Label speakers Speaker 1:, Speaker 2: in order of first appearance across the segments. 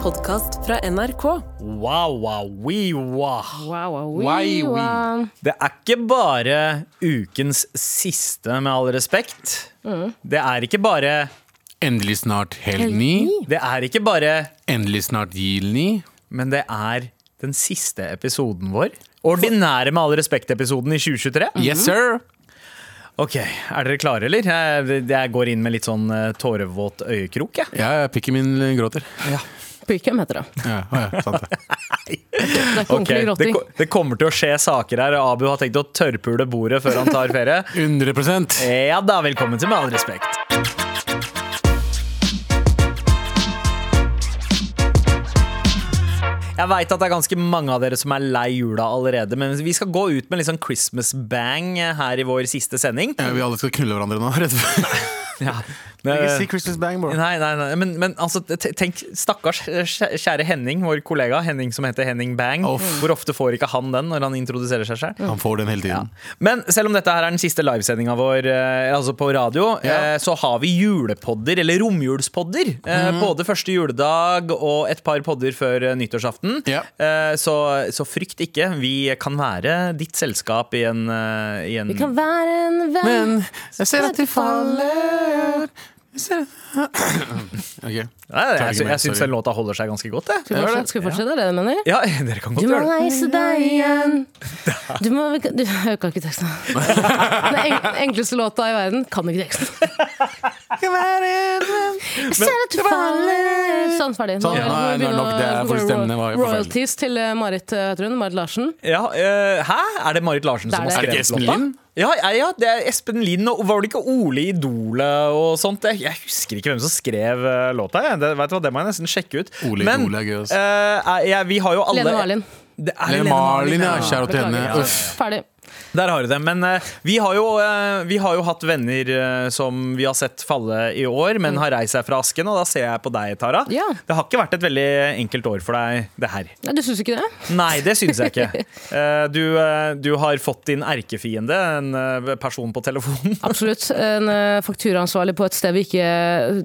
Speaker 1: podkast fra NRK.
Speaker 2: Wow, wow, wee, wow.
Speaker 3: Wow, wow, wee,
Speaker 4: Why we?
Speaker 3: wow.
Speaker 2: Det er ikke bare ukens siste, med all respekt. Det er ikke bare
Speaker 4: Endelig snart helg ni.
Speaker 2: Det er ikke bare
Speaker 4: Endelig snart jil ni.
Speaker 2: Men det er den siste episoden vår. Ordinære Med all respekt-episoden i 2023.
Speaker 4: Yes, sir!
Speaker 2: Ok, Er dere klare, eller? Jeg, jeg går inn med litt sånn eh, tårevåt øyekrok, jeg.
Speaker 4: Ja, ja, pikken min eh, gråter.
Speaker 3: Pikum heter det.
Speaker 4: Ja, å ja, sant det.
Speaker 3: Det er ikke
Speaker 2: Ok,
Speaker 3: ordentlig
Speaker 2: det,
Speaker 3: gråting.
Speaker 2: ko- det kommer til å skje saker her, og Abu har tenkt å tørrpule bordet før han tar ferie.
Speaker 4: 100
Speaker 2: Ja da, velkommen til Med all respekt. Jeg veit at det er ganske mange av dere som er lei jula allerede, men vi skal gå ut med litt sånn Christmas bang her i vår siste sending.
Speaker 4: Ja, vi alle skal knulle hverandre nå. Rett før.
Speaker 2: Ja.
Speaker 4: Ikke si Christmas bang, bro.
Speaker 2: Eh, Nei, nei, nei. Men, men altså, t- tenk, stakkars eh, kjæ- kjære Henning, vår kollega Henning som heter Henning Bang.
Speaker 4: Uff.
Speaker 2: Hvor ofte får ikke han den når han introduserer seg selv?
Speaker 4: Han får den hele tiden.
Speaker 2: Men selv om dette her er den siste livesendinga vår eh, altså på radio,
Speaker 4: Ja.
Speaker 2: eh, så har vi julepodder, eller romjulspodder. Eh,
Speaker 4: Mhm.
Speaker 2: Både første juledag og et par podder før eh, nyttårsaften.
Speaker 4: Ja.
Speaker 2: Eh, så, så frykt ikke. Vi kan være ditt selskap i en, eh, i en
Speaker 3: Vi kan være en venn.
Speaker 4: Men jeg ser at de faller Jeg ser OK.
Speaker 2: Nei, jeg,
Speaker 4: Tar ikke
Speaker 2: jeg,
Speaker 4: mer,
Speaker 2: jeg syns
Speaker 4: sorry.
Speaker 2: den låta holder seg ganske godt, jeg.
Speaker 3: Skal vi
Speaker 4: Gjør
Speaker 3: fortsette-
Speaker 4: det.
Speaker 3: Skal vi fortsette, er det det du mener?
Speaker 2: Ja, dere kan
Speaker 3: Du
Speaker 2: godt
Speaker 3: må
Speaker 2: gjøre det.
Speaker 3: reise deg igjen. Du må du, Jeg kan ikke teksten. Den eng, enkleste låta i verden kan ikke teksten. Jeg Ser at du faller Sånn, ferdig.
Speaker 4: Sånn,
Speaker 3: må vi
Speaker 4: nei, nå er
Speaker 3: begynne
Speaker 4: nok det
Speaker 3: å-
Speaker 4: her, for stemmen var jo forferdelig.
Speaker 3: Royalties til eh, Marit, eh, heter hun. Marit Larsen.
Speaker 2: Ja, eh, hæ? Er det Marit Larsen
Speaker 3: Det
Speaker 2: som
Speaker 3: er
Speaker 2: har
Speaker 3: det.
Speaker 4: Er
Speaker 2: skrevet
Speaker 4: det ikke Espen
Speaker 2: låta?
Speaker 4: Lind?
Speaker 2: Ja, ja, ja, det er Espen Lind. Og var det ikke Ole i Idolet og sånt? Jeg, jeg husker ikke hvem som skrev eh, låta. Jeg. Det, vet du hva, det må jeg nesten sjekke ut.
Speaker 4: Ole i
Speaker 2: Men,
Speaker 4: Idolet er gøy, ass.
Speaker 2: eh, er- jeg- vi har jo alle
Speaker 3: Lene Marlin.
Speaker 2: Det er
Speaker 4: Lene Marlin, ja. Kjære til henne.
Speaker 3: Beklager.
Speaker 4: Uff.
Speaker 3: Ferdig.
Speaker 2: Der har du det. Men eh, vi, har jo, eh, vi har jo hatt venner eh, som vi har sett falle i år, men har reist seg fra asken. Og da ser jeg på deg, Tara.
Speaker 3: Mm. Ja.
Speaker 2: Det har ikke vært et veldig enkelt år for deg, det her.
Speaker 3: Ja, Du syns ikke det?
Speaker 2: Nei, det syns jeg ikke. Eh, Du, eh, du har fått din erkefiende, en eh, person på telefonen.
Speaker 3: Absolutt. En eh, fakturaansvarlig på et sted vi ikke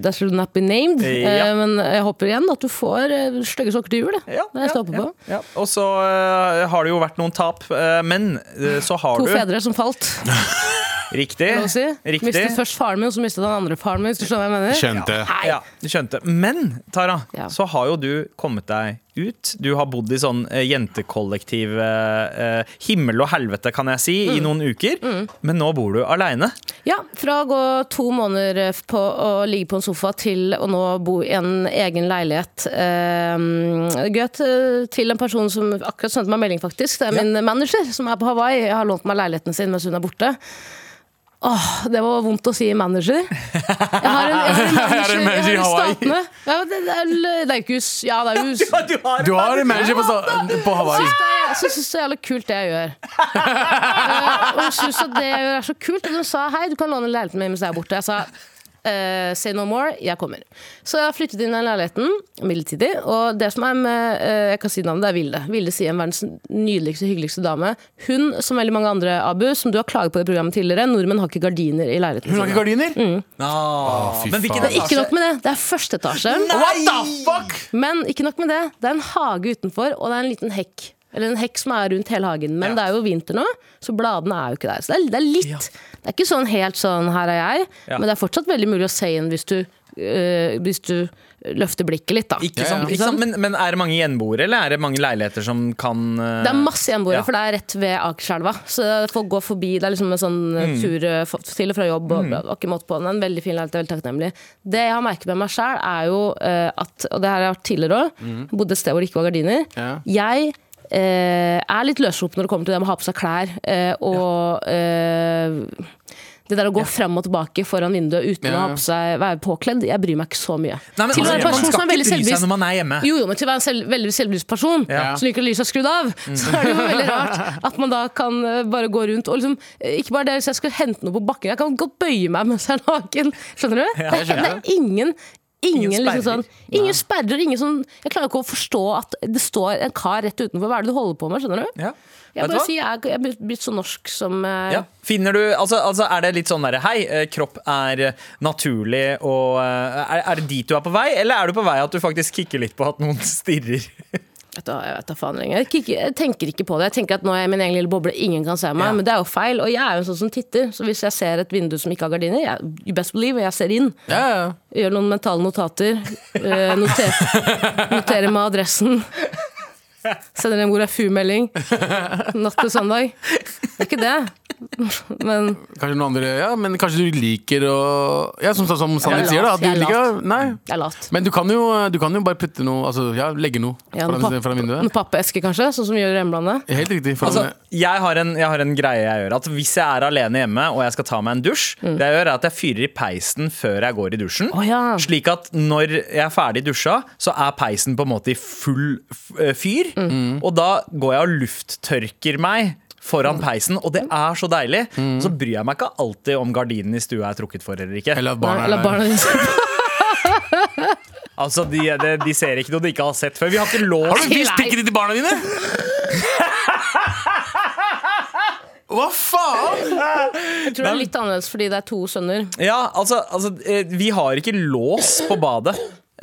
Speaker 3: That should not be named.
Speaker 2: Ja.
Speaker 3: Eh, men jeg håper igjen at du får eh, stygge sokker til jul. jeg.
Speaker 2: Ja,
Speaker 3: det jeg står på.
Speaker 2: ja, ja. Og så eh, har det jo vært noen tap, eh, men eh, så har
Speaker 3: To
Speaker 2: du
Speaker 3: fedre som falt.
Speaker 2: Riktig.
Speaker 3: kan du Si.
Speaker 2: Riktig.
Speaker 3: Mistet først faren min, og så mistet han andre faren min. Hvis du skjønner hva jeg mener?
Speaker 4: Skjønte.
Speaker 3: Nei.
Speaker 2: Ja, du skjønte. Men Tara,
Speaker 3: Ja.
Speaker 2: så har jo du kommet deg ut. Du har bodd i sånn eh, jentekollektiv eh, eh, himmel og helvete, kan jeg si,
Speaker 3: Mm.
Speaker 2: i noen uker. Men nå bor du aleine.
Speaker 3: Ja, fra å gå to måneder eh, på å ligge på en sofa til å nå bo i en egen leilighet. Eh, Gøt eh, til en person som akkurat sendte meg melding, faktisk. Det er min manager som er på Hawaii. Jeg har lånt meg leiligheten sin mens hun er borte. Åh, det var vondt å si manager. Jeg har en, jeg har en
Speaker 4: Jeg har
Speaker 3: manager,
Speaker 4: en
Speaker 3: jeg har
Speaker 4: manager i
Speaker 3: en
Speaker 4: Hawaii.
Speaker 3: statene. Ja, det, det er Laukhus. Ja, det er hus.
Speaker 2: Du har,
Speaker 4: Du har en manager på, sta- på Hawaii.
Speaker 3: Jeg syns det er jævlig kult, det jeg gjør. Eh, Og hun syns at det jeg gjør er så kult. Og hun sa hei, du kan låne leiligheten min mens jeg er borte. Jeg sa eh, say no more, jeg kommer. Så jeg har flyttet inn i den leiligheten midlertidig. Og det som er med eh, Jeg kan si navnet, det er Vilde. Vilde Siem, verdens nydeligste, hyggeligste dame. Hun, som veldig mange andre, Abu, som du har klaget på i programmet tidligere, nordmenn har ikke gardiner i leiligheten.
Speaker 4: Hun har ikke gardiner?
Speaker 2: Å,
Speaker 4: fy
Speaker 2: men hvilken
Speaker 4: faen.
Speaker 2: etasje?
Speaker 3: Ikke nok med det, det er første etasje.
Speaker 4: What the fuck?
Speaker 3: Men ikke nok med det. Det er en hage utenfor, og det er en liten hekk. Eller en hekk som er rundt hele hagen. Men
Speaker 2: Ja.
Speaker 3: det er jo vinter nå, så bladene er jo ikke der. Så det er, det er litt
Speaker 2: Ja.
Speaker 3: Det er ikke sånn helt sånn 'her er jeg',
Speaker 2: Ja.
Speaker 3: men det er fortsatt veldig mulig å se inn hvis du, øh, hvis du løfter blikket litt, da.
Speaker 2: Ikke
Speaker 4: Ja,
Speaker 2: sant,
Speaker 4: ja.
Speaker 2: ikke sant? Men, men er det mange gjenboere, eller er det mange leiligheter som kan eh,
Speaker 3: Det er masse gjenboere,
Speaker 2: Ja.
Speaker 3: for det er rett ved Akerselva. Så folk går forbi. Det er liksom en sånn
Speaker 2: Mm.
Speaker 3: eh, tur eh, for- til og fra jobb. Og, det var ikke måte på den. En veldig fin leilighet, veldig takknemlig. Det jeg har merket med meg sjæl, er jo eh, at Og det her har jeg vært tidligere òg.
Speaker 2: Mm.
Speaker 3: Bodde et sted hvor det ikke var gardiner.
Speaker 4: Ja.
Speaker 3: Jeg eh, er litt løssluppen når det kommer til det med å ha på seg klær eh, og eh, det der å gå frem og tilbake foran vinduet uten å
Speaker 4: Ja, ja.
Speaker 3: ha på seg, være påkledd, jeg bryr meg ikke så mye.
Speaker 2: Nei, men
Speaker 3: til og med en
Speaker 2: altså, man
Speaker 3: person
Speaker 2: skal
Speaker 3: som er
Speaker 2: ikke
Speaker 3: veldig
Speaker 2: bry seg
Speaker 3: selvbevisst
Speaker 2: når man er hjemme.
Speaker 3: jo, jo, men til å være en selv, veldig selvlyst person
Speaker 2: Ja. Mm.
Speaker 3: som liker at lyset er skrudd av, så er det jo veldig rart at man da kan eh, bare gå rundt og liksom eh, Ikke bare det, hvis jeg skal hente noe på bakken, jeg kan godt bøye meg mens jeg er naken. Skjønner du?
Speaker 4: jeg skjønner.
Speaker 3: det er ingen Ingen,
Speaker 2: Ingen
Speaker 3: liksom sånn,
Speaker 2: sperrer.
Speaker 3: ingen sperrer. Ingen sånn, jeg klarer ikke å forstå at det står en kar rett utenfor. Hva er det du holder på med? skjønner du?
Speaker 2: Ja.
Speaker 3: Jeg
Speaker 2: Vet du
Speaker 3: bare
Speaker 2: hva?
Speaker 3: sier, jeg er- jeg er blitt så norsk som eh,
Speaker 2: Ja. Finner du, altså, altså Er det litt sånn derre Hei, eh, kropp er eh, naturlig og eh, er, er det dit du er på vei, eller er du på vei at du faktisk kikker litt på at noen stirrer?
Speaker 3: Vet du hva, jeg vet da faen lenger. Jeg, kikker- jeg tenker ikke på det. Jeg tenker at nå er jeg i min egen lille boble, ingen kan se meg.
Speaker 2: Ja.
Speaker 3: Men det er jo feil. Og jeg er jo en sånn som titter. Så hvis jeg ser et vindu som ikke har gardiner, jeg, you best believe, jeg ser inn.
Speaker 4: Ja, ja.
Speaker 3: Gjør noen mentale notater. eh, noter, noterer meg adressen. Sender en Orafu-melding natt til søndag. Det er ikke det. Men
Speaker 4: Kanskje noen andre Ja, men kanskje du liker å Ja, som, som
Speaker 3: Jeg
Speaker 4: Sandeep
Speaker 3: er
Speaker 4: sier, da.
Speaker 3: lat,
Speaker 4: At du
Speaker 3: jeg er
Speaker 4: liker Nei.
Speaker 3: jeg er lat.
Speaker 4: Men du kan, jo, du kan jo bare putte noe Altså, ja, legge noe
Speaker 3: Ja,
Speaker 4: foran,
Speaker 3: noen papp-
Speaker 4: foran
Speaker 3: noen
Speaker 4: vinduet.
Speaker 3: pappeske, kanskje, sånn som vi gjør i hjemlandet.
Speaker 4: Helt riktig. Foran,
Speaker 2: Altså, jeg, har en, jeg har en greie jeg gjør. At Hvis jeg er alene hjemme og jeg skal ta meg en dusj, Det jeg gjør er at jeg fyrer i peisen før jeg går i dusjen.
Speaker 3: Mm. Å, ja.
Speaker 2: Slik at når jeg er ferdig dusja, så er peisen på en måte i full f- eh, fyr.
Speaker 3: Mm.
Speaker 4: Mm.
Speaker 2: Og da går jeg og lufttørker meg
Speaker 3: Mm.
Speaker 2: foran peisen, og det er så deilig.
Speaker 4: Mm.
Speaker 2: Så bryr jeg meg ikke alltid om gardinen i stua er trukket for eller ikke.
Speaker 4: Eller at barna
Speaker 3: La
Speaker 4: er der.
Speaker 3: barna dine
Speaker 2: Altså, de, de, de ser ikke noe de ikke har sett før. Vi har ikke lov
Speaker 4: Har du vist
Speaker 3: Nei.
Speaker 4: pikkene til barna dine?! Hva faen?!
Speaker 3: Jeg tror det er litt annerledes fordi det er to sønner.
Speaker 2: Ja, altså, altså eh, Vi har ikke lås på badet.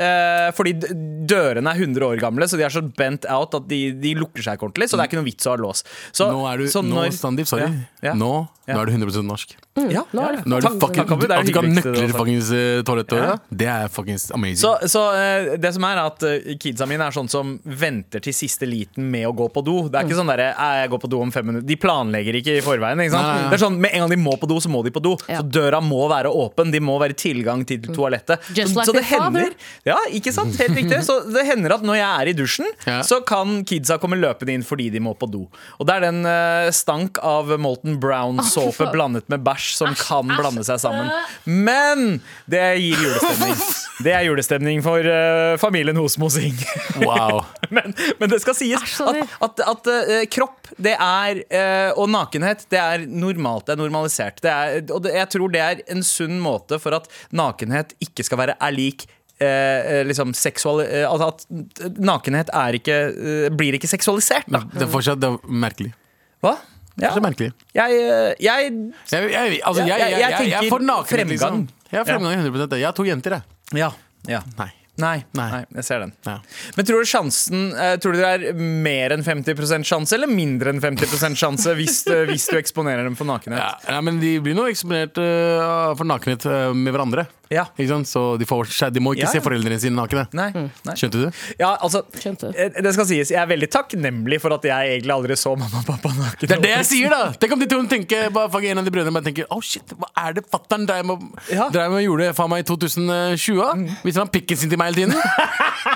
Speaker 2: Eh, fordi d- dørene er 100 år gamle, så de er så bent out at de, de lukker seg ikke ordentlig. Så det er ikke noe vits å ha lås. Så,
Speaker 4: Nå er du
Speaker 2: så
Speaker 4: Nå, Sandeep, sorry.
Speaker 2: Ja, ja.
Speaker 4: Nå,
Speaker 2: Ja.
Speaker 4: nå er du 100 norsk.
Speaker 2: ja,
Speaker 3: Nå er
Speaker 2: ja.
Speaker 3: det
Speaker 4: Nå er du
Speaker 2: Takk,
Speaker 4: fucking,
Speaker 2: takk, Abu, det er
Speaker 4: At du
Speaker 2: det
Speaker 4: ikke har
Speaker 2: hyggeligste du
Speaker 4: nøkler til
Speaker 2: har sagt.
Speaker 4: fuckings eh, toalettet, ja. det er fuckings amazing.
Speaker 2: Så, så eh, det som er at eh, kidsa mine er sånn som venter til siste liten med å gå på do. Det er
Speaker 3: Mm.
Speaker 2: ikke sånn derre «Eh, jeg går på do om fem minutter. De planlegger ikke i forveien. Ikke sant?
Speaker 4: Nei, nei, nei.
Speaker 2: Det er sånn, Med en gang de må på do, så må de på do.
Speaker 3: Ja. Mm.
Speaker 2: Så døra må være åpen. De må være tilgang til toalettet.
Speaker 3: Just like
Speaker 2: så det
Speaker 3: their father.
Speaker 2: hender Ja, ikke sant? Helt riktig. Så det hender at når jeg er i dusjen,
Speaker 4: Ja.
Speaker 2: så kan kidsa komme løpende inn fordi de må på do. Og det er den eh, stank av Molten Brown-såpe
Speaker 3: faen.
Speaker 2: blandet med bæsj som kan
Speaker 3: æsj,
Speaker 2: blande seg sammen.
Speaker 3: øh.
Speaker 2: Men det gir julestemning. Det er julestemning for eh, familien Hosmo Sing.
Speaker 4: Wow.
Speaker 2: men, men det skal sies
Speaker 3: Æsj,
Speaker 2: at,
Speaker 3: Sandeep.
Speaker 2: at, at eh, kropp det er, eh, og nakenhet det er normalt, det er normalisert. Det er, og det, jeg tror det er en sunn måte for at nakenhet ikke skal være er lik eh, eh, liksom seksual... eh, at, at nakenhet er ikke, eh, blir ikke seksualisert, da.
Speaker 4: Det er fortsatt det er merkelig.
Speaker 2: Hva? Ja.
Speaker 4: Det er merkelig.
Speaker 2: Jeg, eh, jeg
Speaker 4: Jeg, jeg, altså,
Speaker 2: Jeg-
Speaker 4: jeg,
Speaker 2: jeg-
Speaker 4: jeg,
Speaker 2: jeg
Speaker 4: jeg, jeg,
Speaker 2: tenker
Speaker 4: får nakenhet,
Speaker 2: fremgang.
Speaker 4: liksom. Jeg er fremgang 100 Jeg har to jenter, jeg.
Speaker 2: Ja. ja.
Speaker 4: Nei.
Speaker 2: Nei, nei.
Speaker 4: Nei.
Speaker 2: jeg ser den.
Speaker 4: Ja.
Speaker 2: Men tror du sjansen eh, Tror du det er mer enn 50 sjanse eller mindre enn 50 sjanse hvis, eh, hvis du eksponerer dem for
Speaker 4: Ja,
Speaker 2: nakenhet?
Speaker 4: nei, men de blir nå eksponert øh, for nakenhet øh, med hverandre.
Speaker 2: Ja.
Speaker 4: Ikke sant? Så de, får, seg- de må ikke
Speaker 2: Ja, ja.
Speaker 4: se foreldrene sine nakne.
Speaker 2: Nei. nei.
Speaker 4: Skjønte du?
Speaker 2: Ja, altså,
Speaker 3: Skjønte.
Speaker 2: eh, det skal sies, jeg er veldig takknemlig for at jeg egentlig aldri så mamma og pappa naken.
Speaker 4: Det er det jeg sier, da! Tenk om de to tenker, bare, fuck, en av de brødrene bare tenker Å shit, hva er det fatter'n dreiv med
Speaker 2: Ja. Mm.
Speaker 4: dreiv med og gjorde faen meg i 2020? Viser han pikken sin til meg hele tiden?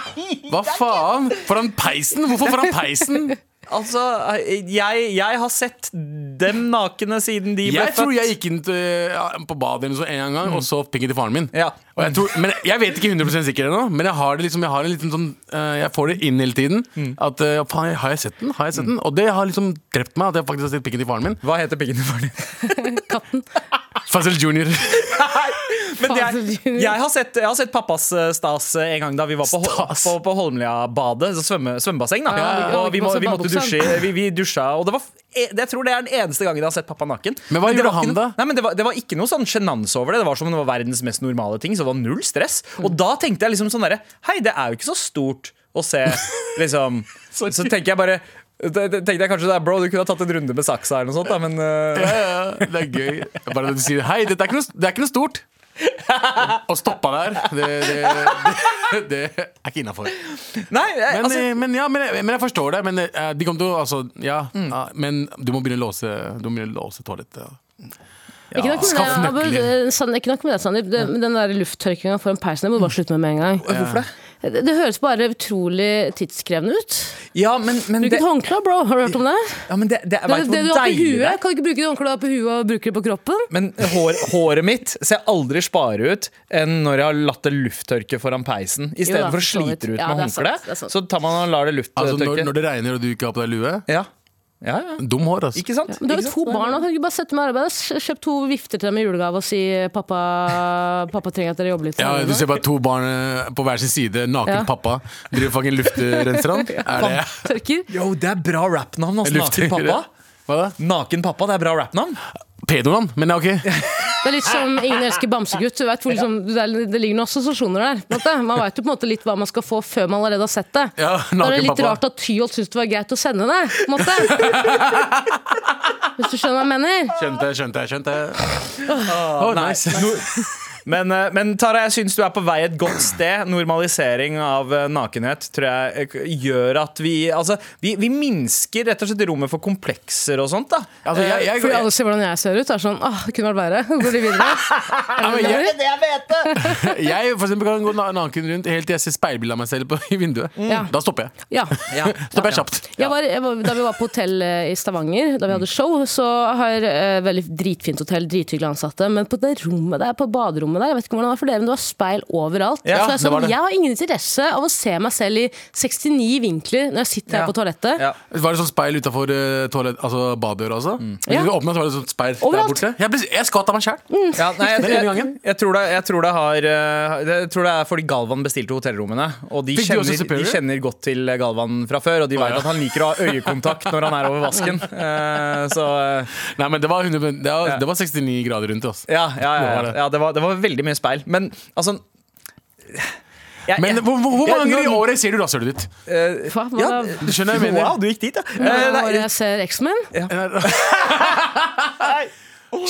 Speaker 4: Hva faen? Foran peisen? Hvorfor foran peisen?
Speaker 2: Altså, eh, jeg, jeg har sett dem nakne siden de ble
Speaker 4: Jeg tror jeg gikk inn til, ja, på badet eller noe sånt en gang og så pikken til faren min.
Speaker 2: Ja.
Speaker 4: Og jeg, tror, men jeg vet ikke 100 sikkert ennå, men jeg har det liksom, jeg har en liten sånn eh, Jeg får det inn hele tiden. At eh, faen, har jeg sett den? Har jeg sett den? Og det har liksom drept meg, at jeg faktisk har sett pikken til faren min.
Speaker 2: Hva heter pikken til faren din?
Speaker 3: Katten.
Speaker 4: Fazel junior.
Speaker 2: Men
Speaker 3: Fader,
Speaker 2: jeg,
Speaker 3: Junior.
Speaker 2: jeg, har sett, jeg har sett pappas eh, stas eh, en gang da vi var på, Hol-
Speaker 4: Stas.
Speaker 2: på, på Holmlia-badet. så Svømme, svømmebasseng, da.
Speaker 3: Ja, ja, ja.
Speaker 2: Og vi, må, vi måtte
Speaker 3: Badebuksa.
Speaker 2: dusje. Vi, vi dusja, og det var, f- eh, jeg tror det er den eneste gangen jeg har sett pappa naken.
Speaker 4: Men hva
Speaker 2: det
Speaker 4: gjorde
Speaker 2: var ikke
Speaker 4: han
Speaker 2: noe-
Speaker 4: da?
Speaker 2: Nei, men det, var, det var ikke noe sånn sjenanse over det. Det var som om det var verdens mest normale ting. Så det var null stress. Og da tenkte jeg liksom sånn derre Hei, det er jo ikke så stort å se, liksom. så tenker jeg bare da- da Tenkte jeg kanskje det er bro, du kunne ha tatt en runde med saksa eller noe sånt, da, men eh,
Speaker 4: ja, ja, det er gøy. Bare at du sier 'hei, dette er ikke noe, det er ikke noe stort'. Og stoppa der. Det, det, det, det er ikke innafor.
Speaker 2: Nei, jeg,
Speaker 4: Men,
Speaker 2: altså
Speaker 4: eh, men, ja, men, jeg- men jeg forstår det. Men eh, de kommer til å altså, ja,
Speaker 3: Mm.
Speaker 4: ja, Men du må begynne å låse, du må begynne å låse toalettet.
Speaker 3: Ikke nok med
Speaker 4: skaff
Speaker 3: det, Abu,
Speaker 4: nøkler.
Speaker 3: eh, Sand- ikke nok med det, Sandeep. Det- men Den der lufttørkinga foran peisen det må du bare slutte med med en gang.
Speaker 2: Hvorfor det?
Speaker 3: Det, det høres bare utrolig tidskrevende ut.
Speaker 2: Ja, men, men
Speaker 3: Bruk
Speaker 2: det,
Speaker 3: et håndkle, bro. Har du hørt om det?
Speaker 2: ja, men det, det, jeg
Speaker 3: Det,
Speaker 2: vet
Speaker 3: det du har
Speaker 2: hvor
Speaker 3: på
Speaker 2: deilig det er.
Speaker 3: huet, kan du ikke bruke det håndkleet du har på huet og bruke det på kroppen?
Speaker 2: Men hår, håret mitt ser jeg aldri spare ut enn når jeg har latt det lufttørke foran peisen. I stedet
Speaker 3: da,
Speaker 2: for
Speaker 3: for
Speaker 2: å
Speaker 3: så vidt.
Speaker 2: slite det ut
Speaker 3: Ja,
Speaker 2: med
Speaker 3: det er sant, det
Speaker 2: håndkle,
Speaker 3: er sant.
Speaker 2: så tar man og lar det
Speaker 4: Altså,
Speaker 2: lufttørke.
Speaker 4: når, når det regner og du ikke har på deg lue
Speaker 2: Ja. Ja, ja.
Speaker 4: Dum hår, altså.
Speaker 2: Ikke sant?
Speaker 3: Men du har
Speaker 2: Ikke
Speaker 3: jo
Speaker 2: sant?
Speaker 3: to barn, da. kan du ikke bare sette med arbeid? S- Kjøp to vifter til dem i julegave og si pappa, pappa trenger at dere jobber litt.
Speaker 4: Ja,
Speaker 3: sammen
Speaker 4: Du
Speaker 3: nå».
Speaker 4: ser bare to barn eh, på hver sin side, naken
Speaker 3: Ja.
Speaker 4: pappa. Driver og fanger luftrenser han. Er det
Speaker 3: Tørker.
Speaker 2: Yo, det er bra rappnavn, altså. Naken
Speaker 4: Luftrenser.
Speaker 2: pappa.
Speaker 4: Hva da?
Speaker 2: Naken pappa, det er bra rappnavn.
Speaker 4: Pedoland, men ja, ok.
Speaker 3: Det er litt som Ingen elsker bamsegutt. Du vet hvor liksom, det, er, det ligger noen assosiasjoner der. På en måte. Man veit jo på en måte litt hva man skal få før man allerede har sett det.
Speaker 4: Ja,
Speaker 3: da er det
Speaker 4: naken
Speaker 3: litt
Speaker 4: pappa.
Speaker 3: rart at Tyholt syntes det var greit å sende det. På en måte. Hvis du skjønner hva jeg mener.
Speaker 4: Skjønte, skjønte, skjønte. Å, nice.
Speaker 2: Men, eh, men Tara, jeg syns du er på vei et godt sted. Normalisering av eh, nakenhet tror jeg eh, gjør at vi Altså, vi, vi minsker rett og slett rommet for komplekser og sånt, da.
Speaker 4: Altså, jeg, jeg,
Speaker 3: Fordi alle ser hvordan jeg ser ut. Det er sånn, åh, det kunne vært verre. Hvor Går de videre?
Speaker 4: Ja, men jeg,
Speaker 2: det jeg vet!
Speaker 4: jeg for eksempel kan gå na- naken rundt helt til jeg ser speilbildet av meg selv på, i vinduet.
Speaker 3: Ja.
Speaker 4: Da stopper jeg.
Speaker 3: Ja.
Speaker 2: Eh, Ja.
Speaker 4: Stopper jeg kjapt.
Speaker 3: Jeg var, jeg var, da vi var på hotell eh, i Stavanger,
Speaker 2: Mm.
Speaker 3: da vi hadde show, så har eh, veldig dritfint hotell, drithyggelige ansatte, men på det rommet der, på baderommet der, jeg vet ikke hvordan det var for dere, men det var speil overalt.
Speaker 2: Ja,
Speaker 3: så jeg, er
Speaker 4: det var
Speaker 3: sånn,
Speaker 4: det.
Speaker 3: jeg har ingen interesse av å se meg selv i 69 vinkler når jeg sitter
Speaker 2: Ja.
Speaker 3: her på toalettet.
Speaker 2: Ja.
Speaker 4: Var det sånn speil utafor toalett, altså badedøra også? Hvis
Speaker 3: Ja.
Speaker 4: du åpnet, så var det sånn speil
Speaker 3: Overalt.
Speaker 4: der borte. Jeg, ble, jeg skvatt av meg sjæl.
Speaker 2: Ja, nei, jeg,
Speaker 4: Den ene
Speaker 2: jeg,
Speaker 4: gangen.
Speaker 2: jeg, tror det, jeg tror det har eh, Jeg tror det er fordi Galvan bestilte hotellrommene. Og de
Speaker 4: Fikk du også
Speaker 2: kjenner, de
Speaker 4: superior?
Speaker 2: kjenner godt til eh, Galvan fra før, og de vet
Speaker 4: ja.
Speaker 2: at han liker å ha øyekontakt når han er over vasken. Eh, Så eh,
Speaker 4: Nei, men det var, 100, det, var,
Speaker 2: Ja.
Speaker 4: det var 69 grader rundt altså. oss.
Speaker 2: Ja, ja, ja,
Speaker 4: Det var
Speaker 2: ja.
Speaker 4: det.
Speaker 2: ja det, var, det var veldig mye speil. Men altså jeg-
Speaker 4: Men
Speaker 2: jeg-
Speaker 4: hvor, hvor, hvor
Speaker 2: Ja,
Speaker 4: mange
Speaker 2: nå-
Speaker 4: ganger i året ser du rasshølet ditt?
Speaker 3: Hva, hva,
Speaker 2: Ja,
Speaker 4: Du skjønner hva jeg mener?
Speaker 2: Wow, du gikk dit, ja. Eh,
Speaker 3: hva,
Speaker 2: nei,
Speaker 3: jeg ser X-Men?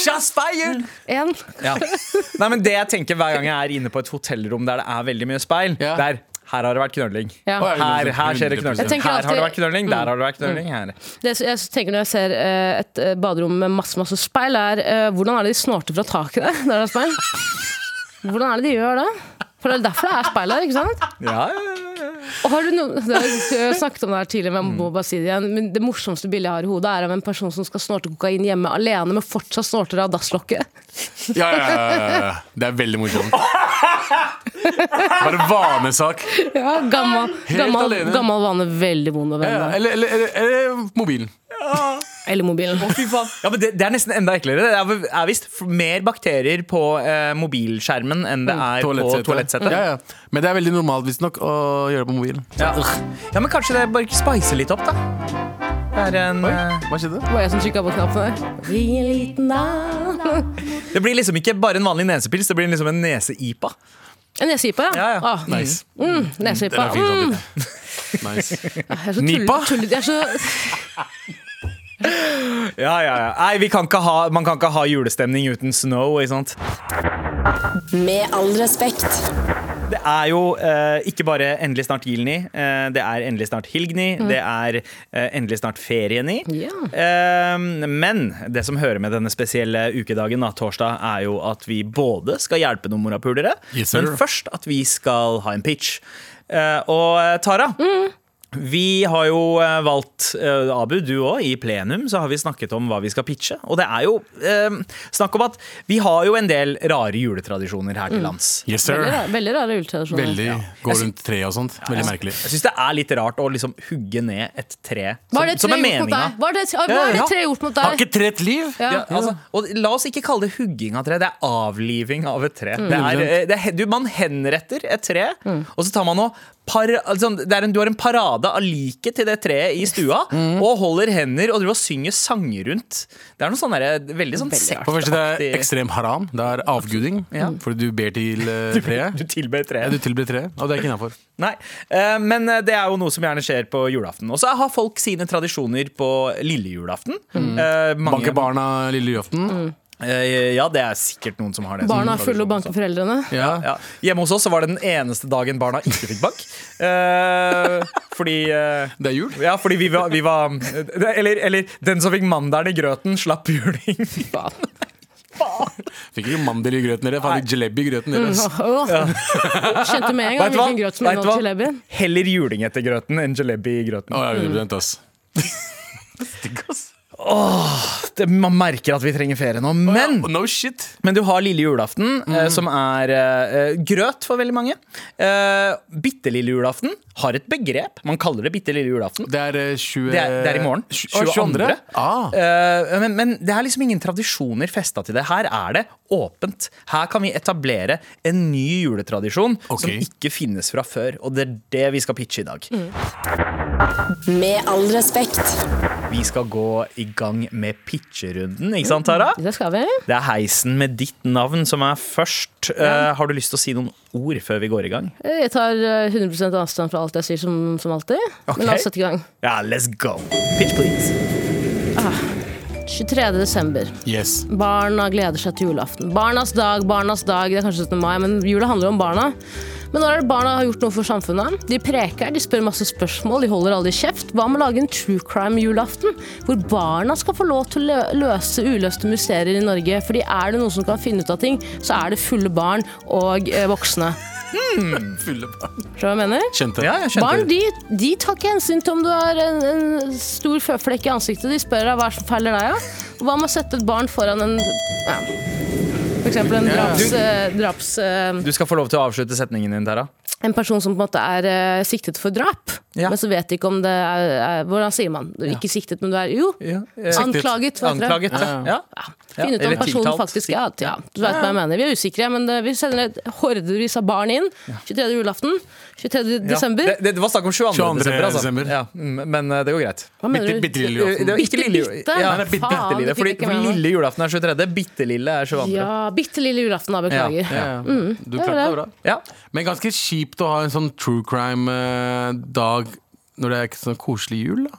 Speaker 4: Shots fired!
Speaker 3: En.
Speaker 2: ja. nei, men det jeg tenker hver gang jeg er inne på et hotellrom der det er veldig mye speil,
Speaker 4: Ja.
Speaker 2: det er her har det vært knølling.
Speaker 3: Ja.
Speaker 4: Å, ja.
Speaker 2: Her, her skjer det
Speaker 4: 100%.
Speaker 2: knølling.
Speaker 3: Jeg tenker Mm.
Speaker 2: Her har det vært
Speaker 3: alltid-
Speaker 2: knølling, der har det vært knølling. Her.
Speaker 3: Det jeg tenker når jeg ser eh, et eh, baderom med masse, masse speil, er eh, hvordan er det de snorter fra taket der? der det er speil? Hvordan er det de gjør det? For det er derfor det er speil der, ikke sant?
Speaker 2: Ja, ja, ja, ja.
Speaker 3: Og har du noen, det har jeg snakket om det her tidligere, men jeg må bare si det igjen. Men det morsomste bildet jeg har i hodet, er av en person som skal snorte kokain hjemme alene, men fortsatt snorter av dasslokket.
Speaker 4: Ja, ja, ja, ja, ja. Det er veldig morsomt. Bare vanesak.
Speaker 3: Ja, gammel,
Speaker 4: Helt
Speaker 3: gammel,
Speaker 4: alene.
Speaker 3: gammel vane, veldig vond å
Speaker 4: Ja,
Speaker 3: vende.
Speaker 4: Eller, eller, eller, eller mobilen.
Speaker 3: Eller mobilen.
Speaker 2: Ja, men det, det er nesten enda eklere. Det er, vel- er visst f- mer bakterier på eh, mobilskjermen enn det er på toalettsettet.
Speaker 4: Mm. Ja, ja. Men det er veldig normalt visstnok å gjøre det på mobilen.
Speaker 2: Ja. ja, men kanskje det bare spicer litt opp, da. Det, er en, eh,
Speaker 4: Hva skjedde?
Speaker 3: Det var jeg som trykka på knappen der. Bli en liten da.
Speaker 2: det blir liksom ikke bare en vanlig nesepils, det blir liksom en nese-IPA.
Speaker 3: En neseipa, ja.
Speaker 2: Ja, ja.
Speaker 3: Ah,
Speaker 4: Nice.
Speaker 3: mm,
Speaker 4: Den
Speaker 3: neseipa.
Speaker 4: er fin
Speaker 3: Mm.
Speaker 4: sånn. Nice.
Speaker 3: Jeg er så
Speaker 4: Nipa?
Speaker 3: tull- tullet. Jeg er så
Speaker 2: Ja, ja, ja. Nei, vi kan ikke ha, man kan ikke ha julestemning uten snow. Ikke sant?
Speaker 1: Med all respekt.
Speaker 2: Det er jo eh, ikke bare endelig snart Gilni, eh, det er endelig snart Hilgni, det er eh, endelig snart Ferieni.
Speaker 3: Ja.
Speaker 2: Eh, men det som hører med denne spesielle ukedagen, da, torsdag, er jo at vi både skal hjelpe noen morapulere,
Speaker 4: Yes, sir.
Speaker 2: men først at vi skal ha en pitch. Eh, og eh, Tara, vi har jo eh, valgt eh, Abu, du òg. I plenum så har vi snakket om hva vi skal pitche. Og det er jo eh, snakk om at vi har jo en del rare juletradisjoner her til lands.
Speaker 4: Yes,
Speaker 3: veldig,
Speaker 4: sir.
Speaker 3: ra- veldig rare juletradisjoner.
Speaker 4: Veldig gå rundt treet og sånt. Veldig merkelig.
Speaker 2: Jeg syns det er litt rart å liksom hugge ned et tre som,
Speaker 3: Hva har det
Speaker 2: som
Speaker 3: tre gjort
Speaker 2: er
Speaker 3: mot
Speaker 2: meninga.
Speaker 3: deg? Hva har det, hva har det tre gjort mot
Speaker 4: Har
Speaker 3: deg?
Speaker 4: ikke tre et liv?
Speaker 3: Ja.
Speaker 2: Ja, altså, og la oss ikke kalle det hugging av tre, det er avliving av et tre. Det er, eh, det, er- du, man henretter et tre,
Speaker 3: Mm.
Speaker 2: og så tar man og par, altså, det er en, Du har en parade av liket til det treet i stua,
Speaker 3: Mm.
Speaker 2: og holder hender og driver og synger sanger rundt. Det er noe sånn derre- veldig sånn
Speaker 4: For det første, det
Speaker 2: sektaktig
Speaker 4: er ekstrem haram. Det er avguding. Fordi du ber til eh,
Speaker 2: Du
Speaker 4: treet.
Speaker 2: tilber treet.
Speaker 4: Ja, du tilber treet, og det er ikke innafor.
Speaker 2: Nei, eh, men eh, det er jo noe som gjerne skjer på julaften. Og så har folk sine tradisjoner på lille julaften.
Speaker 3: Mm.
Speaker 2: Eh, mange-
Speaker 4: Banke barna lille julaften.
Speaker 2: Eh, ja, det er sikkert noen som har det. som
Speaker 3: Barna er fulle
Speaker 2: tradisjon
Speaker 3: og banker
Speaker 2: også.
Speaker 3: foreldrene.
Speaker 4: Ja.
Speaker 2: Ja. Hjemme hos oss så var det den eneste dagen barna ikke fikk bank. Eh, fordi eh,
Speaker 4: Det er jul.
Speaker 2: ja, fordi vi var, vi var eller, eller den som fikk mandelen i grøten, slapp juling.
Speaker 4: Fikk ikke mandel i grøten deres. Faen, jalebi i grøten deres.
Speaker 2: Mm.
Speaker 3: Åh. Kjente med en gang
Speaker 2: Vet du
Speaker 3: hvilken
Speaker 2: hva?
Speaker 3: grøt som
Speaker 2: Vet du
Speaker 3: inneholdt
Speaker 2: hva?
Speaker 3: jalebi.
Speaker 4: Mm.
Speaker 2: Heller juling etter grøten enn jalebi i grøten.
Speaker 4: Å, ja, 100 ass.
Speaker 2: det, man merker at vi trenger ferie nå. Men,
Speaker 4: Oh, no shit.
Speaker 2: men du har lille julaften,
Speaker 3: Mm.
Speaker 2: eh, som er eh, grøt for veldig mange. Eh, bitte lille julaften har et begrep. Man kaller det bitte lille julaften.
Speaker 4: Det er eh, 20...
Speaker 2: Det er, det er i morgen.
Speaker 4: Tj- å, 22. Ah.
Speaker 2: Eh, men, men det er liksom ingen tradisjoner festa til det. Her er det åpent. Her kan vi etablere en ny juletradisjon som
Speaker 4: Ok.
Speaker 2: ikke finnes fra før. Og det er det vi skal pitche i dag.
Speaker 1: Mm. Med all respekt.
Speaker 2: Vi skal gå i gang med pitcherunden, ikke sant, Tara?
Speaker 3: Det skal vi.
Speaker 2: Det er heisen med ditt navn som er først. Eh, har du lyst til å si noen ord før vi går i gang?
Speaker 3: Jeg tar eh, 100 avstand fra alt jeg sier, som, som alltid. Men la oss sette i gang.
Speaker 2: Ja, let's go. Pitch, please.
Speaker 3: 23. desember.
Speaker 4: Yes.
Speaker 3: Barna gleder seg til julaften. Barnas dag, barnas dag. Det er kanskje 17. mai, men jula handler om barna. Men nå er det barna har gjort noe for samfunnet. De preker, de spør masse spørsmål, de holder alle i kjeft. Hva med å lage en true crime-julaften? Hvor barna skal få lov til å lø- løse uløste mysterier i Norge. Fordi er det noen som kan finne ut av ting, så er det fulle barn og eh, voksne.
Speaker 4: Fylle barn.
Speaker 3: Skjønner du hva jeg mener?
Speaker 4: Kjente.
Speaker 2: Ja, jeg skjønte
Speaker 3: Barn
Speaker 2: det.
Speaker 3: de, de tar ikke hensyn til om du har en, en stor føflekk i ansiktet. De spør deg hva som feiler deg. Ja? Hva med å sette et barn foran en ja. For eksempel en draps... eh, draps eh,
Speaker 2: Du skal få lov til å avslutte setningen din, Tara.
Speaker 3: en person som på en måte er eh, siktet for drap,
Speaker 2: Ja.
Speaker 3: men så vet de ikke om det er, er Hvordan sier man? Du er Ikke siktet, men du er Jo! Anklaget. vet dere.
Speaker 2: eh, Anklaget. Ja. ja.
Speaker 3: Finn ut om
Speaker 2: eller
Speaker 3: personen
Speaker 2: tiltalt.
Speaker 3: faktisk ja, at- ja, du vet hva jeg mener. Vi er usikre, men det, vi sender et hordevis av barn inn. 23. julaften. 23.
Speaker 2: Ja.
Speaker 3: desember.
Speaker 2: Det, det var snakk om 22.
Speaker 4: 22.
Speaker 2: desember, altså.
Speaker 4: desember.
Speaker 2: Ja, mm, men eh, det går greit.
Speaker 3: Hva mener
Speaker 4: Bitte,
Speaker 3: du?
Speaker 4: bitte
Speaker 2: Det
Speaker 4: lille
Speaker 3: Bitte,
Speaker 2: er jo ikke
Speaker 4: julaften.
Speaker 2: lille,
Speaker 3: bitte.
Speaker 2: ja,
Speaker 3: Faen,
Speaker 2: bitte, bitte lille.
Speaker 3: det fikk
Speaker 2: Fordi,
Speaker 3: jeg ikke med
Speaker 2: fordi
Speaker 3: meg.
Speaker 2: lille julaften er 23., bitte lille er 22.
Speaker 3: Ja, bitte lille julaften, da. Beklager.
Speaker 2: Ja,
Speaker 4: Ja, ja. Du klarte Mm. det bra.
Speaker 2: Ja.
Speaker 4: Men ganske kjipt å ha en sånn true crime-dag når det er ikke sånn koselig jul, da.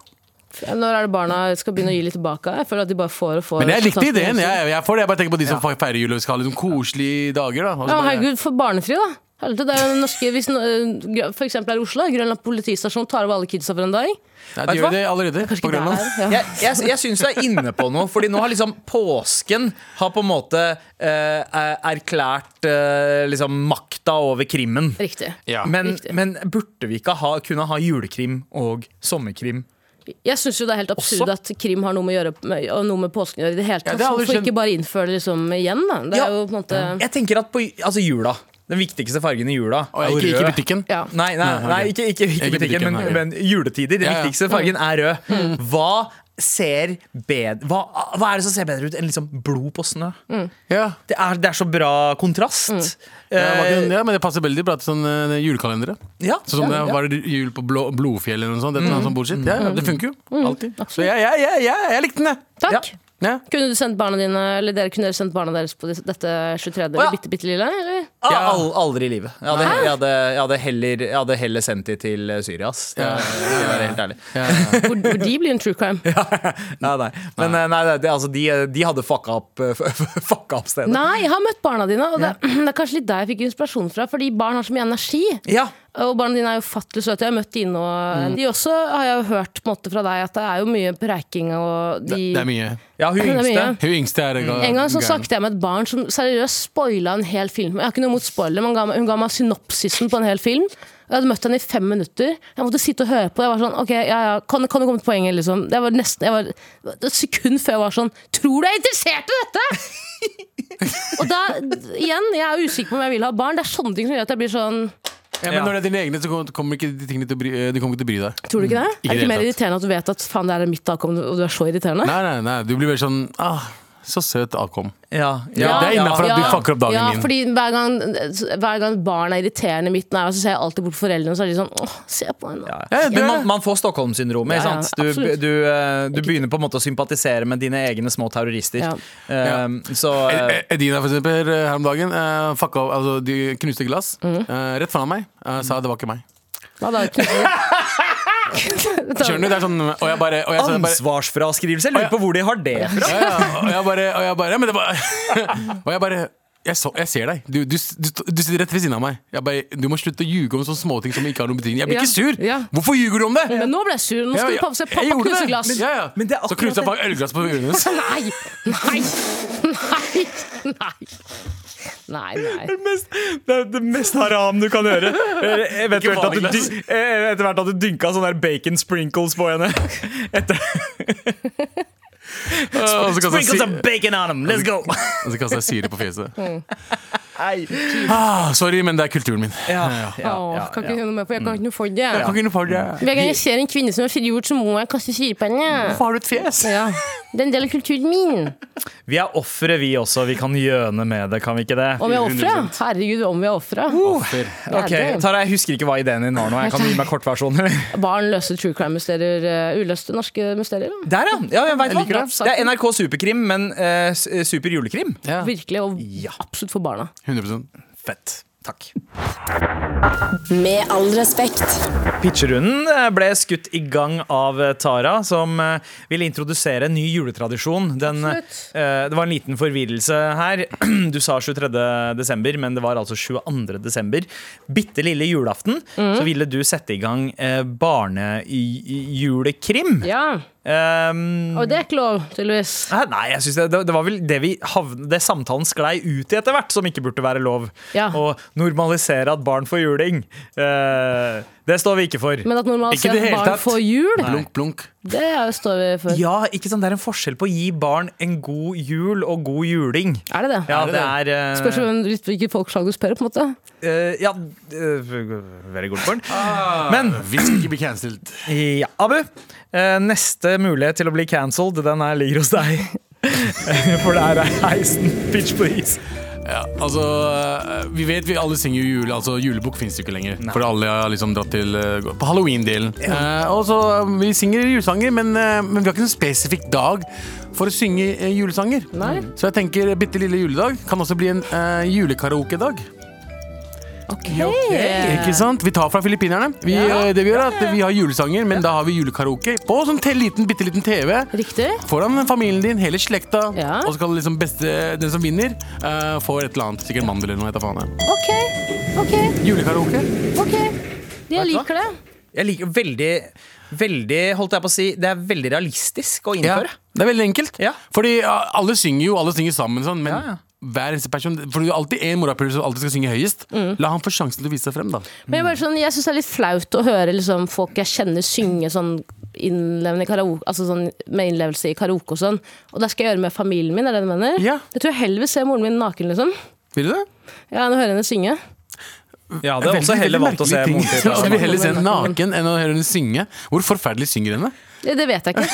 Speaker 3: Når er det barna skal begynne å gi litt tilbake? Jeg føler at de bare sånn får og får.
Speaker 4: Men jeg likte
Speaker 3: resultatene
Speaker 4: ideen.
Speaker 3: også.
Speaker 4: Jeg, jeg får det. Jeg bare tenker på de som fe- feirer jul og skal ha liksom koselige dager, da. Og
Speaker 3: Ja,
Speaker 4: så bare-
Speaker 3: herregud, for barnefri, da. Helvete, det er jo den norske, hvis, no- øh, for eksempel her i Oslo. Grønland politistasjon tar over alle kidsa for en dag.
Speaker 4: Nei,
Speaker 2: Vet
Speaker 4: de
Speaker 2: du
Speaker 4: gjør
Speaker 2: hva?
Speaker 4: det allerede på Grønland.
Speaker 3: Ja.
Speaker 2: Jeg, jeg, jeg syns du er inne på noe, Fordi nå har liksom påsken har på en måte eh, er- erklært eh, liksom makta over krimmen.
Speaker 3: Riktig.
Speaker 4: Ja.
Speaker 2: Men,
Speaker 3: Riktig.
Speaker 2: men burde vi ikke ha, kunne ha julekrim og sommerkrim?
Speaker 3: Jeg syns jo det er helt absurd at krim har noe med, å gjøre, med, og noe med påsken å gjøre i det hele tatt.
Speaker 4: det har aldri
Speaker 3: Hvorfor
Speaker 4: skjønt.
Speaker 3: ikke bare innføre det liksom igjen, da? Det
Speaker 2: Ja.
Speaker 3: er jo på en måte
Speaker 2: Jeg tenker at på altså jula Den viktigste fargen i jula
Speaker 4: Og jeg, ikke, ikke i butikken.
Speaker 3: ja.
Speaker 2: Nei, nei, nei ikke, ikke, ikke
Speaker 4: Ikke
Speaker 2: butikken,
Speaker 4: butikken,
Speaker 2: men,
Speaker 4: nei.
Speaker 2: men juletider. Den
Speaker 4: Ja, ja.
Speaker 2: viktigste fargen er rød. Hva ser bedre hva, hva er det som ser bedre ut enn liksom blod på snø?
Speaker 3: Mm.
Speaker 4: Ja.
Speaker 2: Det, er, det er så bra kontrast.
Speaker 4: Ja, var
Speaker 2: Eh,
Speaker 4: ikke- ja, men det passer veldig bra til sånn eh, julekalendere.
Speaker 2: ja,
Speaker 4: Sånn som
Speaker 2: ja,
Speaker 4: det
Speaker 2: ja.
Speaker 4: var jul på blå, Blodfjell eller noe sånt. Det, er noe sånn bullshit. Ja, ja, det funker jo. Alltid. Så jeg, jeg, jeg, jeg, jeg likte den, jeg.
Speaker 3: Takk.
Speaker 2: Ja.
Speaker 4: Ja.
Speaker 3: Kunne du sendt barna dine, eller dere kunne dere sendt barna deres på disse- dette 23.
Speaker 2: Å, ja.
Speaker 3: eller bitte, bitte lille? Eller?
Speaker 2: Ja, Ah, al- aldri i livet. Jeg hadde, jeg, hadde, jeg, hadde heller, jeg hadde heller sendt de til eh, Syria, ass. Det,
Speaker 4: Ja,
Speaker 2: det skal være helt ærlig.
Speaker 3: Hvor, hvor de blir en true crime?
Speaker 2: Nei, nei. Men eh, nei, det, altså, de, de hadde fucka opp, fucka opp stedet.
Speaker 3: Nei, jeg har møtt barna dine, og det, det er kanskje litt der jeg fikk inspirasjon fra. Fordi barn har så mye energi.
Speaker 2: Ja,
Speaker 3: Og barna dine er jo fattelig søte. Jeg har møtt dine, og
Speaker 4: Mm.
Speaker 3: de også har jeg jo hørt på en måte fra deg at det er jo mye preiking og de
Speaker 4: Det er mye.
Speaker 2: ja hun
Speaker 3: Det er
Speaker 2: yngste.
Speaker 3: mye.
Speaker 4: Hun yngste er ga-
Speaker 3: En gang så
Speaker 4: gæren.
Speaker 3: snakket jeg med et barn som seriøst spoila en hel film. Jeg har ikke noe mot spoiler, men hun ga meg, hun ga meg synopsisen på en hel film. Og Jeg hadde møtt henne i fem minutter. Jeg måtte sitte og høre på. Jeg var sånn, ok, ja, ja, kan, kan du komme til poenget, liksom? Jeg var nesten, jeg var, et sekund før jeg var sånn Tror du jeg er interessert i dette?! og da, igjen, jeg er usikker på om jeg vil ha barn. Det er sånne ting som gjør at jeg blir sånn
Speaker 4: Ja, men
Speaker 2: Ja.
Speaker 4: når det er dine egne, så kommer- kommer ikke de tingene til å bry, de kommer ikke til å bry deg.
Speaker 3: Tror du ikke det? er
Speaker 4: Mm. Ikke
Speaker 3: det
Speaker 4: i det
Speaker 3: ikke mer
Speaker 4: hele tatt.
Speaker 3: irriterende at du vet at faen, det er mitt avkom, og du er så irriterende?
Speaker 4: Nei, nei, nei. Du blir veldig sånn ah, Så søt avkom.
Speaker 2: Ja,
Speaker 4: Ja, det er innenfor at du fucker opp dagen
Speaker 3: ja,
Speaker 4: min.
Speaker 3: Fordi hver gang, hver gang barn er irriterende i mitt nærvær, så ser jeg alltid bort på foreldrene og så er de sånn Åh, se på henne.
Speaker 2: Ja.
Speaker 4: Ja, det
Speaker 2: Men
Speaker 4: er
Speaker 2: man,
Speaker 4: det.
Speaker 2: man får Stockholm-syndromet. ikke
Speaker 3: Ja, ja,
Speaker 2: sant? du,
Speaker 3: absolutt.
Speaker 2: du, eh, du begynner på en måte å sympatisere med dine egne små terrorister.
Speaker 3: Ja.
Speaker 2: Ehm, så eh,
Speaker 4: Eh, Edina, for eksempel, eh, her om dagen. eh, fucka, opp- altså, de knuste glass
Speaker 3: Mm.
Speaker 4: eh, rett foran meg. eh, sa det var ikke meg.
Speaker 3: Hva da? knuller du?
Speaker 4: Skjønner du? Det er sånn Og jeg bare, og
Speaker 2: altså,
Speaker 4: jeg, så, jeg bare
Speaker 2: Ansvarsfraskrivelse? Jeg lurer på hvor de har Ah, det fra.
Speaker 4: ja, ja, og jeg bare, og jeg bare, ja, men det var, og jeg bare jeg, så, jeg ser deg. Du, du, du, du sitter rett ved siden av meg. Jeg bare, du må slutte å ljuge om sånne småting som ikke har noen betydning. Jeg blir
Speaker 3: Ja,
Speaker 4: ikke sur!
Speaker 3: ja.
Speaker 4: Hvorfor ljuger du om det?
Speaker 3: Men nå ble jeg sur. Nå skal du
Speaker 4: Ja,
Speaker 3: pappa se
Speaker 4: jeg
Speaker 3: pappa
Speaker 4: gjorde
Speaker 3: knuse
Speaker 4: det.
Speaker 3: glass.
Speaker 4: Men- Ja, ja.
Speaker 2: Men det er
Speaker 4: Så
Speaker 2: akkurat
Speaker 4: knuste jeg
Speaker 2: det.
Speaker 4: bare ølglass på øynene hennes.
Speaker 3: Nei! Nei! Nei! Nei! Nei, nei.
Speaker 2: det er det mest haram du kan gjøre. Eh, Eventuelt at du,
Speaker 4: vanlig
Speaker 2: dy- eh, etter hvert at du dynka sånne der bacon sprinkles på henne. Etter
Speaker 4: Og så kaster jeg
Speaker 2: Sprinkle
Speaker 4: si-
Speaker 2: some bacon on them, let's go!
Speaker 4: og så kaster jeg syre på fjeset.
Speaker 3: Mm.
Speaker 2: Nei.
Speaker 4: Ah, sorry, men det er kulturen min.
Speaker 2: Ja,
Speaker 3: Åh,
Speaker 2: ja,
Speaker 3: kan ikke
Speaker 2: ja, ja.
Speaker 3: gjøre noe mer, for
Speaker 4: Mm.
Speaker 3: jeg kan ikke noe for det.
Speaker 4: Jeg kan ikke noe for det.
Speaker 3: Hver gang jeg ser en kvinne som er frigjort, så må jeg kaste syre på henne.
Speaker 4: Hvorfor har du et fjes?
Speaker 3: Ja. Det er en del av kulturen min.
Speaker 2: Vi er ofre, vi også. Vi kan gjøne med det, kan vi ikke det?
Speaker 3: Om vi er ofre? Herregud, om vi er ofre.
Speaker 2: Ok, Tara, Jeg husker ikke hva ideen din var nå. Jeg kan gi meg kortversjonen. eller?
Speaker 3: Barn løser true crime-mysterier. eh, Uløste norske mysterier. da.
Speaker 2: Der, ja! ja jeg vet
Speaker 3: Jeg liker
Speaker 2: hva.
Speaker 3: det.
Speaker 2: Det er NRK Superkrim, men eh, s- eh, Super julekrim.
Speaker 4: Ja,
Speaker 3: Virkelig, og
Speaker 2: Ja.
Speaker 3: absolutt for barna.
Speaker 4: 100
Speaker 2: Fett. Takk.
Speaker 1: Med all respekt.
Speaker 2: Pitcherunden eh, ble skutt i gang av eh, Tara, som eh, ville introdusere en ny juletradisjon. Den, eh,
Speaker 3: Absolutt.
Speaker 2: eh, det var en liten forvirrelse her. Du sa 23. desember, men det var altså 22. desember. Bitte lille julaften så ville du sette i gang eh, barnejulekrim.
Speaker 3: Ja,
Speaker 2: Ehm,
Speaker 3: Og det er ikke lov, tydeligvis.
Speaker 2: Hæ? Nei, jeg synes det, det, det var vel det vi havn- Det samtalen sklei ut i etter hvert, som ikke burde være lov.
Speaker 3: Ja.
Speaker 2: Å normalisere at barn får juling. Eh, det står vi ikke for.
Speaker 3: Men at normalt
Speaker 4: Ikke i
Speaker 3: sett
Speaker 4: det hele
Speaker 3: barn
Speaker 4: tatt.
Speaker 3: får jul,
Speaker 4: Blunk, blunk.
Speaker 3: det er- står vi for.
Speaker 2: ja, ikke sant? Det er en forskjell på å gi barn en god jul og god juling.
Speaker 3: Er det det?
Speaker 2: Ja,
Speaker 4: Er det
Speaker 2: det er eh,
Speaker 3: Spørs hvem- hvilket folkeslag du spør, på en måte.
Speaker 2: eh, Ja, eh, very good point.
Speaker 4: Ah.
Speaker 2: Men
Speaker 4: Vi skal ikke bli cancelled.
Speaker 2: ja, Abu, eh, neste mulighet til å bli cancelled, den er, ligger hos deg. For der er heisen. Pitch please.
Speaker 4: Ja, altså, eh, vi vet vi alle synger jo jule, altså julebukk finnes jo ikke lenger. For alle har liksom dratt til eh, på halloween-delen. Eh, og så eh, Vi synger julesanger, men, eh, men vi har ikke noen spesifikk dag for å synge eh, julesanger.
Speaker 3: Nei.
Speaker 4: Så jeg tenker eh, bitte lille juledag kan også bli en eh, julekaraoke-dag.
Speaker 3: Ok.
Speaker 4: Ikke sant? Vi tar fra filippinerne. Vi, eh, det Vi gjør er at vi har julesanger, men da har vi julekaraoke på sånn te- liten, bitte liten TV.
Speaker 3: Riktig.
Speaker 4: Foran familien din, hele slekta.
Speaker 3: Ja.
Speaker 4: Og så skal liksom beste, den som vinner, eh, får et eller annet. Sikkert mandel eller noe. vet jeg faen jeg.
Speaker 3: Ok, ok,
Speaker 4: Julekaraoke.
Speaker 3: ok. Jeg liker det.
Speaker 2: Jeg liker veldig, veldig holdt jeg på å si, det er veldig realistisk å
Speaker 4: Ja.
Speaker 2: innføre.
Speaker 4: Det er veldig enkelt.
Speaker 2: Ja.
Speaker 4: Fordi ja, alle synger jo, alle synger sammen, sånn, men
Speaker 2: Ja, ja.
Speaker 4: hver eneste person For det er alltid én morapuler som alltid skal synge høyest. La han få sjansen til å vise seg frem, da.
Speaker 3: Men
Speaker 4: Mm.
Speaker 3: jeg, bare sånn, jeg syns det er litt flaut å høre liksom, folk jeg kjenner synge sånn innlevende i karaoke, altså sånn med innlevelse i karaoke og sånn. Og det skal jeg gjøre med familien min, er det du mener?
Speaker 4: Ja.
Speaker 3: Jeg tror jeg heller vil se moren min naken, liksom.
Speaker 4: Vil du det?
Speaker 3: Ja, enn å høre henne synge. Mm.
Speaker 2: Ja, det er også heller valgt å se moren til
Speaker 4: Jeg vil
Speaker 2: Tara.
Speaker 4: heller se henne naken enn å høre henne synge. Hvor forferdelig synger henne?
Speaker 3: Det, det vet jeg ikke.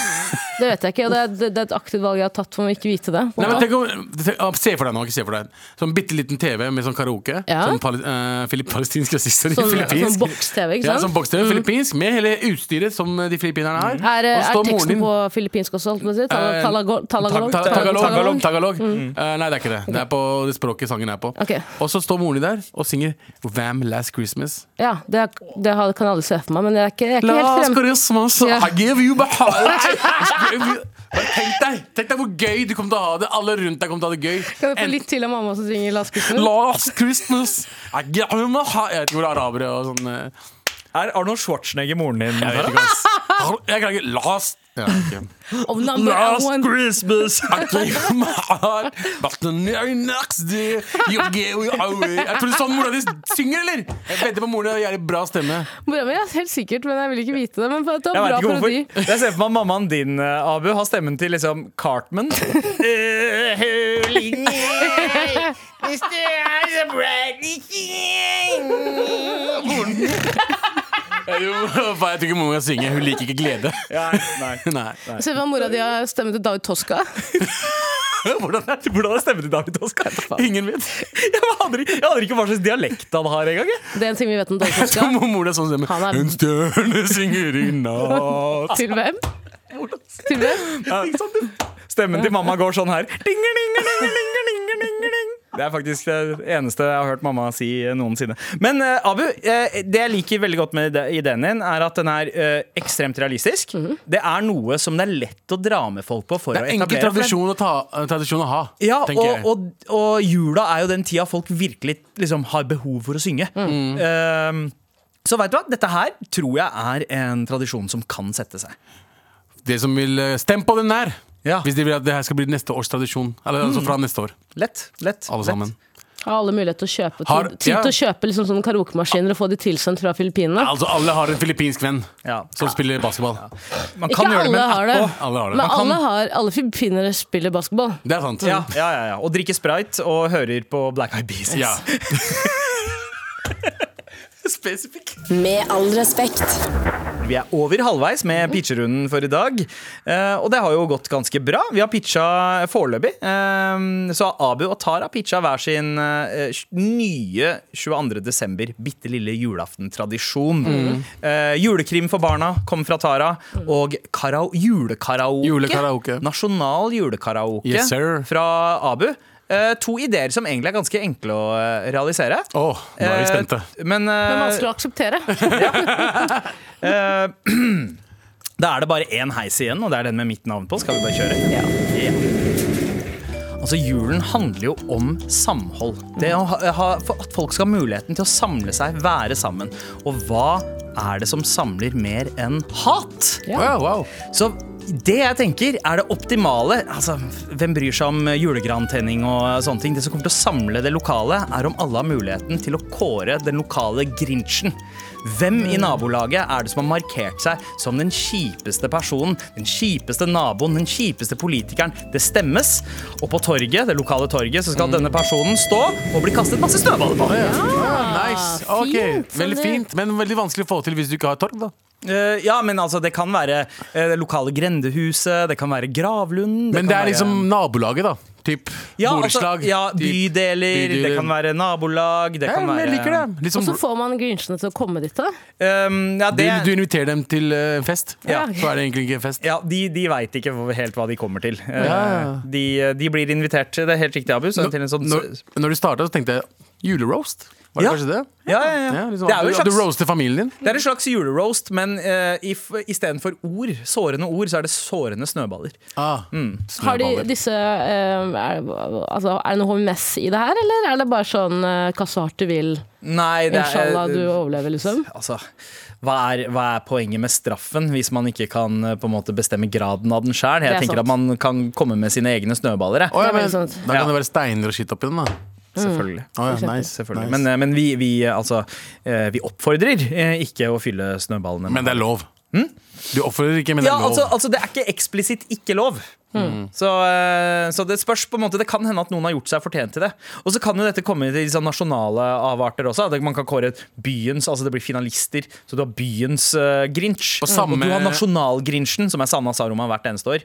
Speaker 3: Det vet jeg ikke, og det er, det er et aktivt valg jeg har tatt for å ikke vite det.
Speaker 4: Nei, men tenk om, tenk- ah, se for deg nå, ikke se for deg Sånn bitte liten TV med sånn karaoke.
Speaker 3: Ja.
Speaker 4: Sånn pali, eh, fili- palestinsk rasister i
Speaker 3: Sånn- sånn
Speaker 4: filippinsk.
Speaker 3: boks-TV, ikke
Speaker 4: Ja,
Speaker 3: sant?
Speaker 4: sånn boks-TV, filippinsk, Med hele utstyret som eh, de filippinerne har.
Speaker 3: er,
Speaker 4: Og
Speaker 3: er
Speaker 4: så står moren
Speaker 3: teksten
Speaker 4: din-
Speaker 3: på filippinsk også, holdt på å si?
Speaker 4: Eh,
Speaker 3: Talagalog? Talagalog?
Speaker 4: Ta- ta- Tagalog.
Speaker 3: Tagalog? Mm.
Speaker 4: Tagalog. Tagalog. Eh, nei, det er ikke det. Det er på det språket sangen er på.
Speaker 3: Ok.
Speaker 4: Og så står moren din der og synger Vam Last Christmas.
Speaker 3: Ja, det, er- det har- kan jeg aldri se for meg, men jeg er ikke, jeg er ikke helt
Speaker 4: Last
Speaker 3: frem.
Speaker 4: Christmas,
Speaker 3: Ja.
Speaker 4: I give you my heart. I give you- Bare Tenk deg tenk deg hvor gøy du kommer til å ha det. Alle rundt deg kommer til å ha det gøy.
Speaker 3: Kan vi få
Speaker 4: Enten-
Speaker 3: litt til av mamma som synger Last Christmas?
Speaker 4: Last Christmas I give you my heart. Jeg vet ikke hvor det er arabere og sånn eh,
Speaker 2: Er Arnold Schwarzenegger moren din?
Speaker 4: Jeg vet
Speaker 2: Tara?
Speaker 4: ikke, ass. Jeg kan ikke Last ja, ok.
Speaker 3: Of number
Speaker 4: Last
Speaker 3: one.
Speaker 4: Christmas I gave you my heart But the very next day You gave it away Jeg tror det er sånn mora di synger, eller? Jeg venter på moren din har jævlig bra stemme
Speaker 3: Mora mi er helt sikkert, men jeg vil ikke vite det. Men det var
Speaker 2: Jeg vet
Speaker 3: bra
Speaker 2: ikke hvorfor.
Speaker 3: parodi.
Speaker 2: Jeg ser for meg mammaen din, eh, Abu, har stemmen til liksom Cartman. Eh,
Speaker 4: Jeg tror ikke moren kan synge Hun liker ikke glede
Speaker 2: Ja, nei.
Speaker 4: Nei
Speaker 3: Se hva mora di har stemme til David Toska.
Speaker 2: Hvordan er hvordan er stemmen til David Oskar?
Speaker 4: Ingen vet
Speaker 2: Jeg aner ikke- jeg aner ikke hva slags dialekt han har engang. jeg.
Speaker 3: Det er en ting vi vet om David
Speaker 4: Jeg tror
Speaker 3: Toska.
Speaker 4: moren er sånn stemme
Speaker 3: Han er-
Speaker 4: En stjerne synger i natt
Speaker 3: Til hvem? Til hvem?
Speaker 2: Ikke sant? Stemmen til mamma går sånn her. Dingelingelingelingelingelingeling. Det er faktisk det eneste jeg har hørt mamma si eh, noensinne. Men eh, Abu, eh, det jeg liker veldig godt med ide- ideen din, er at den er eh, ekstremt realistisk. Det er noe som det er lett å dra med folk på for å
Speaker 4: Det er enkel
Speaker 2: etablere.
Speaker 4: tradisjon å, ta, tradisjon å ha
Speaker 2: Ja,
Speaker 4: tenker jeg.
Speaker 2: og, og, og jula er jo den tida folk virkelig liksom, har behov for å synge.
Speaker 4: Mm.
Speaker 2: Eh, så vet du hva, dette her tror jeg er en tradisjon som kan sette seg.
Speaker 4: De som vil eh, Stem på den der
Speaker 2: Ja.
Speaker 4: Hvis de vil at det her skal bli neste års tradisjon Eller altså fra neste år
Speaker 2: Lett. lett
Speaker 4: Alle
Speaker 2: lett.
Speaker 4: sammen
Speaker 3: Har alle mulighet til å kjøpe,
Speaker 4: Har-
Speaker 3: tid, tid
Speaker 4: ja.
Speaker 3: til å kjøpe liksom sånne karaokemaskiner og få de tilsendt fra Filippinene?
Speaker 4: Altså, alle har en filippinsk venn
Speaker 2: Ja.
Speaker 4: som spiller basketball.
Speaker 2: Man
Speaker 3: Ikke alle har det,
Speaker 4: Alle har det.
Speaker 3: men
Speaker 4: Man kan-
Speaker 3: alle, har, alle filippinere spiller basketball.
Speaker 4: Det er sant.
Speaker 2: Ja, ja, ja, ja. Og drikker sprite og hører på Black Eyed Peas.
Speaker 4: Ja.
Speaker 2: Spesifikk.
Speaker 1: Med all respekt.
Speaker 2: Vi er over halvveis med pitcherunden for i dag. Eh, og det har jo gått ganske bra. Vi har pitcha foreløpig. Eh, så har Abu og Tara pitcha hver sin eh, nye 22. desember, bitte lille julaften-tradisjon. Eh, julekrim for barna kom fra Tara. Og karao julekaraoke.
Speaker 4: Julekaraoke.
Speaker 2: Nasjonal julekaraoke
Speaker 4: Yes, sir.
Speaker 2: fra Abu. Eh, to ideer som egentlig er ganske enkle å eh, realisere.
Speaker 4: Åh, nå er vi
Speaker 2: Eh,
Speaker 4: spente.
Speaker 2: men, eh,
Speaker 3: Det er vanskelig å akseptere.
Speaker 2: Da er det bare én heis igjen, og det er den med mitt navn på. Skal vi bare kjøre? Ja. Altså, Julen handler jo om samhold. Det å ha, ha, for At folk skal ha muligheten til å samle seg, være sammen. Og hva er det som samler mer enn hat?
Speaker 4: Wow, wow.
Speaker 2: Så det jeg tenker er det optimale altså, Hvem bryr seg om julegrantenning og sånne ting? Det som kommer til å samle det lokale, er om alle har muligheten til å kåre den lokale grinchen. Hvem i nabolaget er det som har markert seg som den kjipeste personen, den kjipeste naboen, den kjipeste politikeren? Det stemmes. Og på torget, det lokale torget så skal denne personen stå og bli kastet masse snøballer på.
Speaker 4: Ah, nice. Ok,
Speaker 3: fint,
Speaker 4: Veldig
Speaker 3: Sander.
Speaker 4: fint, men veldig vanskelig å få til hvis du ikke har torg. da
Speaker 2: Eh, ja, men altså, det kan være eh, det lokale grendehuset, det kan være gravlunden
Speaker 4: Men
Speaker 2: kan
Speaker 4: det er
Speaker 2: være-
Speaker 4: liksom nabolaget, da. Typ
Speaker 2: Ja,
Speaker 4: borettslag.
Speaker 2: Altså, ja,
Speaker 4: typ-
Speaker 2: bydeler, det
Speaker 4: bydeler.
Speaker 2: kan være nabolag, det
Speaker 4: Ja,
Speaker 2: kan
Speaker 4: men
Speaker 2: være
Speaker 4: jeg liker det. Litt
Speaker 3: Og
Speaker 4: som-
Speaker 3: så får man grinchene til å komme dit. da
Speaker 2: Ehm, ja,
Speaker 4: du,
Speaker 2: det,
Speaker 4: du inviterer dem til eh, fest,
Speaker 2: Ja.
Speaker 4: så er det egentlig ikke fest.
Speaker 2: ja, de, de veit ikke hvor- helt hva de kommer til. Eh,
Speaker 4: Ja.
Speaker 2: de, de blir invitert, det er helt riktig, Abu. Så, til en sånn,
Speaker 4: Når, når du starta, så tenkte jeg juleroast. Var det
Speaker 2: Ja.
Speaker 4: kanskje det?
Speaker 2: ja, ja, ja.
Speaker 4: Ja, liksom,
Speaker 2: det er jo
Speaker 4: at
Speaker 2: en
Speaker 4: Du
Speaker 2: slags,
Speaker 4: roaster familien din.
Speaker 2: det er en slags juleroast, men uh, istedenfor ord, sårende ord, så er det sårende snøballer.
Speaker 4: Ah,
Speaker 2: Mm.
Speaker 3: Har de
Speaker 4: snøballer.
Speaker 3: disse eh, er, det- altså, er det noe HMS i det her, eller er det bare sånn eh, hva så hardt du vil?
Speaker 2: Nei, det er
Speaker 3: Inshallah, du overlever, liksom.
Speaker 2: Altså, hva er, hva er poenget med straffen hvis man ikke kan eh, på en måte bestemme graden av den sjøl? Jeg
Speaker 3: Det er
Speaker 2: tenker
Speaker 3: sant.
Speaker 2: at man kan komme med sine egne snøballer. jeg.
Speaker 4: Å,
Speaker 3: Det
Speaker 4: ja,
Speaker 3: er
Speaker 4: men,
Speaker 3: veldig sant.
Speaker 4: da kan
Speaker 2: Ja.
Speaker 4: det være steiner og skitt oppi den, da.
Speaker 2: Selvfølgelig.
Speaker 4: Å, ja,
Speaker 3: eksempel.
Speaker 4: nice,
Speaker 2: Selvfølgelig.
Speaker 4: nice.
Speaker 2: Men, eh, men vi, vi, eh, altså, eh, vi oppfordrer eh, ikke å fylle snøballene. med-
Speaker 4: Men det er lov. Du oppfordrer ikke, men det
Speaker 2: Mm? ja,
Speaker 4: er lov. Mm.
Speaker 2: altså, altså, det er ikke eksplisitt ikke lov. Så, eh, så det spørs på en måte Det kan hende at noen har gjort seg fortjent til det. Og så kan jo dette komme til sånn nasjonale avarter også. at Man kan kåre byens Altså det blir finalister. Så du har byens eh, Grinch.
Speaker 4: Og samme-
Speaker 2: du har nasjonalgrinchen, som er Sanna Saroma hvert eneste år.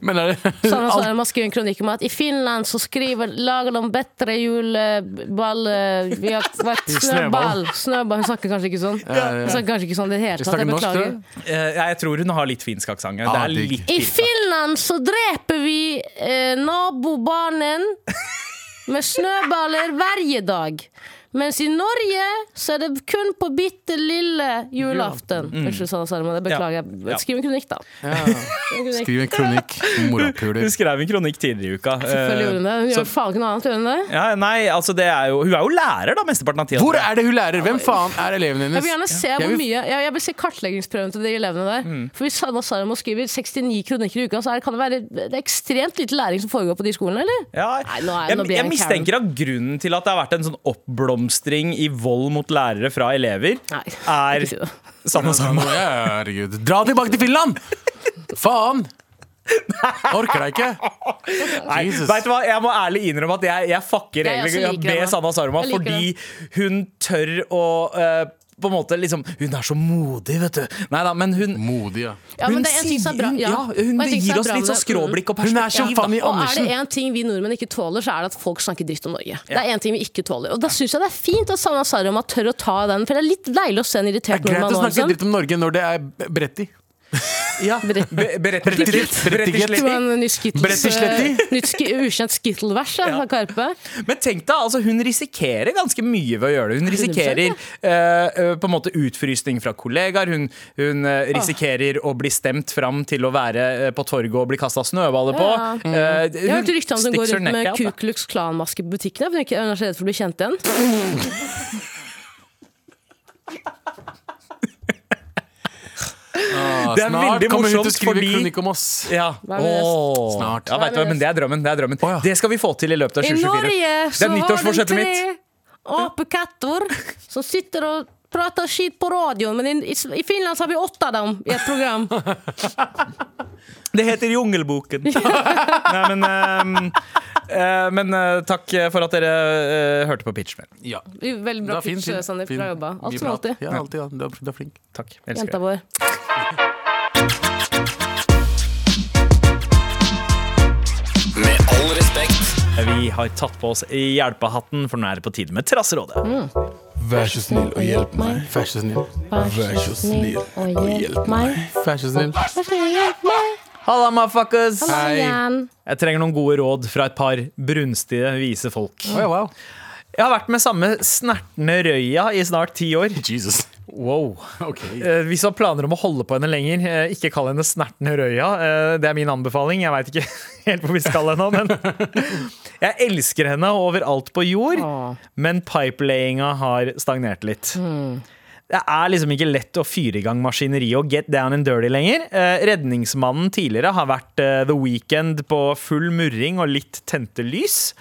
Speaker 4: men er det,
Speaker 3: Sanna Sara, man skriver en kronikk om at i Finland så skriver lager de bedre juleball eh, Vi har vært snøball.
Speaker 4: Snøball.
Speaker 3: snøball. Hun snakker kanskje ikke sånn. Hun snakker kanskje ikke sånn i det hele
Speaker 4: Vi
Speaker 3: tatt.
Speaker 4: snakker
Speaker 3: Jeg
Speaker 4: norsk, tror
Speaker 3: beklager.
Speaker 4: jeg.
Speaker 2: Eh, jeg tror hun har litt finsk aksent. det
Speaker 4: Ah,
Speaker 2: er
Speaker 4: digg.
Speaker 2: litt
Speaker 3: I
Speaker 2: finsk.
Speaker 3: Finland så dreper vi eh, nabobarnen med snøballer hver dag. Mens i Norge så er det kun på bitte lille julaften. Unnskyld, Sanna Sarma, det beklager
Speaker 2: Ja.
Speaker 3: jeg. Skriv en kronikk, da. Skriv en kronikk.
Speaker 4: Skriv en kronikk om
Speaker 2: Hun
Speaker 4: morapuler.
Speaker 2: skrev en kronikk tidligere i uka. eh,
Speaker 3: Selvfølgelig gjorde hun det. Hun
Speaker 2: så-
Speaker 3: gjør faen ikke noe annet, gjør hun det?
Speaker 2: Ja, nei, altså det er jo Hun er jo lærer, da, mesteparten av tida.
Speaker 4: Hvor er det hun lærer? Hvem faen er eleven hennes?
Speaker 3: Jeg vil gjerne se
Speaker 4: Jeg
Speaker 3: hvor
Speaker 4: vil-
Speaker 3: mye Jeg, jeg vil se kartleggingsprøven til de elevene der.
Speaker 2: Mm.
Speaker 3: For Hvis Sanna Saramo skriver 69 kronikker i uka, så er, det- kan det være det er ekstremt lite læring som foregår på de skolene, eller?
Speaker 2: Ja,
Speaker 3: Nei, nå er-
Speaker 2: jeg,
Speaker 3: nå blir jeg
Speaker 2: jeg
Speaker 3: en
Speaker 2: mistenker at grunnen til at det har vært en sånn oppblomstring i vold mot lærere fra elever,
Speaker 3: Nei,
Speaker 2: er
Speaker 3: ikke si det.
Speaker 2: Sanna Sarma.
Speaker 4: Ja, Herregud. Dra tilbake til Finland! Faen! Orker deg ikke.
Speaker 2: Nei,
Speaker 4: Jesus.
Speaker 2: vet du hva? Jeg må ærlig innrømme at jeg, jeg fucker
Speaker 3: Jeg
Speaker 2: egentlig
Speaker 3: også altså, liker
Speaker 2: med
Speaker 3: henne.
Speaker 2: Sanna Sarma
Speaker 3: Jeg liker
Speaker 2: fordi hun tør å eh, på en måte liksom Hun er så modig, vet du. Nei da, men hun
Speaker 4: Modig, ja.
Speaker 3: Ja, men
Speaker 2: hun
Speaker 3: det er en ting som er
Speaker 2: sier-
Speaker 3: bra.
Speaker 2: hun-
Speaker 3: ja.
Speaker 2: ja, hun
Speaker 3: Og en ting som
Speaker 2: gir
Speaker 3: er
Speaker 2: oss
Speaker 3: bra med
Speaker 2: litt sånn
Speaker 3: det. Mm.
Speaker 2: skråblikk og
Speaker 4: Hun er så
Speaker 2: perspektiv.
Speaker 4: Fanny
Speaker 3: Og er det
Speaker 4: Andersen.
Speaker 3: én ting vi nordmenn ikke tåler, så er det at folk snakker dritt om Norge. Det er en ting vi ikke tåler Og da syns jeg det er fint at Sanna Saroma tør å ta den, for det er litt deilig å se en irritert
Speaker 4: Greit
Speaker 3: nordmann
Speaker 4: å
Speaker 3: nå.
Speaker 4: snakke
Speaker 3: liksom.
Speaker 4: dritt om Norge når det er Bretti.
Speaker 2: Ja. Be- Berettiget.
Speaker 4: Berettiget.
Speaker 3: Det var
Speaker 2: Berettiget.
Speaker 3: en ny Skittles,
Speaker 4: Brettisletti.
Speaker 3: eh, nytt ski- ukjent Skittle-vers ja, fra Karpe.
Speaker 2: Men tenk deg, altså hun risikerer ganske mye ved å gjøre det. Hun
Speaker 3: 100%,
Speaker 2: risikerer
Speaker 3: ja.
Speaker 2: eh, eh, på en måte utfrysning fra kollegaer. Hun, hun eh, risikerer å bli stemt fram til å være eh, på torget og bli kasta snøballer på.
Speaker 3: Ja. Mm.
Speaker 2: Eh,
Speaker 3: Jeg har
Speaker 2: hun
Speaker 3: hørt rykter om at hun går
Speaker 2: sticks her
Speaker 3: rundt
Speaker 2: neck
Speaker 3: med
Speaker 2: out, da.
Speaker 3: Ku Klux Klan-maske på butikkene. for Hun er ikke- hun er så redd for å bli kjent igjen.
Speaker 2: Det er
Speaker 4: Ah, snart
Speaker 2: veldig
Speaker 4: kommer hun til å
Speaker 2: morsomt,
Speaker 4: skrive
Speaker 2: fordi-
Speaker 4: kronikk om oss.
Speaker 2: Ja.
Speaker 3: Hva er det?
Speaker 2: Åh.
Speaker 4: Snart.
Speaker 2: Ja, vet du, hva, men det er drømmen. Det er drømmen
Speaker 4: ja.
Speaker 2: Det skal vi få til i løpet av
Speaker 3: I
Speaker 2: 2024.
Speaker 3: Norge
Speaker 2: det
Speaker 3: så
Speaker 2: er
Speaker 3: har du
Speaker 2: nyttårsforsettet
Speaker 3: tre
Speaker 2: mitt.
Speaker 3: apekatter som sitter og prater skit på radioen, men i, i Finland så har vi åtte av dem i et program.
Speaker 2: Det heter Jungelboken. Nei, men ehm, eh, men eh, takk for at dere eh, hørte på pitchen min.
Speaker 4: Ja.
Speaker 3: Veldig
Speaker 4: Det
Speaker 3: bra
Speaker 4: er fin,
Speaker 3: pitch,
Speaker 4: fin,
Speaker 3: Sandeep.
Speaker 4: fin.
Speaker 3: Bra jobba.
Speaker 4: Mye
Speaker 3: Alt som
Speaker 4: prat.
Speaker 3: alltid.
Speaker 4: Ja, alltid, ja. Du er, du er flink.
Speaker 2: Takk. Elsker
Speaker 3: Jenta
Speaker 2: dere.
Speaker 3: vår.
Speaker 5: Med all respekt.
Speaker 2: Eh, Vi har tatt på oss hjelpehatten, for nå er det på tide med Trasserådet.
Speaker 4: Mm. Vær så snill og hjelp meg. Vær så snill.
Speaker 3: Vær
Speaker 4: så snill
Speaker 3: og hjelp meg.
Speaker 4: Vær så snill.
Speaker 2: Halla, motherfuckers!
Speaker 4: Hei.
Speaker 2: Jeg trenger noen gode råd fra et par brunstige, vise folk.
Speaker 4: Oi, wow.
Speaker 2: Jeg har vært med samme snertne røya i snart ti år.
Speaker 4: Jesus.
Speaker 2: Wow.
Speaker 4: Ok.
Speaker 2: Eh, hvis du har planer om å holde på henne lenger, eh, ikke kall henne snertne røya. Eh, det er min anbefaling. Jeg veit ikke helt hvor vi skal ennå, men Jeg elsker henne overalt på jord, men pipelayinga har stagnert litt. Det er liksom ikke lett å fyre i gang maskineriet og get down and dirty lenger. Eh, Redningsmannen tidligere har vært eh, The Weekend på full murring og litt tente lys.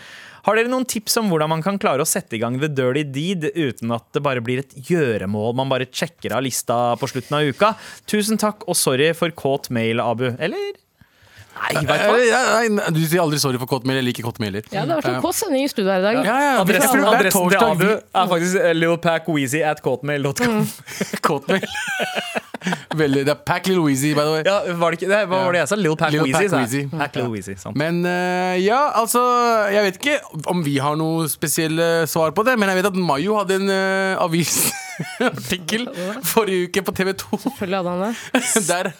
Speaker 2: Har dere noen tips om hvordan man kan klare å sette i gang the dirty deed uten at det bare blir et gjøremål man bare sjekker av lista på slutten av uka? Tusen takk og sorry for kåt mail, Abu. Eller? Nei, vet du hva?
Speaker 4: Eh, ja, nei, Du sier aldri sorry for kåt mail. Jeg liker kåt mailer.
Speaker 3: Ja, det har vært en kåt sending i studio her i dag.
Speaker 4: Ja, ja, ja.
Speaker 2: Adressen,
Speaker 4: Hver
Speaker 2: adressen til
Speaker 4: torsdag,
Speaker 2: Abu
Speaker 4: vi-
Speaker 2: er faktisk eh, littlepacweezy at cotmail.com.
Speaker 4: Mm. Kåt mail. Veldig, det er Pack Little Weezy, by the way.
Speaker 2: Ja, var det ikke det? Hva var det jeg sa? Lil Pack
Speaker 4: Lil
Speaker 2: Weezy,
Speaker 4: Pac
Speaker 2: sa jeg.
Speaker 4: Weezy.
Speaker 2: Pac Lil Weezy, sant.
Speaker 4: Men eh, ja, altså Jeg vet ikke om vi har noe spesielle svar på det, men jeg vet at Mayo hadde en eh, avisartikkel forrige uke på TV 2.
Speaker 3: Selvfølgelig hadde han det.
Speaker 4: Der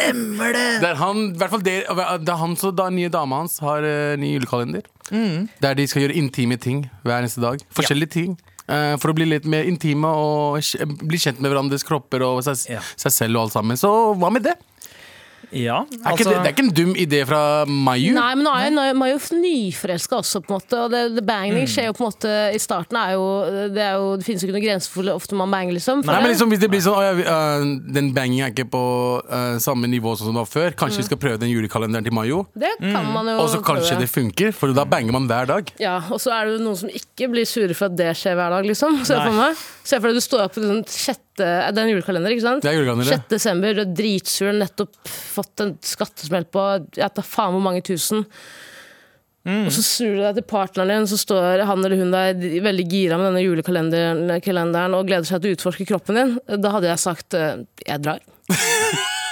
Speaker 4: Der han, i hvert fall det, det er han så da nye dama hans har eh, ny julekalender.
Speaker 2: Mm.
Speaker 4: Der de skal gjøre intime ting hver eneste dag. Forskjellige ting. eh, for å bli litt mer intime og kj- bli kjent med hverandres kropper og seg,
Speaker 2: Ja.
Speaker 4: seg selv og alt sammen. Så hva med det?
Speaker 2: Ja,
Speaker 4: Er ikke,
Speaker 2: altså,
Speaker 4: det, det er ikke en dum idé fra Mayu.
Speaker 3: Nei, men nå er nå er man jo nyforelska også, på en måte. Og det, det banging
Speaker 4: Mm.
Speaker 3: skjer jo på en måte i starten. Er jo, det, er jo, det finnes jo ikke noen grenser for hvor ofte man banger, liksom. For
Speaker 4: Nei, men
Speaker 3: det-
Speaker 4: liksom Hvis det blir sånn «Å ja, vi, øh, Den bangingen er ikke på øh, samme nivå som det var før. Kanskje vi skal prøve den julekalenderen til Mayo?
Speaker 3: Det kan man jo
Speaker 4: liksom- Mm. Og så kanskje
Speaker 3: Mm. prøve.
Speaker 4: det funker, for da banger man hver dag.
Speaker 3: Ja, og så er det jo noen som ikke blir sure for at det skjer hver dag, liksom. Se
Speaker 2: Nei.
Speaker 3: for meg. Se for deg du står opp på den sjette Det er en julekalender, ikke sant?
Speaker 4: Det er julekalender, det.
Speaker 3: 6. desember, du er dritsur, nettopp fått en skattesmell på jeg tar faen hvor mange tusen. Og så snur du deg til partneren din, så står han eller hun der veldig gira med denne julekalenderen kalenderen, og gleder seg til å utforske kroppen din. Da hadde jeg sagt eh, jeg drar.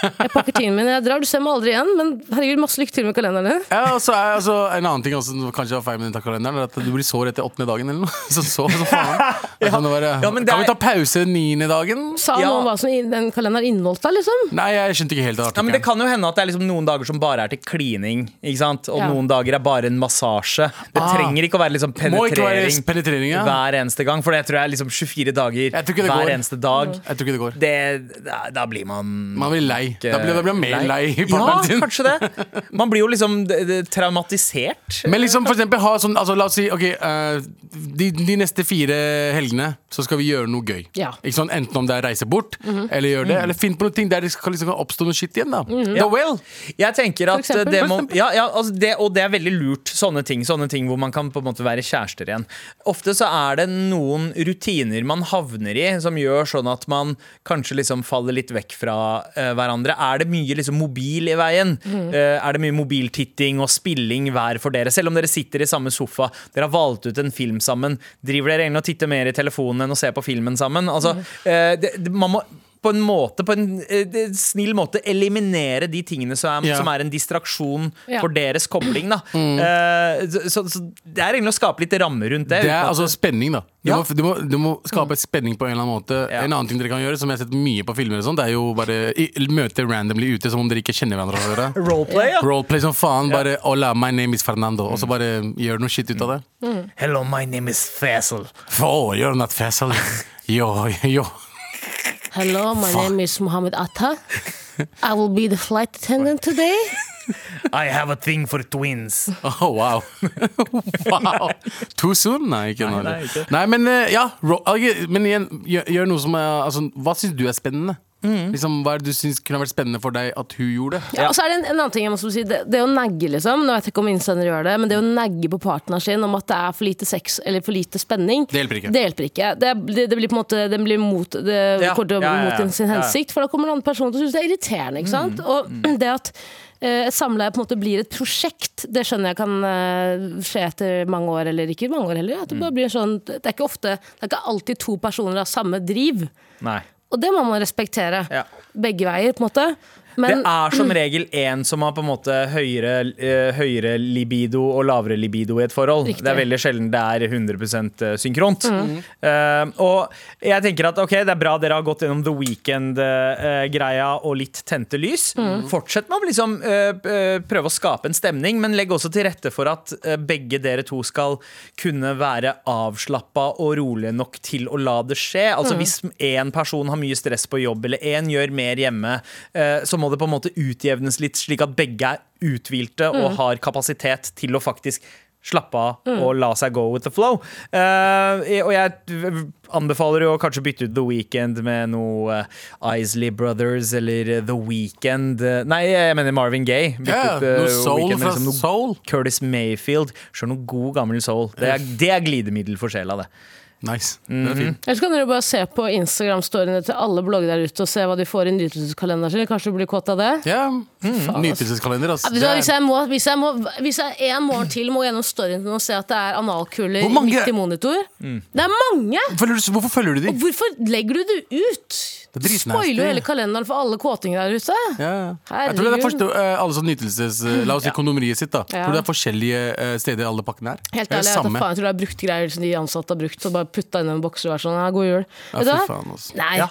Speaker 3: Jeg pakker tingene mine, jeg drar. Du ser meg aldri igjen, men herregud, masse lykke til med kalenderen din.
Speaker 4: Ja, og så er altså, En annen ting også, som kanskje var feil med den kalenderen, er at du blir sår etter åttende dagen eller noe. Så så, så faen. Det er sånn å være,
Speaker 2: Ja, men det
Speaker 4: Kan vi
Speaker 2: er-
Speaker 4: ta pause niende dagen?
Speaker 3: Sa
Speaker 2: Ja.
Speaker 3: noe om hva som i- den kalenderen inneholdt, da, liksom?
Speaker 4: Nei, jeg skjønte ikke helt den
Speaker 2: ja, men det
Speaker 4: artikkelen.
Speaker 2: kan jo hende at det er liksom noen dager som bare er til klining. Ikke sant? Og
Speaker 3: Ja.
Speaker 2: noen dager er bare en massasje. Det
Speaker 4: Ah.
Speaker 2: trenger ikke å være liksom
Speaker 4: Må ikke være
Speaker 2: penetrering
Speaker 4: penetrering, ja.
Speaker 2: hver eneste gang. For det tror jeg er liksom 24 dager
Speaker 4: Jeg tror ikke det
Speaker 2: hver
Speaker 4: går.
Speaker 2: eneste dag.
Speaker 4: Jeg tror ikke det går.
Speaker 2: Det, da- da blir man
Speaker 4: Man blir lei. Da blir, da blir man mer lei. i
Speaker 2: Ja,
Speaker 4: partneren sin.
Speaker 2: kanskje det. Man blir jo liksom d- d- traumatisert.
Speaker 4: Men liksom for eksempel ha sånn altså, La oss si ok, eh, de, de neste fire helgene Så skal vi gjøre noe gøy
Speaker 3: Ja.
Speaker 4: Ikke sånn, Enten om det er reise bort
Speaker 2: Mhm.
Speaker 4: Eller gjøre
Speaker 2: Mm.
Speaker 4: det Eller finn på noe ting der det skal liksom kan oppstå noe shit igjen da The well
Speaker 2: Jeg tenker at
Speaker 3: eksempel.
Speaker 2: det må ja, ja, altså det, Og det er veldig lurt, sånne ting, sånne ting hvor man kan på en måte være kjærester igjen. Ofte så er det noen rutiner man havner i, som gjør sånn at man kanskje liksom faller litt vekk fra eh, hverandre. Er det mye liksom mobil i veien? Eh, er det mye mobiltitting og spilling hver for dere? Selv om dere sitter i samme sofa, dere har valgt ut en film sammen, driver dere egentlig og titter mer i telefonen enn å se på filmen sammen? Altså, eh, det, det, man må på en måte, på en eh, det- snill måte eliminere de tingene som er,
Speaker 4: Ja.
Speaker 2: som er en distraksjon
Speaker 3: Ja. Mm.
Speaker 2: for deres kobling. Da. Eh, så, så, så det er egentlig å skape litt ramme rundt det.
Speaker 4: Det
Speaker 2: uten
Speaker 4: er
Speaker 2: at-
Speaker 4: altså spenning da du,
Speaker 2: Ja.
Speaker 4: må, du, må, du må skape spenning på en eller annen måte
Speaker 2: Ja.
Speaker 4: En annen ting dere kan gjøre Som jeg har sett mye på filmer og sånt Det er jo bare i, møte randomly ute Som om dere ikke kjenner hverandre fra dere.
Speaker 2: Roleplay, ja. Mm.
Speaker 4: Roleplay som faen Bare Hola, my name is Fernando Og så bare gjør noe shit ut av det
Speaker 2: Hello, my name is Faisal.
Speaker 4: For you're not vessel Yo, yo
Speaker 3: Hello, my name is Mohammed Atta. I will be the flight attendant today.
Speaker 2: I have a thing for twins.
Speaker 4: Oh, wow. wow. Too soon? Nei, ikke nå.
Speaker 2: nei, ikke.
Speaker 4: Nei, men eh, ja. ro- ok, Men igjen, gjør, gjør noe som er altså, Hva syns du er spennende?
Speaker 2: Mm.
Speaker 4: Liksom, hva er det du syns kunne vært spennende for deg at hun gjorde? det?
Speaker 3: Ja, og så er det en, en annen ting jeg må si det, det å negge, liksom. Nå vet jeg ikke om innsender gjør det, men det å negge på partneren sin om at det er for lite sex eller for lite spenning,
Speaker 4: Det hjelper ikke.
Speaker 3: Det, hjelper ikke. det, det, det blir på en måte Den blir mot, det
Speaker 2: Ja,
Speaker 3: kommer til å
Speaker 2: ja,
Speaker 3: mot sin
Speaker 2: ja, ja. Ja, Mm. ja.
Speaker 3: hensikt, for da kommer en annen person til å synes det er irriterende. Ikke sant? Og det at eh, et samleie på en måte blir et prosjekt, det skjønner jeg kan eh, skje etter mange år, eller ikke mange år heller. At det,
Speaker 2: Mm.
Speaker 3: bare blir en sånn, det er ikke ofte Det er ikke alltid to personer av samme driv.
Speaker 2: Nei.
Speaker 3: Og det må man respektere.
Speaker 2: Ja.
Speaker 3: Begge veier, på en måte. Men,
Speaker 2: det er som regel én som har på en måte høyere, eh, høyere libido og lavere libido i et forhold.
Speaker 3: Riktig.
Speaker 2: Det er veldig sjelden det er 100 synkront. Eh, og jeg tenker at ok, det er bra dere har gått gjennom The Weekend-greia og litt tente lys. Fortsett med å liksom, eh, eh, prøve å skape en stemning, men legg også til rette for at eh, begge dere to skal kunne være avslappa og rolige nok til å la det skje. Altså Hvis én person har mye stress på jobb, eller én gjør mer hjemme, eh, så må det på en måte utjevnes litt, slik at begge er uthvilte og har kapasitet til å faktisk slappe av
Speaker 4: Mm.
Speaker 2: og la seg go with the flow. Eh, og jeg anbefaler jo å kanskje bytte ut The Weekend med noe eh, Isley Brothers eller eh, The Weekend Nei, jeg mener Marvin Gaye. Bytte
Speaker 4: Ja,
Speaker 2: ut, eh,
Speaker 4: noe soul
Speaker 2: Weeknd med
Speaker 4: fra
Speaker 2: liksom noe
Speaker 4: soul.
Speaker 2: Curtis Mayfield. Sjøl noe god, gammel soul. Det er, det er glidemiddel for sjela, det.
Speaker 4: Nice. Den er fin.
Speaker 3: Ellers kan dere bare se på Instagram-storyene til alle blogger der ute og se hva de får i nytelseskalenderen sin. Kanskje du blir kåt av det?
Speaker 4: Ja. Mhm. Nytelseskalender, ass.
Speaker 3: Ja, Hvis
Speaker 4: Det er-
Speaker 3: jeg, hvis jeg, må, hvis jeg, må, hvis jeg en morgen til må gjennom storyen til noen og se at det er analkuler
Speaker 4: Hvor mange- Mm.
Speaker 3: midt i monitor Det er mange!
Speaker 4: Følger du, hvorfor følger du de?
Speaker 3: Hvorfor legger du det ut?
Speaker 4: er
Speaker 3: Du
Speaker 4: dritnasty.
Speaker 3: spoiler jo hele kalenderen for alle kåtinger der ute.
Speaker 4: Ja, ja. Jeg tror det er
Speaker 3: Herregud.
Speaker 4: forst- eh, alle sånn nytelses... eh, La oss si kondomeriet sitt, da.
Speaker 3: Ja.
Speaker 4: Tror du det er forskjellige eh, steder alle pakkene er?
Speaker 3: Helt
Speaker 4: Eller
Speaker 3: ærlig, jeg, vet da
Speaker 4: samme?
Speaker 3: faen, jeg tror det er brukt greier som de ansatte har brukt. Så bare putta inn i en boks og vær sånn, ja, god jul.
Speaker 4: Ja,
Speaker 3: Vet du
Speaker 4: fy
Speaker 3: hva?
Speaker 4: faen, altså.
Speaker 3: Nei.
Speaker 2: Ja.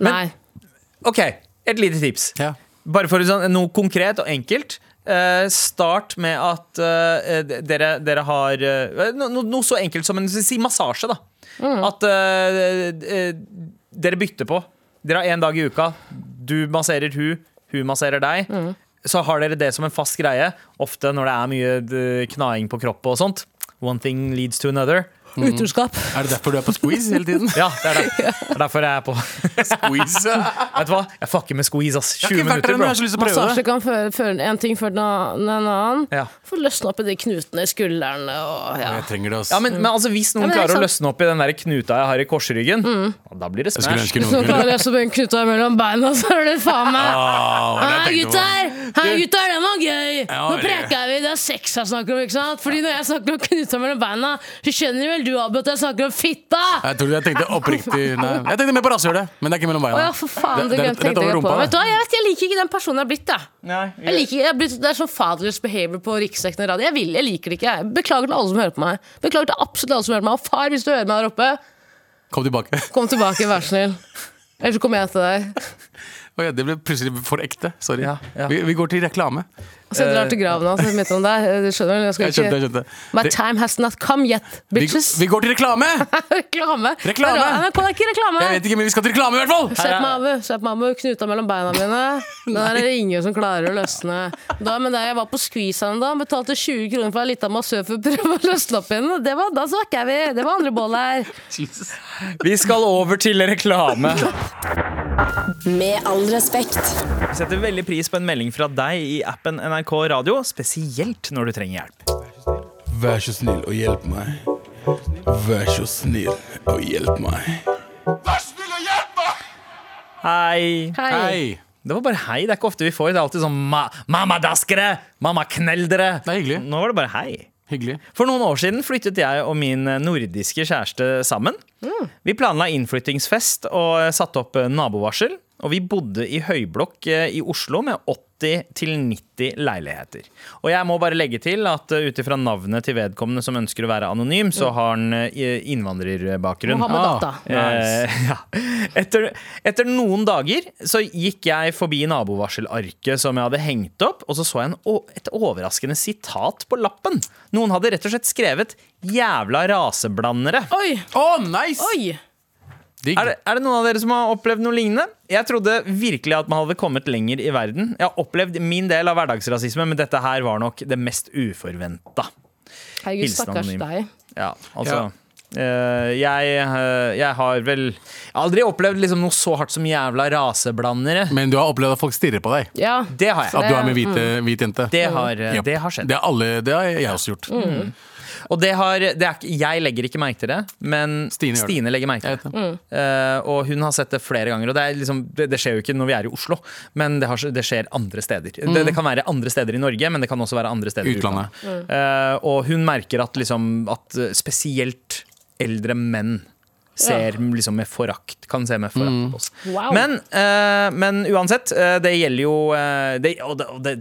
Speaker 3: Nei.
Speaker 2: OK, et lite tips.
Speaker 4: Ja.
Speaker 2: Bare for sånn, noe konkret og enkelt. eh, start med at eh, d- dere, dere har eh, no, no, Noe så enkelt som en si massasje, da. At eh, d- eh, dere bytter på. Dere har én dag i uka. Du masserer hun, hun masserer deg. Så har dere det som en fast greie. Ofte når det er mye d- knaing på kropp og sånt. One thing leads to another.
Speaker 4: Mm.
Speaker 3: Utroskap.
Speaker 4: Er det derfor du er på squeeze hele tiden?
Speaker 2: Ja, det er, der. det er derfor jeg er på.
Speaker 4: squeeze. Jeg
Speaker 2: Vet du hva? Jeg fucker med squeeze, ass.
Speaker 4: har
Speaker 2: 20
Speaker 4: ikke vært
Speaker 2: minutter,
Speaker 4: der,
Speaker 2: bro.
Speaker 4: men jeg har så lyst til å prøve
Speaker 3: Massasje
Speaker 4: det.
Speaker 3: kan føre, føre en ting før den an- den annen.
Speaker 2: Ja.
Speaker 3: Få løsne opp i de knutene i skuldrene og ja.
Speaker 4: Jeg trenger det, ass.
Speaker 2: Ja, men, men altså, Hvis
Speaker 3: Ja,
Speaker 2: noen
Speaker 3: men det er
Speaker 2: klarer å
Speaker 3: ikke Mm.
Speaker 2: løsne opp i den der knuta jeg har i korsryggen, da blir det
Speaker 4: Jeg skulle
Speaker 2: smash.
Speaker 4: ønske
Speaker 3: Hvis noen
Speaker 4: noen kunne
Speaker 3: klarer å løse opp en knuta mellom beina, så er det faen meg
Speaker 4: Au, det
Speaker 3: Hei,
Speaker 4: tenkte
Speaker 3: Ah,
Speaker 4: jeg på.
Speaker 3: gutter! Hei, gutter, det var gøy!
Speaker 4: Ja,
Speaker 3: Nå
Speaker 4: det-
Speaker 3: preker vi, det er sex jeg snakker om, ikke sant? Fordi når jeg snakker om knuta mellom beina, så skjønner vel du, Abu, at jeg snakker om fitta!
Speaker 4: Jeg tror jeg tenkte oppriktig Nei, jeg tenkte mer på rasshølet, men det er ikke mellom
Speaker 3: Å
Speaker 4: beina.
Speaker 3: ja, for faen, det,
Speaker 4: er
Speaker 3: glemte jeg
Speaker 4: rett over
Speaker 3: på.
Speaker 4: rumpa.
Speaker 3: Vet du hva, jeg, vet, jeg liker ikke den personen jeg har blitt, da.
Speaker 2: Nei,
Speaker 3: Jeg liker, jeg har blitt, det er sånn fatherless behavior på riksdekkende radio. Jeg, vil, jeg liker det ikke. jeg. Beklager til alle som hører på meg. Beklager til absolutt alle som hører på meg. Og far, hvis du hører meg der oppe,
Speaker 4: Kom tilbake.
Speaker 3: kom tilbake, vær så snill. Ellers så kommer jeg til deg.
Speaker 4: Å ja, det ble plutselig for ekte. Sorry.
Speaker 2: Ja, ja.
Speaker 4: Vi, vi går til reklame.
Speaker 3: Og så drar til graven hans midt om deg. Du skjønner vel? Jeg skal
Speaker 4: Jeg skjønte, jeg
Speaker 3: ikke
Speaker 4: skjønte.
Speaker 3: My
Speaker 4: Re-
Speaker 3: time has not come yet,
Speaker 4: Vi,
Speaker 3: bitches.
Speaker 4: vi går til reklame!
Speaker 3: Reklame.
Speaker 4: Reklame.
Speaker 3: Det er rart. NRK det er ikke reklame.
Speaker 4: Jeg vet ikke, men vi skal til reklame i hvert fall!
Speaker 3: Se på meg, Abu. Se på meg, Abu. Knuta mellom beina mine. Den der ringer som klarer å løsne. Da, men da jeg var på squeezeren da, betalte 20 kroner for en liten massør for å prøve å løsne opp igjen. Det var, da snakker vi. Det var andre bål her.
Speaker 2: Vi skal over til reklame.
Speaker 1: Med all respekt.
Speaker 2: Vi setter veldig pris på en melding fra deg i appen NRK Radio, spesielt når du trenger hjelp.
Speaker 6: Vær så snill og hjelp meg. Vær så snill og hjelp meg.
Speaker 2: Hei.
Speaker 3: Hei.
Speaker 4: Hei!
Speaker 2: Det var bare hei. Det er ikke ofte vi får. Det er alltid sånn ma mamma dask dere! Mamma knell dere!
Speaker 4: Det er hyggelig.
Speaker 2: Nå var det bare hei.
Speaker 4: Hyggelig.
Speaker 2: For noen år siden flyttet jeg og min nordiske kjæreste sammen. Vi planla innflyttingsfest og satte opp eh, nabovarsel. Og vi bodde i høyblokk eh, i Oslo med 80-90 leiligheter. Og jeg må bare legge til at eh, ut ifra navnet til vedkommende som ønsker å være anonym, så har han eh, innvandrerbakgrunn.
Speaker 3: Mohammed
Speaker 4: Ah.
Speaker 3: Atta.
Speaker 2: Eh, ja. etter, etter noen dager så gikk jeg forbi nabovarselarket som jeg hadde hengt opp, og så så jeg en, å- et overraskende sitat på lappen. Noen hadde rett og slett skrevet 'jævla raseblandere'.
Speaker 3: Oi!
Speaker 4: Å, nice!
Speaker 3: Oi!
Speaker 4: Digg.
Speaker 2: Er det, er det noen av dere som har opplevd noe lignende? Jeg trodde virkelig at man hadde kommet lenger i verden. Jeg har opplevd min del av hverdagsrasisme, men dette her var nok det mest uforventa.
Speaker 3: Herregud,
Speaker 2: Hilsen
Speaker 3: stakkars
Speaker 2: anonym.
Speaker 3: deg.
Speaker 2: Ja, altså
Speaker 4: Ja.
Speaker 2: Eh, jeg, eh, jeg har vel jeg har aldri opplevd liksom noe så hardt som jævla raseblandere.
Speaker 4: Men du har opplevd at folk stirrer på deg.
Speaker 3: Ja.
Speaker 2: Det har jeg.
Speaker 4: At du er med hvite, hvit jente.
Speaker 2: Det har, eh,
Speaker 4: Japp.
Speaker 2: det har skjedd. Mm.
Speaker 4: Det har, alle, det har jeg også gjort.
Speaker 2: Og det har, det er ikke, jeg legger ikke merke til det, men
Speaker 4: Stine
Speaker 2: Stine,
Speaker 4: gjør det.
Speaker 2: legger merke
Speaker 4: Jeg
Speaker 2: til
Speaker 4: vet
Speaker 2: det. Eh, og hun har sett det flere ganger. Og det, er liksom, det, det skjer jo ikke når vi er i Oslo, men det, har, det skjer andre steder. Det, det kan være andre steder i Norge, men det kan også være andre steder i
Speaker 4: Utlandet.
Speaker 2: utlandet. Eh, og hun merker at, liksom, at eh, spesielt eldre menn ser liksom med forakt, kan se med forakt
Speaker 4: Mm.
Speaker 2: på oss.
Speaker 3: Wow.
Speaker 2: Men, eh, men uansett, eh, det gjelder jo eh, det, Og, det, og det,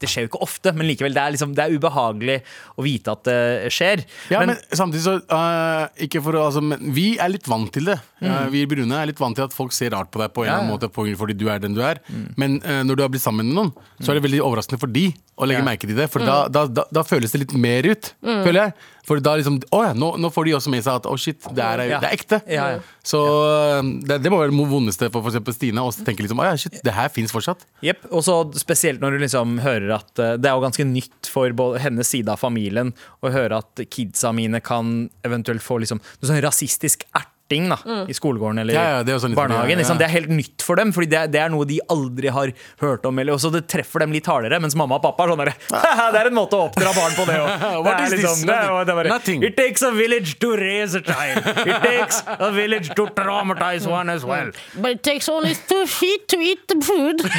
Speaker 2: det skjer jo ikke ofte, men likevel, det er, liksom, det er ubehagelig å vite at det skjer.
Speaker 4: Ja, men,
Speaker 2: men,
Speaker 4: samtidig så øh, ikke for, å- altså, men Vi er litt vant til det. Eh, vi brune er litt vant til at folk ser rart på deg på en
Speaker 2: Ja,
Speaker 4: eller annen
Speaker 2: ja.
Speaker 4: måte på grunn av fordi du er den du er. Men eh, når du har blitt sammen med noen, så er det veldig overraskende for de å legge
Speaker 2: Ja.
Speaker 4: merke til det. For da, da, da, da føles det litt mer ut, føler jeg. For da liksom Å ja, nå, nå får de også med seg at å shit, det er,
Speaker 2: Ja.
Speaker 4: det er ekte.
Speaker 2: Ja, ja.
Speaker 4: Så eh, det, det må være det vondeste for f.eks. Stine. Å tenke liksom å ja, shit, det her fins fortsatt.
Speaker 2: Jepp, og så spesielt når du liksom hører at eh, Det er jo ganske nytt for både hennes side av familien å høre at kidsa mine kan eventuelt få liksom, noe sånn rasistisk erting da, i skolegården eller
Speaker 4: Ja, ja, det er jo sånn litt-
Speaker 2: barnehagen.
Speaker 4: ja, ja.
Speaker 2: Liksom. Det er helt nytt for dem, Fordi det, er- det er noe de aldri har hørt om. Eller, og så det treffer dem litt hardere, mens mamma og pappa er sånn der, «Haha, Det er en måte å oppdra barn på, det òg.
Speaker 4: What is this?
Speaker 2: det, er- det er bare,
Speaker 4: Nothing.
Speaker 2: It takes a village to raise a child. It takes a village to traumatize one as well.
Speaker 3: But it takes only two feet to eat the food.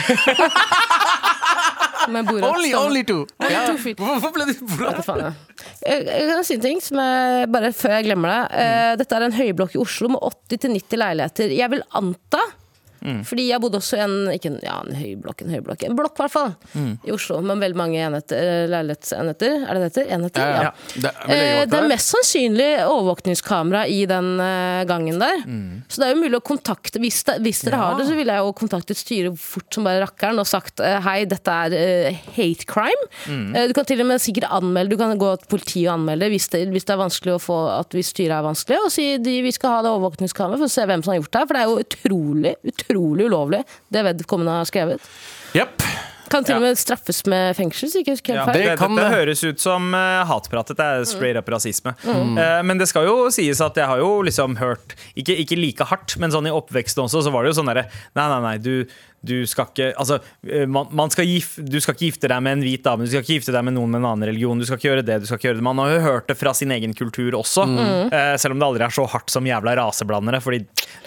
Speaker 3: Men Borat
Speaker 4: Only,
Speaker 3: stemmer.
Speaker 4: only two!
Speaker 3: Only two feet.
Speaker 4: Hvorfor ble det
Speaker 3: Hva faen, ja. Jeg, jeg kan si en ting som jeg, bare før jeg glemmer det.
Speaker 4: Mm.
Speaker 3: Eh, Dette er en høyblokk i Oslo med 80-90 leiligheter. Jeg vil anta
Speaker 4: Mm.
Speaker 3: Fordi jeg bodde også i en ikke en, ja, en høyblokk, en høyblokk En blokk, i hvert fall.
Speaker 4: Mm.
Speaker 3: I Oslo, med veldig mange enheter, eh, leilighetsenheter. Er det det heter? Enheter?
Speaker 4: Ja, ja. Det er vel
Speaker 3: Eh,
Speaker 4: legevakt
Speaker 3: Det
Speaker 4: der?
Speaker 3: er mest sannsynlig overvåkningskamera i den eh, gangen der.
Speaker 2: Mm.
Speaker 3: Så det er jo mulig å kontakte Hvis, det, hvis dere har det, så ville jeg jo kontaktet styret fort som bare rakkeren og sagt eh, hei, dette er eh, hate crime.
Speaker 2: Mm.
Speaker 3: Eh, Du kan til og med sikkert anmelde Du kan gå til politiet og anmelde hvis det, hvis det er vanskelig å få At hvis styret er vanskelig. Og si de, vi skal ha det overvåkningskameraet for å se hvem som har gjort det her. For det er jo utrolig, utrolig ulovlig, det vedkommende har skrevet.
Speaker 4: Jepp.
Speaker 3: Kan til og med straffes med fengsel, så ikke jeg husker helt
Speaker 2: Ja,
Speaker 3: feil.
Speaker 2: det,
Speaker 4: Det kan
Speaker 2: dette
Speaker 4: det.
Speaker 2: høres ut som eh, hatprat. Dette er straight up rasisme. Eh, men det skal jo sies at jeg har jo liksom hørt Ikke, ikke like hardt, men sånn i oppveksten også, så var det jo sånn derre Nei, nei, nei, du, du skal ikke Altså, eh, man, man skal gif, du skal ikke gifte deg med en hvit dame, du skal ikke gifte deg med noen med en annen religion, du skal ikke gjøre det, du skal ikke gjøre det. Man har jo hørt det fra sin egen kultur også, eh, selv om det aldri er så hardt som jævla raseblandere. Fordi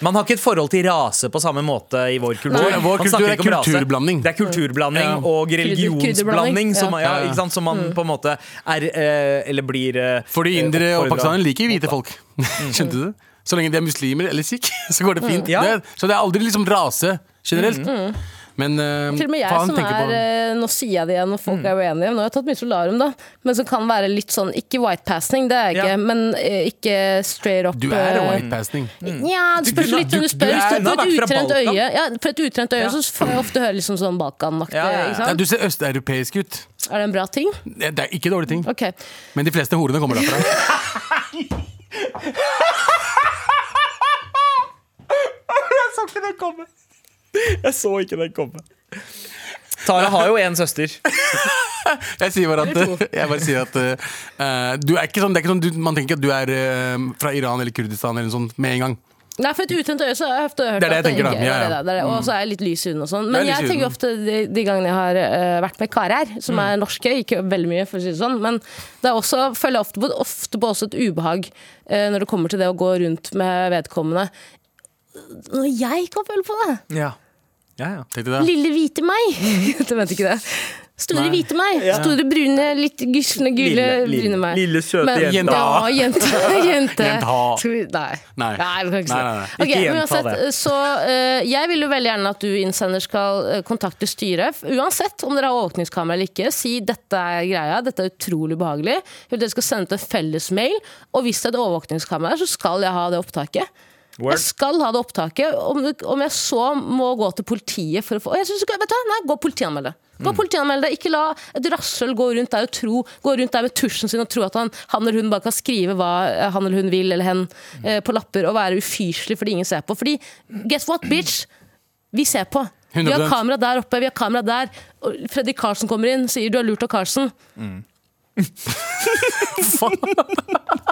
Speaker 2: man har ikke et forhold til rase på samme måte i vår kultur.
Speaker 4: Vår- vår
Speaker 2: Man
Speaker 4: kultur
Speaker 2: snakker
Speaker 4: er
Speaker 2: ikke om rase.
Speaker 4: kulturblanding.
Speaker 2: Det er kulturblanding
Speaker 4: Ja.
Speaker 2: og religionsblanding. Som,
Speaker 3: Krydderblanding,
Speaker 2: ja,
Speaker 4: ja.
Speaker 2: ikke sant? som man på en måte er eh, Eller blir eh,
Speaker 4: Fordi indere og
Speaker 2: oppfordret.
Speaker 4: pakistanere liker hvite folk. Skjønte du det? Så lenge de er muslimer eller sikh, så går det
Speaker 3: Mm,
Speaker 4: fint.
Speaker 2: Ja.
Speaker 4: Det, så det er aldri liksom rase generelt. Men
Speaker 2: Mm.
Speaker 4: eh,
Speaker 3: Til og med jeg
Speaker 4: faen
Speaker 3: som
Speaker 4: tenker
Speaker 3: er
Speaker 4: på
Speaker 3: eh, Nå sier jeg det igjen, og folk er uenige. Nå har jeg tatt mye solarium, da. Men som kan være litt sånn Ikke whitepassing, det er jeg ikke,
Speaker 2: Ja.
Speaker 3: men eh, ikke straight up
Speaker 4: Du er
Speaker 3: eh,
Speaker 4: whitepassing.
Speaker 3: Nja, det spørs
Speaker 2: kunne-
Speaker 3: litt hvem
Speaker 2: du-
Speaker 3: du spør.
Speaker 2: du
Speaker 3: Hvis
Speaker 2: er-
Speaker 3: du får
Speaker 2: du
Speaker 3: et
Speaker 2: er fra
Speaker 3: utrent
Speaker 2: Balkan.
Speaker 3: øye, ja, for et utrent øye
Speaker 2: Ja.
Speaker 3: så får jeg ofte høre litt sånn, sånn Balkan-aktig.
Speaker 2: Ja, ja, ja.
Speaker 3: ikke
Speaker 4: Nei,
Speaker 3: sant?
Speaker 4: du ser østeuropeisk ut.
Speaker 3: Er det en bra ting?
Speaker 4: Det det er ikke dårlige ting.
Speaker 3: Ok.
Speaker 4: Men de fleste horene kommer derfra.
Speaker 2: Jeg så ikke den komme. Tara har jo én søster.
Speaker 4: Jeg sier bare at, jeg bare sier at eh, du er ikke sånn, Det er ikke sånn du, man tenker ikke at du er eh, fra Iran eller Kurdistan eller noe sånt med en gang.
Speaker 3: Nei, for et utrent øye så har jeg ofte hørt
Speaker 4: Det er det jeg
Speaker 3: at
Speaker 4: tenker, da.
Speaker 3: ikke-
Speaker 4: Ja, ja.
Speaker 3: det er det, det er det. Og så er jeg litt lys i huden og sånn.
Speaker 4: Du er
Speaker 3: Men
Speaker 4: lys i
Speaker 3: jeg tenker
Speaker 4: huden. Mm.
Speaker 3: ofte de, de gangene jeg har eh, vært med karer, som er norske, ikke veldig mye, for å si det sånn, men det er også, føler jeg ofte på, ofte på også et ubehag eh, når det kommer til det å gå rundt med vedkommende. Når jeg kan føle på det!
Speaker 2: Ja. Ja, ja.
Speaker 4: Tenkte det.
Speaker 3: Lille hvite meg! du vet ikke det. Store
Speaker 4: Nei.
Speaker 3: hvite meg. Store brune, litt gusne, gule
Speaker 2: Lille- lille-
Speaker 3: brune meg.
Speaker 2: lille, søte jenta.
Speaker 3: Ja, jente. jente.
Speaker 4: Jenta.
Speaker 3: Skal vi, nei.
Speaker 4: Nei.
Speaker 3: du kan ikke
Speaker 4: Nei, nei,
Speaker 3: si
Speaker 2: nei.
Speaker 3: det.
Speaker 2: Ikke
Speaker 3: Ok, men
Speaker 2: gjenta
Speaker 3: uansett,
Speaker 2: det.
Speaker 3: Så eh, jeg vil jo veldig gjerne at du innsender skal eh, kontakte styret. Uansett om dere har overvåkningskamera eller ikke, si dette er greia, dette er utrolig behagelig. Jeg vil at Dere skal sende ut en felles mail, og hvis det er et overvåkningskamera her, så skal jeg ha det opptaket.
Speaker 2: Word.
Speaker 3: Jeg skal ha det opptaket. Om, det- om jeg så må gå til politiet for å få og jeg synes, ikke- vet du, hva? Nei, gå og politianmeld det. Gå og
Speaker 2: Mm.
Speaker 3: politianmeld det. Ikke la et rasshøl gå rundt der og tro Gå rundt der med tusjen sin og tro at han, han eller hun bare kan skrive hva eh, han eller hun vil eller hen
Speaker 2: Mm.
Speaker 3: eh, på lapper og være ufyselig fordi ingen ser på. Fordi guess what, bitch? Vi ser på. Vi har
Speaker 4: 100%.
Speaker 3: kamera der oppe, vi har kamera der. Og Freddy Karlsen kommer inn, sier 'du har lurt av Karlsen'.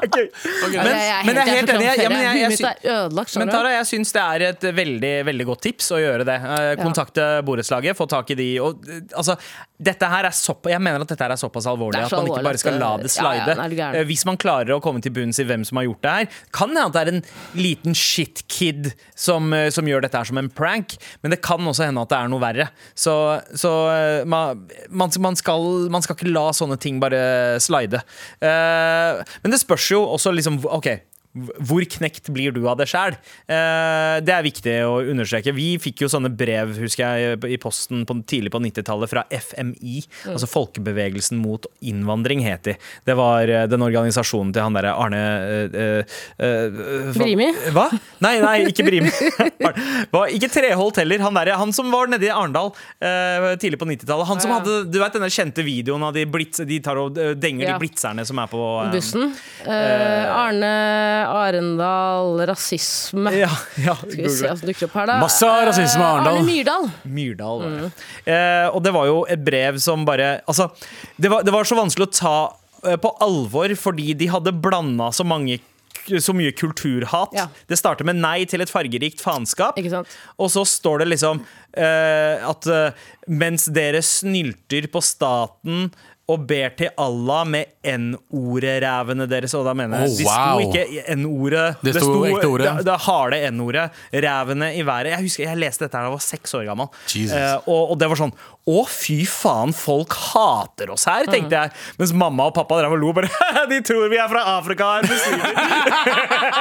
Speaker 3: Ok, Altså, jeg er
Speaker 2: men jeg er helt
Speaker 3: jeg er så
Speaker 2: enig.
Speaker 3: klar for
Speaker 2: Ja,
Speaker 3: ferie.
Speaker 2: men jeg- jeg
Speaker 3: Huet mitt
Speaker 2: sy-
Speaker 3: er ødelagt. skjønner
Speaker 2: Men
Speaker 3: du?
Speaker 2: Tara, jeg syns det er et veldig veldig godt tips å gjøre det. Eh, Kontakte borettslaget, få tak i de og eh, Altså, dette her er såpass Jeg mener at dette her er såpass alvorlig
Speaker 3: Det er
Speaker 2: at
Speaker 3: så
Speaker 2: man ikke
Speaker 3: alvorlig
Speaker 2: bare skal
Speaker 3: at
Speaker 2: la
Speaker 3: det-
Speaker 2: det
Speaker 3: ja, ja,
Speaker 2: slide.
Speaker 3: nei, er du gæren.
Speaker 2: Eh, Hvis man klarer å komme til bunns i hvem som har gjort det her, kan det hende at det er en liten shitkid som, eh, som gjør dette her som en prank, men det kan også hende at det er noe verre. Så, så eh, man, man, man, skal, man skal ikke la sånne ting bare slide. Eh, men det spørs jo også liksom OK. Hvor knekt blir du av det sjæl? Eh, det er viktig å understreke. Vi fikk jo sånne brev husker jeg, i posten på, tidlig på 90-tallet fra FMI.
Speaker 3: Mm.
Speaker 2: Altså Folkebevegelsen mot innvandring, het de. Det var eh, den organisasjonen til han derre Arne eh, eh, eh, hva-
Speaker 3: Brimi?
Speaker 2: Hva? Nei, nei, ikke Brimi. Arne- hva- ikke Treholt heller. Han, derre- han som var nede i Arendal eh, tidlig på 90-tallet. Han som
Speaker 3: Ja.
Speaker 2: hadde du vet, denne kjente videoen av de, blitz, de tar og eh, denger
Speaker 3: Ja.
Speaker 2: de blitzerne som er på eh,
Speaker 3: Bussen. Eh, Arne Arendal, rasisme.
Speaker 2: Ja, ja,
Speaker 3: Skal vi se hva som dukker opp her, da.
Speaker 4: Masse rasisme i
Speaker 3: Eh,
Speaker 4: Arendal.
Speaker 3: Arne Myrdal.
Speaker 2: Myrdal. Var det.
Speaker 3: Mm.
Speaker 2: Eh, og det var jo et brev som bare Altså, det var, det var så vanskelig å ta eh, på alvor fordi de hadde blanda så mange så mye kulturhat.
Speaker 3: Ja.
Speaker 2: Det starter med nei til et fargerikt faenskap.
Speaker 3: Ikke sant?
Speaker 2: Og så står det liksom eh, at eh, mens dere snylter på staten og ber til Allah med N-ordet-rævene deres. Og da mener jeg
Speaker 4: Oh,
Speaker 2: De sto
Speaker 4: wow.
Speaker 2: ikke N-ordet.
Speaker 4: Det sto ekte ordet.
Speaker 2: Det, det harde N-ordet. Rævene i været. Jeg husker jeg leste dette da jeg var seks år gammel.
Speaker 4: Jesus.
Speaker 2: Eh, og, og det var sånn Å, fy faen, folk hater oss her, tenkte jeg. Mens mamma og pappa drev og lo bare De tror vi er fra Afrika. er muslimer."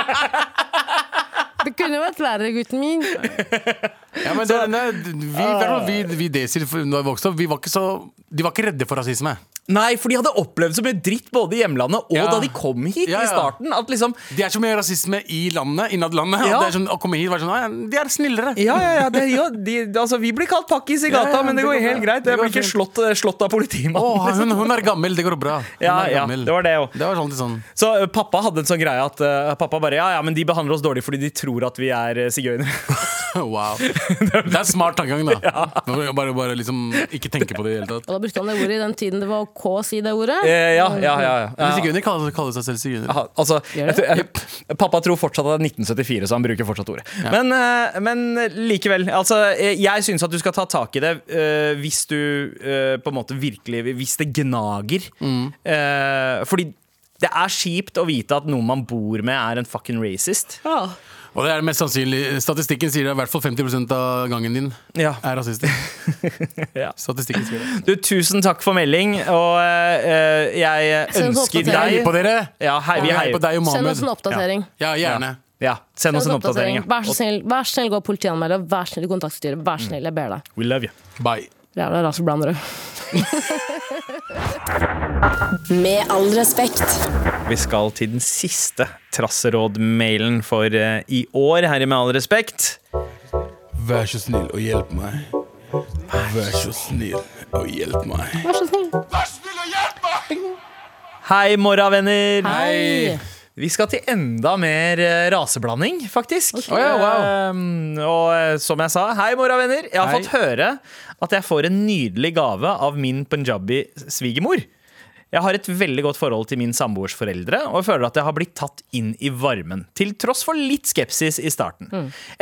Speaker 3: Det kunne vært verre, gutten min. Det
Speaker 4: Ja, men det, nei, vi, i hvert fall vi, vi desil for- når jeg vokste opp, vi var ikke så, de var ikke redde for rasisme.
Speaker 2: Nei, for de hadde opplevd så mye dritt både i hjemlandet og
Speaker 4: Ja.
Speaker 2: da de kom hit
Speaker 4: Ja, ja.
Speaker 2: i starten. At liksom
Speaker 4: Det er så mye rasisme i landet, innad landet.
Speaker 2: Ja.
Speaker 4: og Det er sånn, å komme hit var sånn, «Å, ja, De er snillere.
Speaker 2: ja, ja, ja, det, ja de, altså, Vi blir kalt pakkis i
Speaker 4: Ja,
Speaker 2: gata,
Speaker 4: ja,
Speaker 2: men det,
Speaker 4: det
Speaker 2: går
Speaker 4: går
Speaker 2: helt
Speaker 4: bra.
Speaker 2: greit.
Speaker 4: Det
Speaker 2: Jeg
Speaker 4: går
Speaker 2: blir ikke
Speaker 4: fint.
Speaker 2: slått, eh, slått av politimannen.
Speaker 4: Å, hun, hun er gammel, det går bra. Hun
Speaker 2: Ja,
Speaker 4: er
Speaker 2: ja,
Speaker 4: gammel.
Speaker 2: det var det jo.
Speaker 4: Det var sånn til sånn.
Speaker 2: Så eh, pappa hadde en sånn greie at eh, pappa bare Ja, ja, men de behandler oss dårlig fordi de tror at vi er eh, sigøynere.
Speaker 4: Wow. Det er smart tankegang, da. Bare, bare liksom ikke tenke på det i det hele tatt.
Speaker 3: Og da brukte han det ordet i den tiden det var ok å si det ordet.
Speaker 2: Eh, ja, ja, ja, ja.
Speaker 4: Men sigøyner kaller, kaller seg selv sigøyner.
Speaker 2: Aha, altså,
Speaker 3: Gjør det?
Speaker 2: jeg, tror- jeg, pappa tror fortsatt at det er 1974, så han bruker fortsatt ordet. Men, eh, men likevel. Altså, eh, jeg syns at du skal ta tak i det eh, hvis du eh, på en måte virkelig Hvis det gnager.
Speaker 3: Mm.
Speaker 2: Eh, fordi det er kjipt å vite at noen man bor med, er en fucking racist.
Speaker 4: Og det er mest sannsynlig Statistikken sier det i hvert fall 50 av gangen din
Speaker 2: Ja.
Speaker 4: er rasistisk.
Speaker 2: Ja.
Speaker 4: Statistikken sier det.
Speaker 2: Du, tusen takk for melding, og eh, jeg
Speaker 3: Send oss
Speaker 2: ønsker
Speaker 3: oppdatering.
Speaker 4: Hei
Speaker 2: deg
Speaker 4: på dere!
Speaker 2: Ja, hei, vi
Speaker 4: Vi heier på
Speaker 2: heier.
Speaker 4: deg
Speaker 3: Send
Speaker 4: og Mohammed.
Speaker 3: oss en oppdatering.
Speaker 4: Ja, gjerne.
Speaker 2: Ja, send oss en oppdatering. ja.
Speaker 3: Vær så snill, vær så snill gå og politianmelde. Vær så snill kontakt styret. Vær så snill, jeg ber deg.
Speaker 2: We love you.
Speaker 4: Bye.
Speaker 3: Jævla raseblandere.
Speaker 1: Med all respekt.
Speaker 2: Vi skal til den siste Trasseråd-mailen for eh, i år, her i Med all respekt.
Speaker 6: Vær så snill og hjelp meg. Vær så snill og hjelp meg.
Speaker 3: Vær så snill.
Speaker 2: Hei, morravenner!
Speaker 3: Hei.
Speaker 2: Vi skal til enda mer eh, raseblanding, faktisk.
Speaker 4: Å ja, wow.
Speaker 2: Ehm, og eh, som jeg sa, hei, morravenner! Jeg har
Speaker 4: Hei.
Speaker 2: fått høre at jeg får en nydelig gave av min punjabi-svigermor. Jeg har et veldig godt forhold til min samboers foreldre, og jeg føler at jeg har blitt tatt inn i varmen. Til tross for litt skepsis i starten.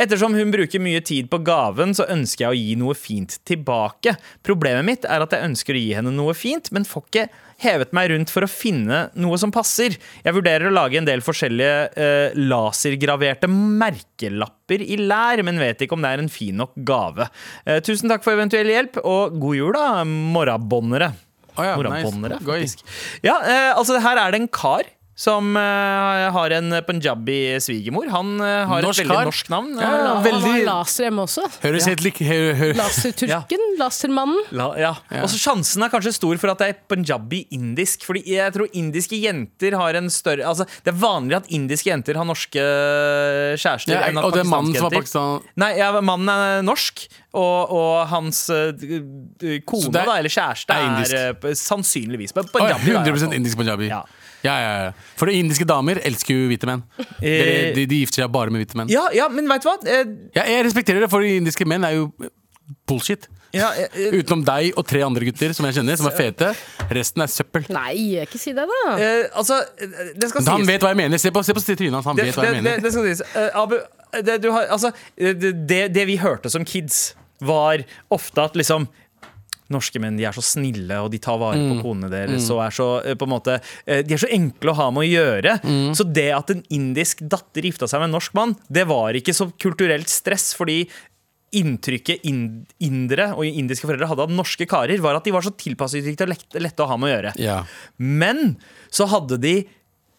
Speaker 2: Ettersom hun bruker mye tid på gaven, så ønsker jeg å gi noe fint tilbake. Problemet mitt er at jeg ønsker å gi henne noe fint, men får ikke hevet meg rundt for å finne noe som passer. Jeg vurderer å lage en del forskjellige eh, lasergraverte merkelapper i lær, men vet ikke om det er en fin nok gave. Eh, tusen takk for eventuell hjelp, og god jul, da, morrabonnere.
Speaker 4: Å ja,
Speaker 2: Morabonnere,
Speaker 4: nice. Gøy.
Speaker 2: faktisk. Ja, eh, altså her er det en kar som eh, har en punjabi svigermor. Han eh, har
Speaker 4: Norsk
Speaker 2: et veldig
Speaker 4: kar.
Speaker 2: norsk navn.
Speaker 4: Ja,
Speaker 2: Eh,
Speaker 4: ja.
Speaker 3: Han
Speaker 4: Veldig-
Speaker 3: har laser hjemme også.
Speaker 4: Høres helt lik hø- hø-
Speaker 3: Laserturken. Lasermannen.
Speaker 2: La, ja. Og så Sjansen er kanskje stor for at det er punjabi-indisk. Fordi jeg tror indiske jenter har en større Altså, Det er vanligere at indiske jenter har norske eh, kjærester.
Speaker 4: Ja,
Speaker 2: enn at
Speaker 4: og det er mannen
Speaker 2: pakistanske
Speaker 4: som er
Speaker 2: jenter-
Speaker 4: pakistaner.
Speaker 2: Nei, ja, mannen er norsk, og, og hans eh, d- d- kone,
Speaker 4: Så det er-
Speaker 2: da, eller kjæreste,
Speaker 4: er indisk.
Speaker 2: er, eh, sannsynligvis på
Speaker 4: Å ja,
Speaker 2: punjabi. da, i hvert
Speaker 4: 100
Speaker 2: fall.
Speaker 4: indisk punjabi.
Speaker 2: Ja.
Speaker 4: Ja. Ja, ja, For de indiske damer elsker jo hvite menn.
Speaker 2: Eh,
Speaker 4: De, de, de gifter seg bare med hvite menn.
Speaker 2: Ja, ja, men veit du hva? Eh,
Speaker 4: Ja, jeg respekterer det, for de indiske menn er jo bullshit.
Speaker 2: Ja, eh, jeg- jeg-
Speaker 4: Utenom deg og tre andre gutter som jeg kjenner, som er fete. Resten er søppel.
Speaker 3: Nei, ikke si det, da.
Speaker 2: eh, altså, eh, det skal sies
Speaker 4: Han vet hva jeg mener. Se på, se på trynet hans. Han
Speaker 2: det,
Speaker 4: vet hva jeg
Speaker 2: det, det,
Speaker 4: mener.
Speaker 2: det skal sies. Eh, Abu, det, du har, altså, eh, det, det vi hørte som kids, var ofte at liksom Norske menn de er så snille og de tar vare på
Speaker 4: Mm.
Speaker 2: konene deres. Og er så, eh, på en måte, eh, de er så enkle å ha med å gjøre.
Speaker 4: Mm.
Speaker 2: Så det at en indisk datter gifta seg med en norsk mann, det var ikke så kulturelt stress. fordi Inntrykket ind indere og indiske foreldre hadde av norske karer, var at de var så tilpasningsdyktige og lette, lette å ha med å gjøre.
Speaker 4: Ja.
Speaker 2: Men så hadde de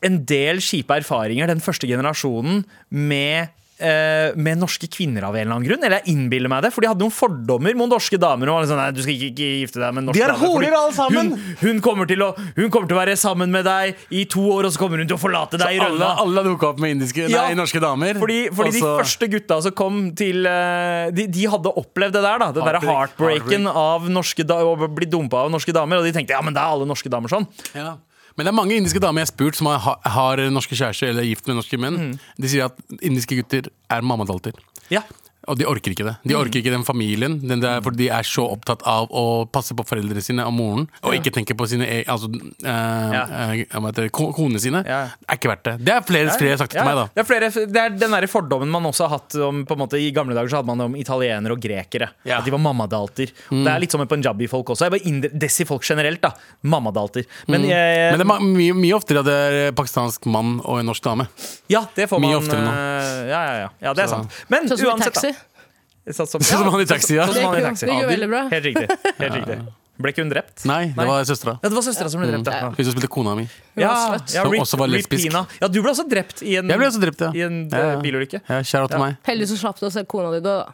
Speaker 2: en del kjipe erfaringer den første generasjonen med eh, med norske kvinner av en eller annen grunn. Eller jeg innbiller meg det, for de hadde noen fordommer mot norske damer. Og var liksom, nei, du skal ikke, ikke gifte deg med en norsk
Speaker 7: De er
Speaker 2: dame, fordi
Speaker 7: horer alle sammen!»
Speaker 2: Hun, hun, kommer til å, hun kommer til å være sammen med deg i to år, og så kommer hun til å forlate deg i
Speaker 4: Alle,
Speaker 2: rønna.
Speaker 4: alle dukka opp med indiske,
Speaker 2: Ja.
Speaker 4: nei, norske damer.
Speaker 2: Fordi, fordi de
Speaker 4: Også-
Speaker 2: første gutta som kom til eh, De, de hadde opplevd det der, da. Den der
Speaker 4: Heartbreak,
Speaker 2: heartbreaken av norske da å bli dumpa av norske damer. Og de tenkte ja, men det er alle norske damer sånn.
Speaker 4: Ja. Men det er mange indiske damer jeg har spurt som har, har norske kjærester eller er gift med norske
Speaker 2: Mm.
Speaker 4: menn. De sier at indiske gutter er mammadalter.
Speaker 2: Ja
Speaker 4: Og de orker ikke det.
Speaker 2: Mm.
Speaker 4: De orker ikke den familien, den der, for de er så opptatt av å passe på foreldrene sine og moren, og ikke tenke på sine e- altså, eh, eh, hva heter det, ko- konene sine.
Speaker 2: Ja.
Speaker 4: Det er ikke verdt det. Det er flere, flere sagt
Speaker 2: Ja, Mm.
Speaker 4: til meg, da.
Speaker 2: Det er, flere, det er den der fordommen man også har hatt om, på en måte, I gamle dager så hadde man det om italienere og grekere.
Speaker 4: Ja. Mm.
Speaker 2: At de var mammadalter. Det er litt som med punjabi-folk også. Jeg bare indi- Desi-folk generelt. da Mammadalter. Men, eh,
Speaker 4: Mm. Men det er ma- mye, mye oftere at det er eh, pakistansk mann og en norsk dame.
Speaker 2: ja, det får
Speaker 4: mye
Speaker 2: man
Speaker 4: oftere nå.
Speaker 2: eh, Ja, ja, ja. ja det er
Speaker 4: Så-
Speaker 2: sant. Men
Speaker 3: Sånn som i
Speaker 2: uansett,
Speaker 3: taxi.
Speaker 2: da. Sånn som,
Speaker 4: Sånn som han i taxi, ja.
Speaker 2: Sånn som han i taxi.
Speaker 3: Det gikk jo veldig bra.
Speaker 2: Helt riktig. Helt riktig. Ble ikke hun drept?
Speaker 4: Nei, det var søstera.
Speaker 2: Ja, det var søstera som ble
Speaker 3: Mm.
Speaker 2: drept. Ja.
Speaker 4: Hun som spilte kona mi.
Speaker 2: Ja,
Speaker 3: var
Speaker 2: ja,
Speaker 4: Som
Speaker 2: Rip-
Speaker 4: også var
Speaker 2: Rip
Speaker 4: lesbisk.
Speaker 2: Pina. ja, du ble også drept i en,
Speaker 4: Jeg ble også drept, ja.
Speaker 2: i en eh,
Speaker 4: Ja, ja.
Speaker 2: bilulykke.
Speaker 4: Ja, Kjære til meg.
Speaker 3: Heldig som slapp du å se kona di dø, da.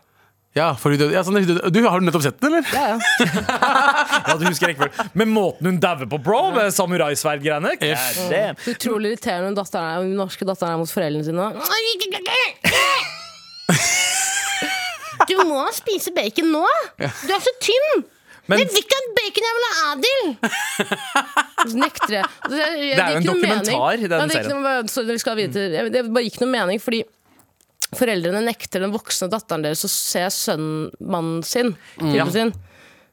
Speaker 4: Ja, for hun døde. Ja, sånn, hun døde. Du, har du nettopp sett den, eller?
Speaker 3: Ja, ja.
Speaker 2: Ja, du husker rekkefølgen. Men måten hun dauer på, bro, med samuraisverdgreiene
Speaker 4: F.
Speaker 2: God damn.
Speaker 3: Utrolig irriterende når datteren er- den norske datteren er mot foreldrene sine. Du må spise bacon nå! Du er så tynn!
Speaker 2: Men
Speaker 3: Jeg vil ikke ha bacon, jeg vil ha Adil! Så Nekter jeg. Det, jeg, jeg
Speaker 2: Det er jo
Speaker 3: gir
Speaker 2: en
Speaker 3: ikke noe
Speaker 2: dokumentar
Speaker 3: mening.
Speaker 2: i den
Speaker 3: Ja, det gir ikke
Speaker 2: serien.
Speaker 3: noe- sorry, vi skal videre til- jeg- Det bare gikk noe mening, fordi foreldrene nekter den voksne datteren deres å se sønnen mannen sin. Typen sin.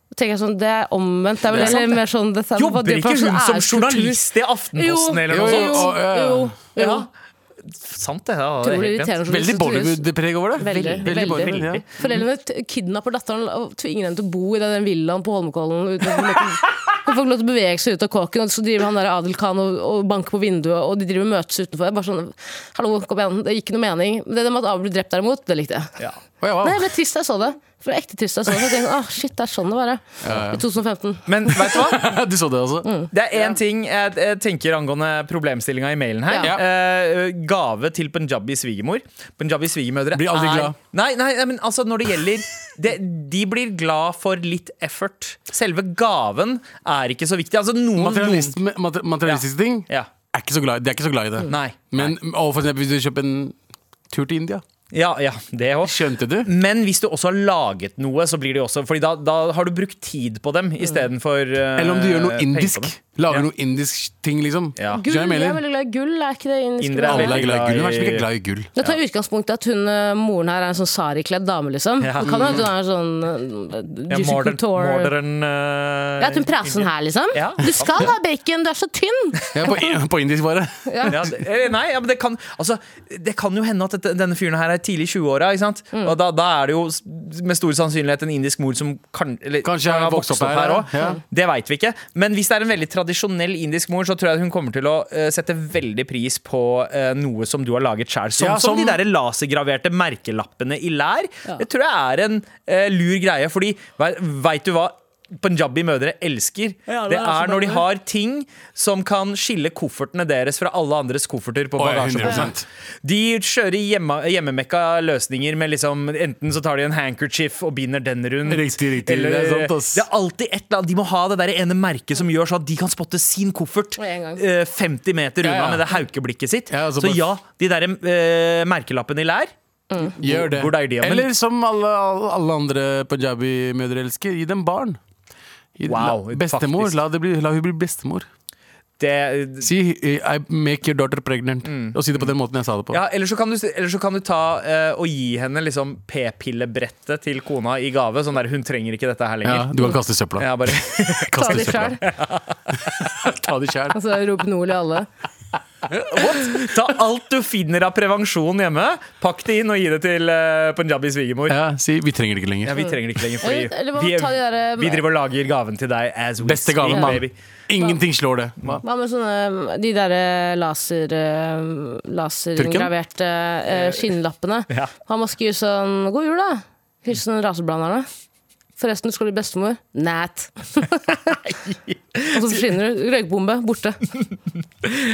Speaker 3: Da tenker jeg sånn, Det er omvendt. Det er vel
Speaker 2: Mm. Det er sant,
Speaker 3: heller mer sånn dette er- hva
Speaker 2: jobber
Speaker 3: det for
Speaker 2: ikke
Speaker 3: noe
Speaker 2: hun som
Speaker 3: æreskultur?
Speaker 2: journalist i Aftenposten eller noe
Speaker 4: Jo,
Speaker 2: sånt?
Speaker 4: jo,
Speaker 3: jo, jo.
Speaker 2: Ja. Sant, det. Ja, det er
Speaker 3: Utrolig
Speaker 2: helt
Speaker 3: irriterende
Speaker 2: rent.
Speaker 3: journalist.
Speaker 4: Veldig Bollywood-preg over det.
Speaker 3: Veldig, veldig.
Speaker 4: Bollywood, ja.
Speaker 3: Foreldrene t- kidnapper datteren og tvinger henne til å bo i den villaen på Holmenkollen. uten at Hun får- hun får ikke lov til å bevege seg ut av kåken, og så driver han der Adel Khan og, og banker på vinduet, og de driver og møtes utenfor. Jeg er bare sånn, hallo, kom igjen, Det gir ikke noe mening. Men Det der med at Abel ble drept derimot, det likte jeg.
Speaker 2: Ja.
Speaker 4: Å, ja, wow.
Speaker 3: Nei, Jeg ble trist da jeg så det. For jeg er ekte trist da jeg så det. Så jeg tenkte, ah, shit, det er sånn det var. ja. I 2015.
Speaker 2: Men vet du hva?
Speaker 4: du så det altså. også?
Speaker 3: Mm.
Speaker 2: Det er én ting jeg, jeg tenker angående problemstillinga i mailen her.
Speaker 4: Ja.
Speaker 2: Eh, gave til punjabi svigermor. Punjabi svigermødre
Speaker 4: Blir aldri
Speaker 2: er-
Speaker 4: glad.
Speaker 2: Nei, nei, nei, men altså når det gjelder det, De blir glad for litt effort. Selve gaven er ikke så viktig. Altså noen
Speaker 4: Materialist, mater, Mm. materialistiske ting
Speaker 2: Ja.
Speaker 4: er ikke så glad, i- de er ikke så glad i det.
Speaker 2: Nei.
Speaker 4: Men og for eksempel hvis du kjøper en tur til India
Speaker 2: Ja, ja, det òg.
Speaker 4: Skjønte du?
Speaker 2: Men hvis du også har laget noe, så blir det jo også Fordi da, da har du brukt tid på dem istedenfor uh,
Speaker 4: Mm. Eller om du gjør noe indisk. Lager noe indisk ting, liksom.
Speaker 2: Ja.
Speaker 4: Skjønner du
Speaker 3: Gull,
Speaker 4: hva jeg
Speaker 3: jeg er
Speaker 4: mener?
Speaker 3: veldig glad i gull, er ikke det indisk?
Speaker 2: Indre er
Speaker 3: Alle
Speaker 4: Alle er glad i gull. Hvem er det som ikke er glad i gull?
Speaker 3: Jeg tar utgangspunkt i at hun, eh, moren her er en sånn sarikledd dame, liksom.
Speaker 2: Ja.
Speaker 3: Det kan jo at hun er sånn eh,
Speaker 2: ja,
Speaker 3: Juicy
Speaker 2: modern,
Speaker 3: Couture.
Speaker 2: modern, eh,
Speaker 3: Ja, at hun prater sånn her, liksom.
Speaker 2: Ja.
Speaker 3: Du skal ha bacon, du er så tynn!
Speaker 4: Ja, på, på indisk, bare.
Speaker 2: ja, det, eh, nei, ja, men det kan, altså, det kan jo hende at dette, denne fyren her er tidlig i 20-åra. ikke sant? Og da, da er det jo s- med stor sannsynlighet en indisk mor som kan, eller,
Speaker 4: Kanskje
Speaker 2: kan ha
Speaker 4: har vokst opp her,
Speaker 2: også.
Speaker 4: ja.
Speaker 2: Det veit vi ikke. Men hvis det er en veldig tradisjonell indisk mor, så tror jeg hun kommer til å eh, sette veldig pris på eh, noe som du har laget sjøl. Sånn
Speaker 4: Ja,
Speaker 2: som,
Speaker 4: som-
Speaker 2: de der lasergraverte merkelappene i lær. Det tror jeg er en eh, lur greie, fordi veit du hva? Punjabi mødre elsker.
Speaker 7: Ja,
Speaker 2: det,
Speaker 7: det er
Speaker 2: er
Speaker 7: så
Speaker 2: når de
Speaker 7: bra.
Speaker 2: har har ting som kan skille koffertene deres fra alle andres kofferter. på
Speaker 4: Å, ja,
Speaker 2: bagasjeplassen.
Speaker 4: 100%.
Speaker 2: De kjører hjemme, hjemmemekka løsninger med liksom Enten så tar de en handkerchief og binder den rundt.
Speaker 4: Riktig, riktig.
Speaker 2: Eller,
Speaker 4: Det
Speaker 2: det,
Speaker 4: er sant,
Speaker 2: er
Speaker 4: ass.
Speaker 2: alltid et eller annet De må ha det der ene merket som gjør sånn at de kan spotte sin koffert
Speaker 3: Med en gang.
Speaker 2: eh, 50 meter
Speaker 4: Ja,
Speaker 2: unna
Speaker 4: ja.
Speaker 2: med det haukeblikket sitt.
Speaker 4: Ja, altså
Speaker 2: så
Speaker 4: bare-
Speaker 2: ja, de der eh, merkelappene i lær
Speaker 4: Gjør det.
Speaker 2: Hvor deilig, ja, men-
Speaker 4: Eller som alle, alle andre punjabi-mødre elsker, gi dem barn. Gi-
Speaker 2: Wow,
Speaker 4: la, bestemor.
Speaker 2: faktisk.
Speaker 4: La, det bli, la hun bli bestemor.
Speaker 2: Det,
Speaker 4: Si eh, I make your daughter pregnant. Og si det på den måten jeg sa det
Speaker 2: Mm.
Speaker 4: på.
Speaker 2: Ja, eller så kan du, eller så kan du ta eh, og gi henne liksom p-pillebrettet til kona i gave. Sånn der, hun trenger ikke dette her
Speaker 4: Ja,
Speaker 2: lenger.
Speaker 4: du kan kaste i søpla.
Speaker 2: Ja, bare,
Speaker 3: Ta
Speaker 4: Kaste
Speaker 3: de
Speaker 4: i søpla.
Speaker 3: sjøl.
Speaker 4: Ta det sjæl.
Speaker 3: Altså rop Nol i alle.
Speaker 2: ta alt du finner av prevensjon hjemme, pakk det inn og gi det til eh, punjabi svigermor.
Speaker 4: Ja, si 'vi trenger det ikke lenger'.
Speaker 2: Ja, vi trenger det ikke lenger, fordi
Speaker 3: Eller- Eh, eller hva med
Speaker 2: vi,
Speaker 3: å ta de der, eh,
Speaker 2: vi driver og lager gaven til deg as we
Speaker 4: Beste gaven,
Speaker 2: speak,
Speaker 4: mann.
Speaker 2: baby.
Speaker 4: Ingenting slår det.
Speaker 3: Hva med sånne de derre laser, eh, lasergraverte eh, skinnlappene?
Speaker 2: Ja.
Speaker 3: Han må skrive sånn 'God jul, da'. Hilsen raseblanderne. Forresten, du skal bli bestemor. Næt. Og så forsvinner du. Røykbombe. Borte.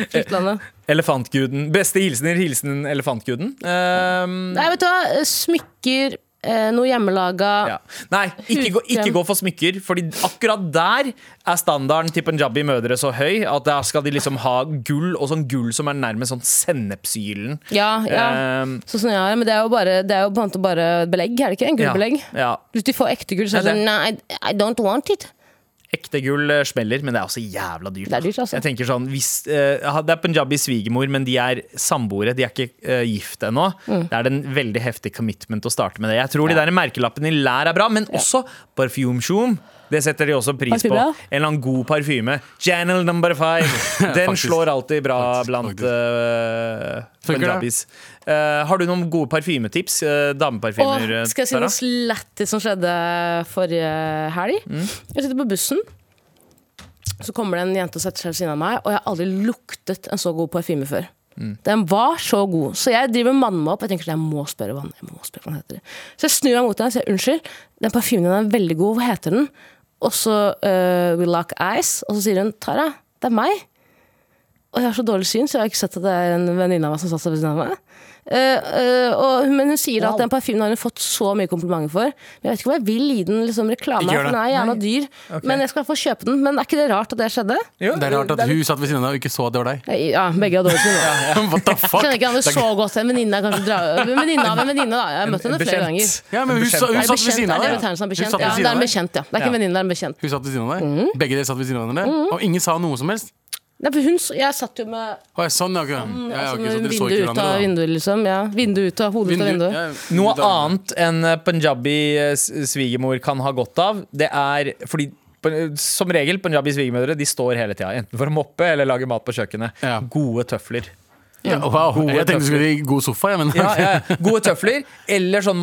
Speaker 3: Utlandet.
Speaker 2: Elefantguden. Beste hilsener, hilsen elefantguden. Ehm,
Speaker 3: Nei, vet du hva. Smykker, eh, noe hjemmelaga.
Speaker 2: ja. Nei, ikke gå, ikke gå for smykker, Fordi akkurat der er standarden til punjabi-mødre så høy at der skal de liksom ha gull, og sånn gull som er nærmest sånn sennepsylen.
Speaker 3: Ja, ja.
Speaker 2: Ehm,
Speaker 3: Sånn som jeg har, men det er jo bare, det er jo på en måte bare belegg, er det ikke? En
Speaker 2: ja,
Speaker 3: gullbelegg.
Speaker 2: ja.
Speaker 3: Hvis de får ekte gull, så er det
Speaker 2: Ja, det-
Speaker 3: sånn Nei, I don't want it.
Speaker 2: Ekte gull eh, smeller, men det er også jævla dyrt.
Speaker 3: Det er dyrt, altså.
Speaker 2: Jeg tenker sånn, hvis, eh, ha- det er punjabi svigermor, men de er samboere. De er ikke eh, gift ennå.
Speaker 3: Mm.
Speaker 2: Det er en veldig heftig commitment å starte med det. Jeg tror de der merkelappene i lær er bra, men også parfymesjom. Det setter de også pris på.
Speaker 3: Parfyme, ja.
Speaker 2: En eller annen god parfyme. Channel number five. Den
Speaker 4: Faktisk.
Speaker 2: slår alltid bra
Speaker 4: Faktisk,
Speaker 2: blant
Speaker 4: faktisk.
Speaker 2: eh,
Speaker 4: Funker det?
Speaker 2: punjabis. Eh, har du noen gode parfymetips? eh,
Speaker 3: Og
Speaker 2: dameparfymer? eh,
Speaker 3: skal jeg si
Speaker 2: Sara?
Speaker 3: noe slattis som skjedde forrige helg?
Speaker 2: Mm.
Speaker 3: Jeg sitter på bussen, så kommer det en jente og setter seg ved siden av meg, og jeg har aldri luktet en så god parfyme før.
Speaker 2: Mm.
Speaker 3: Den var så god, så jeg driver og manner meg opp. Jeg tenker sånn, jeg må spørre hva den, jeg må spørre hva den heter. Så jeg snur meg mot henne og sier unnskyld, den parfymen din er veldig god, hva heter den? Og så eh, We Lock Eyes, og så sier hun Tara, det er meg. Og jeg har så dårlig syn, så jeg har ikke sett at det er en venninne av meg som satt seg ved siden av meg. Eh, eh, og, men hun sier at den parfymen har hun fått så mye komplimenter for. Men jeg vet ikke om jeg vil gi den liksom, reklame,
Speaker 4: Ikke gjør
Speaker 3: for den er jævla dyr. Men jeg skal få kjøpe den. Men er ikke det rart at det skjedde?
Speaker 2: Jo,
Speaker 4: Det er rart at hun satt ved siden av deg og ikke så at det var deg.
Speaker 3: Eh, Ja, begge har dårlig syn. da.
Speaker 4: What the fuck?
Speaker 3: Skjønner ikke han
Speaker 4: Det er
Speaker 3: det så godt. En venninne er kanskje dra... En venninne av en venninne, da. Jeg har møtt henne flere
Speaker 2: bekjent.
Speaker 3: ganger.
Speaker 4: Ja, men hun, sa- hun
Speaker 3: Nei,
Speaker 4: satt ved
Speaker 3: bekjent,
Speaker 4: siden
Speaker 3: er
Speaker 4: av
Speaker 3: det
Speaker 4: deg.
Speaker 3: betegnelsen som
Speaker 4: Hun
Speaker 3: bekjent?
Speaker 4: satt ved
Speaker 3: Ja,
Speaker 4: siden
Speaker 3: det er
Speaker 4: av
Speaker 3: en
Speaker 4: deg.
Speaker 3: bekjent, Mm. ja. Det er ikke en venninne, det er en bekjent.
Speaker 4: Hun satt ved siden av deg. Begge dere satt ved siden av hverandre.
Speaker 3: Mm.
Speaker 4: Og ingen sa noe som helst.
Speaker 3: Nei, for hun, så- jeg satt jo med
Speaker 4: Å, jeg- sånn, ja, ok. Ja, ja, ok, så
Speaker 3: sånn,
Speaker 4: dere så
Speaker 3: vindu ut
Speaker 4: ikke
Speaker 3: av
Speaker 4: hverandre, da.
Speaker 3: vinduet, liksom. Ja. Vindu ut av hodet ut av
Speaker 4: Vindu-
Speaker 3: vinduet.
Speaker 4: ja,
Speaker 2: Noe
Speaker 4: ut av-
Speaker 2: annet enn eh, punjabi eh, s- svigermor kan ha godt av, det er fordi pun- som regel, punjabi svigermødre de står hele tida. Enten for å moppe eller lage mat på kjøkkenet.
Speaker 4: Ja.
Speaker 2: Gode tøfler.
Speaker 4: Ja, wow. Jeg tenkte du skulle i god sofa, jeg, men
Speaker 2: Ja, ja, ja. Gode tøfler Eller sånn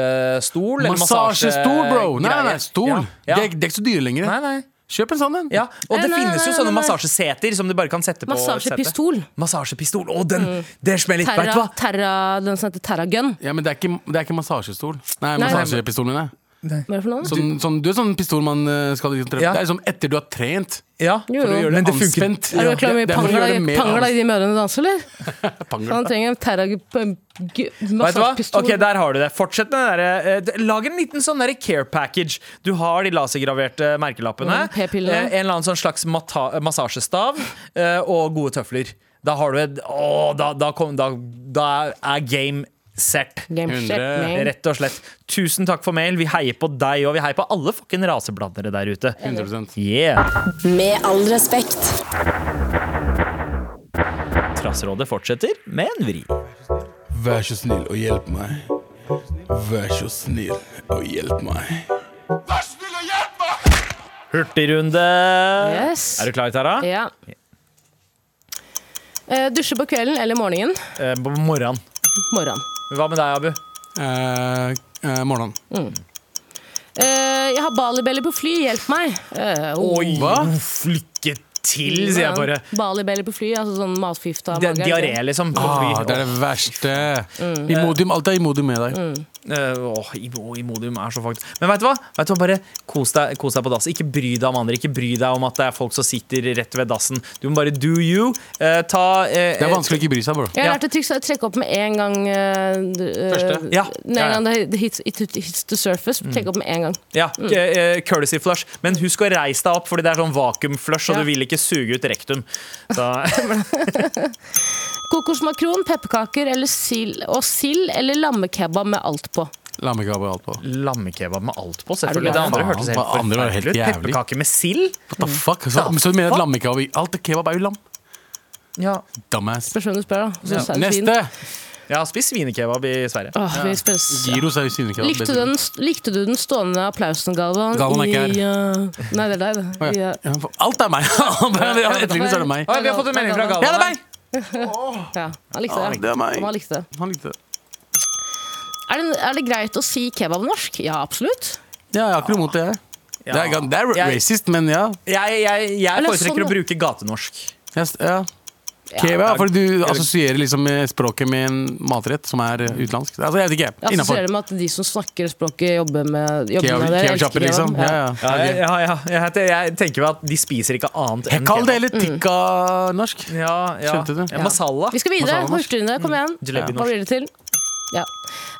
Speaker 2: massasjestol. eller
Speaker 4: Massasjestol, bro! Nei, nei, nei,
Speaker 2: massasjegreie.
Speaker 4: stol.
Speaker 2: Ja.
Speaker 4: Det, er,
Speaker 2: Ja.
Speaker 4: det er ikke så dyre lenger.
Speaker 2: Nei, nei.
Speaker 4: Kjøp en sånn en.
Speaker 2: Ja. Og
Speaker 3: Nei,
Speaker 2: det
Speaker 3: nei,
Speaker 2: finnes jo
Speaker 3: nei,
Speaker 2: sånne
Speaker 3: nei, nei.
Speaker 2: massasjeseter som du bare kan sette på. setet.
Speaker 3: Massasjepistol. Mm.
Speaker 2: Massasjepistol. Å, den! Det smeller litt, veit du
Speaker 3: Terra,
Speaker 2: hva!
Speaker 3: terra, den som heter Terra Gun.
Speaker 4: Ja, men det er ikke, det er ikke massasjestol. Nei,
Speaker 3: Nei.
Speaker 4: massasjepistol, mener jeg.
Speaker 3: Hva er det for noe?
Speaker 4: Sånn, sånn, du er sånn pistol man eh, skal liksom treffe.
Speaker 2: Ja.
Speaker 4: Det er liksom etter du har trent.
Speaker 2: Ja,
Speaker 3: Jo, jo.
Speaker 2: Men det funker.
Speaker 4: Anspent.
Speaker 3: Er du klar over
Speaker 4: Det- det er for å gjøre det
Speaker 3: hvor mye
Speaker 4: mer
Speaker 3: pangla i de mødrene danser, eller?
Speaker 4: ans- pangler.
Speaker 3: Han trenger en terra g-
Speaker 2: Vet du hva?
Speaker 3: massasjepistol.
Speaker 2: Ok, Der har du det. Fortsett med det der, eh, d- Lag en liten sånn der care package. Du har de lasergraverte merkelappene.
Speaker 3: Mm, p-piller.
Speaker 2: eh, en eller annen sånn slags mata- massasjestav eh, og gode tøfler. Da har du et Å, da, da, kom, da, da er game set.
Speaker 3: Game
Speaker 4: Hundre.
Speaker 3: shit, man.
Speaker 2: Rett og slett. Tusen takk for mail. Vi heier på deg og vi heier på alle fucking raseblandere der ute.
Speaker 4: 100
Speaker 2: Yeah.
Speaker 1: Med all respekt.
Speaker 2: Trassrådet fortsetter med en vri.
Speaker 6: Vær så snill og hjelp meg. Vær så snill og hjelp meg.
Speaker 2: Hurtigrunde.
Speaker 3: Yes.
Speaker 2: Er du klar, Tara?
Speaker 3: Ja. Eh, dusje på kvelden eller morgenen.
Speaker 2: Eh, på morgenen.
Speaker 3: Morgen.
Speaker 2: Hva med deg, Abu?
Speaker 4: Eh, eh, morgenen.
Speaker 3: Eh, jeg har Balibelly på fly, hjelp meg. Eh, oh.
Speaker 2: Oi,
Speaker 4: Hva?
Speaker 2: uff, lykke til, sier jeg bare.
Speaker 3: Balibelly på fly, altså sånn matforgifta
Speaker 2: Det er Diaré, liksom. på
Speaker 4: Ah,
Speaker 2: fly.
Speaker 4: det er det verste.
Speaker 3: Mm.
Speaker 4: Imodium, alt er imodium med deg.
Speaker 2: Eh, Åh, Imo- Imodium er så fucked. Men vet du hva? Vet du hva? Bare kos deg, kos deg på dass. Ikke bry deg om andre. Ikke bry deg om at det er folk som sitter rett ved dassen. Du må bare do you. Eh, ta eh,
Speaker 4: Det er vanskelig å ikke bry seg, bro.
Speaker 3: Jeg har
Speaker 2: Ja.
Speaker 3: lært et triks å trekke opp med en gang eh, d- eh,
Speaker 4: Første?
Speaker 2: Ja.
Speaker 3: Med
Speaker 2: Ja,
Speaker 3: en
Speaker 2: ja.
Speaker 3: gang det hit- hits, it hit- hits the surface.
Speaker 4: Mm.
Speaker 3: Trekke opp med en gang.
Speaker 2: Ja,
Speaker 3: Mm.
Speaker 2: eh, courtesy flush. Men husk å reise deg opp, Fordi det er sånn vakuumflush, og
Speaker 3: Ja.
Speaker 2: du vil ikke suge ut rektum. Så,
Speaker 3: Kokosmakron, pepperkaker eller sild. Og sild eller lammekebab med alt på.
Speaker 4: Lammekebab og alt på.
Speaker 2: Lammekebab med alt på, selvfølgelig.
Speaker 3: Er
Speaker 2: Det
Speaker 3: du
Speaker 2: andre
Speaker 4: gæren?
Speaker 2: hørtes helt
Speaker 4: Faen, det andre var
Speaker 2: forferdelig
Speaker 4: helt
Speaker 2: ut.
Speaker 4: jævlig.
Speaker 2: Pepperkake med sild?
Speaker 4: What the fuck? Så, så du mener at lammekebab Alt kebab er jo lam?
Speaker 2: Ja.
Speaker 4: Dumbass.
Speaker 3: Spørs hvem du spør, da. Så
Speaker 2: Ja.
Speaker 3: er det svin.
Speaker 4: Neste!
Speaker 2: Jeg har spist svinekebab i Sverige.
Speaker 3: Åh, vi spes-
Speaker 4: Gyros er jo synekebab.
Speaker 3: Likte du, den, likte du den stående applausen, Galvan?
Speaker 4: Galvan er ikke her.
Speaker 3: i, uh, Nei, det er deg, det. I, uh,
Speaker 4: Ja, for Alt er meg! Etterlignet så er det meg.
Speaker 2: Oi, vi har fått en melding fra Galvan.
Speaker 4: Ja, det er meg!
Speaker 3: ja, han likte
Speaker 4: Ah,
Speaker 3: det.
Speaker 4: det er meg.
Speaker 3: Han likte det.
Speaker 4: Han likte det.
Speaker 3: Er, det, er det greit å si kebab norsk? Ja, absolutt.
Speaker 4: Ja, jeg har ikke noe imot det, jeg.
Speaker 2: Ja.
Speaker 4: Det er, gan- det er
Speaker 2: Jeg-
Speaker 4: racist, men ja.
Speaker 2: Jeg, jeg, jeg
Speaker 3: Eller
Speaker 2: foretrekker
Speaker 3: sånn-
Speaker 2: å bruke gatenorsk.
Speaker 4: Jeg s- ja. Kebab, fordi du assosierer liksom eh, språket med en matrett som er eh, utenlandsk. Altså, jeg vet ikke.
Speaker 3: Jeg
Speaker 4: Innafor.
Speaker 3: assosierer med at de som snakker språket, jobber med, jobber med det. elsker
Speaker 4: Kebabsjappen,
Speaker 3: kebab.
Speaker 4: liksom. Ja, ja.
Speaker 2: Ja, ja, ja, Jeg, heter, jeg tenker vel at de spiser ikke annet enn
Speaker 4: Kall det heller
Speaker 3: Mm.
Speaker 4: tikka-norsk.
Speaker 2: Ja, ja.
Speaker 4: Skjønte du?
Speaker 2: Ja, masala.
Speaker 3: Vi skal videre.
Speaker 4: Masala norsk.
Speaker 3: Hurtigrunde, kom igjen.
Speaker 2: Jalebi
Speaker 3: Hva blir det til? Ja.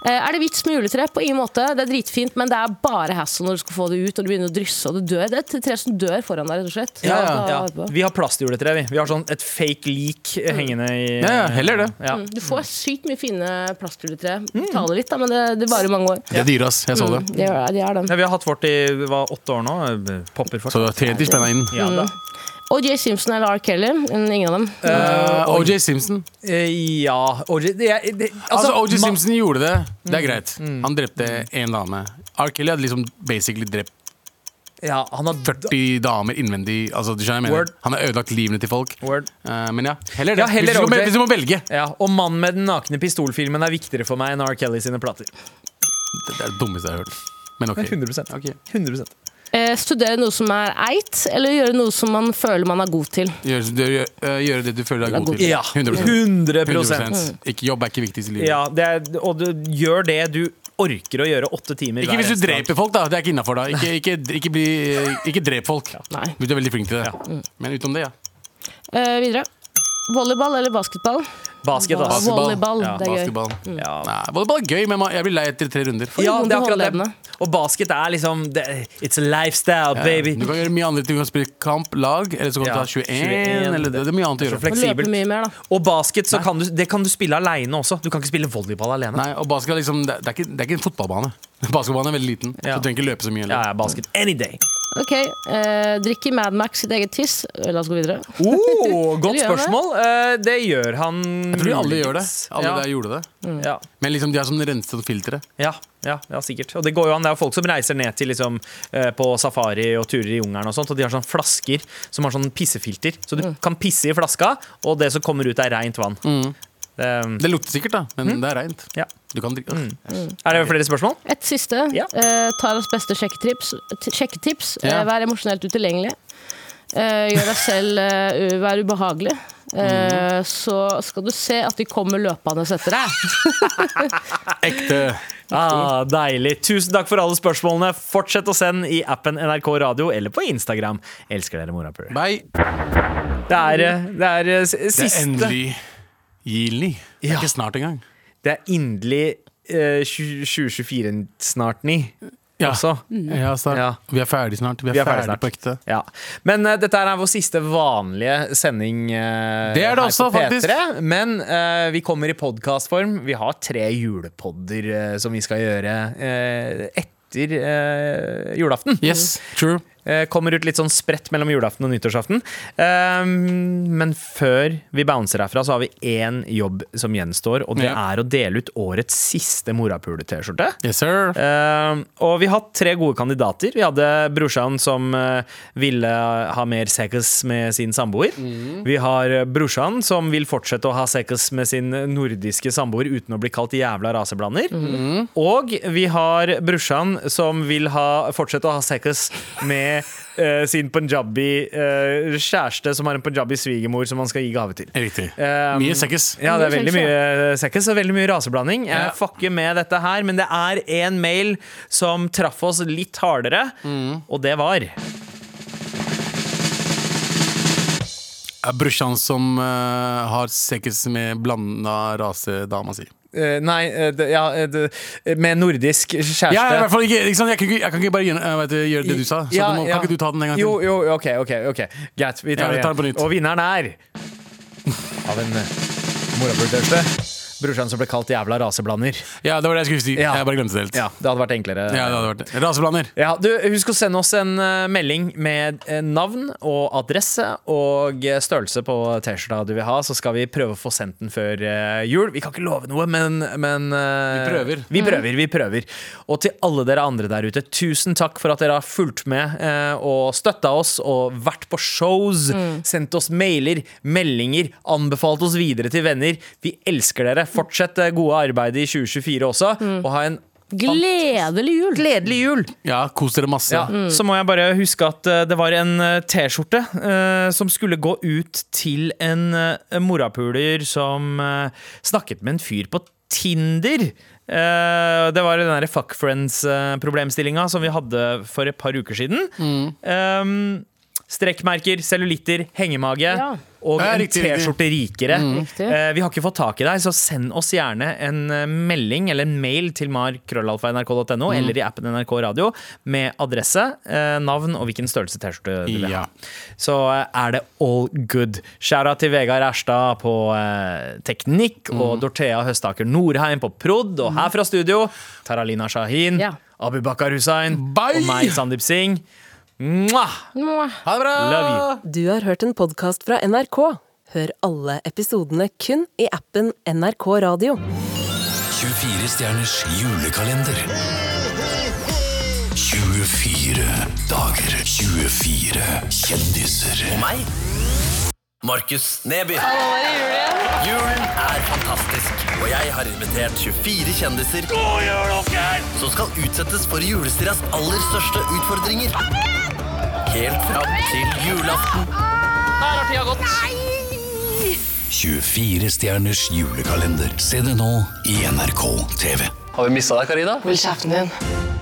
Speaker 3: Eh, Er det vits med juletre? På ingen måte. Det er dritfint, men det er bare hassle når du skal få det ut, og du begynner å drysse, og det dør. Det er et tre som dør foran deg, rett og slett.
Speaker 2: Ja,
Speaker 3: Så
Speaker 2: ja,
Speaker 3: ta
Speaker 2: ja.
Speaker 3: vare på.
Speaker 2: Vi har plastjuletre, vi. Vi har sånn et fake lik eh, hengende i
Speaker 4: Ja, ja, heller det.
Speaker 2: Ja.
Speaker 3: Mm, Du får sykt mye fine plastjuletre. Betaler litt, da, men det, det varer mange år.
Speaker 4: Det er dyre, ass. Jeg så det.
Speaker 3: Mm, det gjør det, det gjør det.
Speaker 2: Ja, vi har hatt vårt i hva, åtte år nå. eh, Popper
Speaker 4: Så
Speaker 2: fortsatt.
Speaker 4: det var 30 spenna inn.
Speaker 2: Ja, da.
Speaker 3: OJ Simpson eller R. Kelly? Ingen av dem.
Speaker 4: Eh, OJ Simpson.
Speaker 2: Eh, ja OJ det, jeg- det,
Speaker 4: Altså, OJ
Speaker 2: ma- Mm.
Speaker 4: Simpson gjorde det. Det er greit. Han drepte én dame. R. Kelly hadde liksom basically drept
Speaker 2: Ja, han har
Speaker 4: 40 damer innvendig. Altså, du skjønner hva jeg mener.
Speaker 2: Word.
Speaker 4: Han har ødelagt livene til folk.
Speaker 2: Word.
Speaker 4: Eh, men ja, heller det.
Speaker 2: Ja, heller
Speaker 4: hvis, du må,
Speaker 2: OJ.
Speaker 4: hvis du må velge.
Speaker 2: Ja, og 'Mannen med den nakne pistolfilmen' er viktigere for meg enn R. Kelly sine plater.
Speaker 4: Det er det dummeste jeg har hørt. Men ok.
Speaker 2: 100%.
Speaker 4: Ok.
Speaker 2: 100
Speaker 3: Eh, studere noe som er eit, eller gjøre noe som man føler man er god til.
Speaker 4: Gjøre gjør, eh, gjøre det du føler deg god til.
Speaker 2: Ja,
Speaker 4: 100%.
Speaker 2: 100,
Speaker 4: 100%. Ikke jobb er ikke viktigst i livet.
Speaker 2: Ja, det er, Og du gjør det du orker å gjøre åtte timer
Speaker 4: Ikke
Speaker 2: hver
Speaker 4: hvis du
Speaker 2: eneste dag.
Speaker 4: dreper folk, da. Det er ikke innafor. Ikke, ikke, ikke, bli- ikke drep folk.
Speaker 3: Nei.
Speaker 4: Hvis du er veldig flink til
Speaker 2: Mm.
Speaker 4: det. Men utenom det, ja.
Speaker 3: Eh, videre. Volleyball eller basketball?
Speaker 2: Basket, ass.
Speaker 3: Basket. Volleyball,
Speaker 4: ja,
Speaker 3: det er gøy.
Speaker 4: basketball.
Speaker 2: Ja.
Speaker 4: Nei, volleyball er gøy, men man- jeg blir lei etter tre runder.
Speaker 3: det
Speaker 2: Ja,
Speaker 3: vondt
Speaker 2: det er
Speaker 3: i
Speaker 2: akkurat det.
Speaker 3: håndleddene.
Speaker 2: Og basket er liksom det, It's a lifestyle, baby.
Speaker 4: Du kan gjøre mye andre ting. Du kan spille kamp, lag, eller så kan du
Speaker 2: Ja,
Speaker 4: ta 21,
Speaker 2: 21,
Speaker 4: eller det, det er mye annet å
Speaker 2: Så
Speaker 4: gjøre.
Speaker 3: Og løpe
Speaker 2: fleksibelt.
Speaker 3: mye mer, da.
Speaker 2: Og basket så kan du, det kan du spille aleine også. Du kan ikke spille volleyball alene.
Speaker 4: Nei, og basket er liksom, det, er- det, er ikke, det er ikke en fotballbane. Basketballbanen er veldig liten,
Speaker 2: Ja.
Speaker 4: så du trenger ikke løpe så mye.
Speaker 2: Ja,
Speaker 4: Eller.
Speaker 2: ja, basket any day.
Speaker 3: Ok, eh, Drikker Mad Max sitt eget tiss? Eh, La oss gå videre.
Speaker 2: Oh,
Speaker 3: Eller gjør han
Speaker 2: godt
Speaker 3: det?
Speaker 2: spørsmål. Eh, det gjør han
Speaker 4: Jeg tror alle gjør det. Alle
Speaker 2: ja.
Speaker 4: der gjorde det.
Speaker 2: Ja,
Speaker 4: Men liksom, de har sånn renset filtre.
Speaker 2: ja, ja, ja, sikkert. Og det går jo an. Det er jo folk som reiser ned til liksom, eh, på safari og turer i jungelen og sånt, og de har sånne flasker som har sånn pissefilter. Så du
Speaker 3: Mm.
Speaker 2: kan pisse i flaska, og det som kommer ut, er rent vann. Det-
Speaker 4: Det lukter sikkert, da, men
Speaker 2: Mm.
Speaker 4: det er reint.
Speaker 2: Ja.
Speaker 4: Du kan drikke.
Speaker 2: Mm.
Speaker 3: Mm.
Speaker 2: er det flere spørsmål?
Speaker 3: Et siste.
Speaker 2: Ja.
Speaker 3: Eh, tar oss beste sjekketips. t- sjekketips.
Speaker 4: Ja.
Speaker 3: Eh, vær emosjonelt utilgjengelig. Eh, gjør deg selv eh, u- Vær ubehagelig. Eh, så skal du se at de kommer løpende etter deg.
Speaker 4: Ekte.
Speaker 2: Ah, deilig. Tusen takk for alle spørsmålene. Fortsett å sende i appen NRK Radio eller på Instagram. Elsker dere, morapuler.
Speaker 4: Bye.
Speaker 2: Det er, eh, det er eh, s-
Speaker 4: Det er
Speaker 2: siste
Speaker 4: endelig juli. Det er
Speaker 2: Ja.
Speaker 4: ikke snart engang.
Speaker 2: Det er inderlig eh, 20- 2024 snart ni
Speaker 4: Ja. Mm.
Speaker 2: også.
Speaker 4: Ja, snart.
Speaker 2: Ja.
Speaker 4: Vi er ferdig snart. Vi er,
Speaker 2: Vi er ferdig
Speaker 4: ferdig,
Speaker 2: snart.
Speaker 4: på ekte.
Speaker 2: Ja. Men eh, dette er vår siste vanlige sending eh,
Speaker 4: Det er det
Speaker 2: her
Speaker 4: også,
Speaker 2: på P3.
Speaker 4: faktisk.
Speaker 2: Men eh, vi kommer i podkastform. Vi har tre julepodder eh, som vi skal gjøre eh, etter eh, julaften.
Speaker 4: Yes, true.
Speaker 2: Eh, kommer ut litt sånn spredt mellom julaften og nyttårsaften. Ehm, men før vi bouncer herfra, så har vi én jobb som gjenstår, og det
Speaker 4: Ja.
Speaker 2: er å dele ut årets siste morapule-T-skjorte.
Speaker 4: Yes, sir.
Speaker 2: Ehm, og vi har hatt tre gode kandidater. Vi hadde brorsan som eh, ville ha mer sex med sin samboer. Vi har brorsan som vil fortsette å ha sex med sin nordiske samboer uten å bli kalt jævla raseblander. Og vi har brorsan som vil ha, fortsette å ha sex med eh, sin punjabi eh, kjæreste som har en punjabi svigermor som han skal gi gave til.
Speaker 4: Riktig.
Speaker 2: Ehm,
Speaker 4: Mye sekkes.
Speaker 2: Ja, det er veldig
Speaker 3: Mye
Speaker 2: mye sekkes og veldig mye raseblanding. Jeg
Speaker 4: Ja.
Speaker 2: fucker med dette her, men det er en mail som traff oss litt hardere,
Speaker 4: Mm.
Speaker 2: og det var
Speaker 4: Er brorsan som eh, har sekkes med blanda rasedama si.
Speaker 2: eh, Nei, eh, det- ja, eh, det- med nordisk kjæreste.
Speaker 4: Ja, i hvert fall ikke, ikke sant? Jeg, kan ikke, jeg kan ikke bare gjøre, eh, vet du, gjøre det du sa. Så
Speaker 2: Ja,
Speaker 4: du må,
Speaker 2: ja.
Speaker 4: Kan ikke du ta den en gang til?
Speaker 2: Jo, jo, ok, ok, ok Greit, vi tar,
Speaker 4: Ja,
Speaker 2: det
Speaker 4: vi tar den på
Speaker 2: igjen.
Speaker 4: nytt.
Speaker 2: Og vinneren er Av en morapultørste eh, Brorsan som ble kalt jævla raseblander.
Speaker 4: Ja, det var det jeg skulle si.
Speaker 2: Ja.
Speaker 4: Jeg bare glemte det helt.
Speaker 2: Ja, Det hadde vært enklere.
Speaker 4: Ja, det hadde vært det. Raseblander.
Speaker 2: Ja, du, Husk å sende oss en eh, melding med eh, navn og adresse og eh, størrelse på T-skjorta du vil ha, så skal vi prøve å få sendt den før eh, jul. Vi kan ikke love noe, men, men eh,
Speaker 4: Vi prøver.
Speaker 2: Vi prøver, vi prøver. Og til alle dere andre der ute, tusen takk for at dere har fulgt med eh, og støtta oss og vært på shows, sendt oss mailer, meldinger, anbefalt oss videre til venner. Vi elsker dere. Fortsett det gode arbeidet i 2024 også, og ha en
Speaker 3: Gledelig jul!
Speaker 2: gledelig jul!
Speaker 4: Ja, kos dere masse.
Speaker 2: Ja, Så må jeg bare huske at eh, det var en eh, T-skjorte eh, som skulle gå ut til en eh, morapuler som eh, snakket med en fyr på Tinder. Eh, det var den der fuck friends-problemstillinga som vi hadde for et par uker siden.
Speaker 4: Mm.
Speaker 2: Eh, strekkmerker, cellulitter, hengemage
Speaker 3: Ja.
Speaker 2: og
Speaker 4: Ja,
Speaker 2: en
Speaker 4: riktig, riktig.
Speaker 2: T-skjorte rikere.
Speaker 3: Riktig.
Speaker 2: Eh, vi har ikke fått tak i deg, så send oss gjerne en eh, melding eller en mail til mar.krøllalfa.nrk.no eller i appen NRK Radio med adresse, eh, navn og hvilken størrelse T-skjorte du vil ha.
Speaker 4: Ja.
Speaker 2: Så eh, er det all good. Skjæra til Vegard Erstad på eh, teknikk og Dorthea Høstaker Norheim på prod. Og her fra studio, Taralina Shahin,
Speaker 3: Ja.
Speaker 2: Abubakar Hussain
Speaker 4: Bye!
Speaker 2: og meg, Sandeep Singh. Mwah!
Speaker 3: Mwah.
Speaker 4: Ha det bra!
Speaker 2: Love you.
Speaker 7: Du har hørt en podkast fra NRK. Hør alle episodene kun i appen NRK Radio.
Speaker 5: 24 stjerners julekalender. 24 dager. 24 kjendiser. Og meg. Markus Neby. Julen er fantastisk, og jeg har invitert 24 kjendiser som skal utsettes for julestiras aller største utfordringer. Helt fram til julaften. Der har tida gått. 24 stjerners julekalender. Se det nå i NRK TV. Har vi mista deg, Karina?
Speaker 8: Hold kjeften din.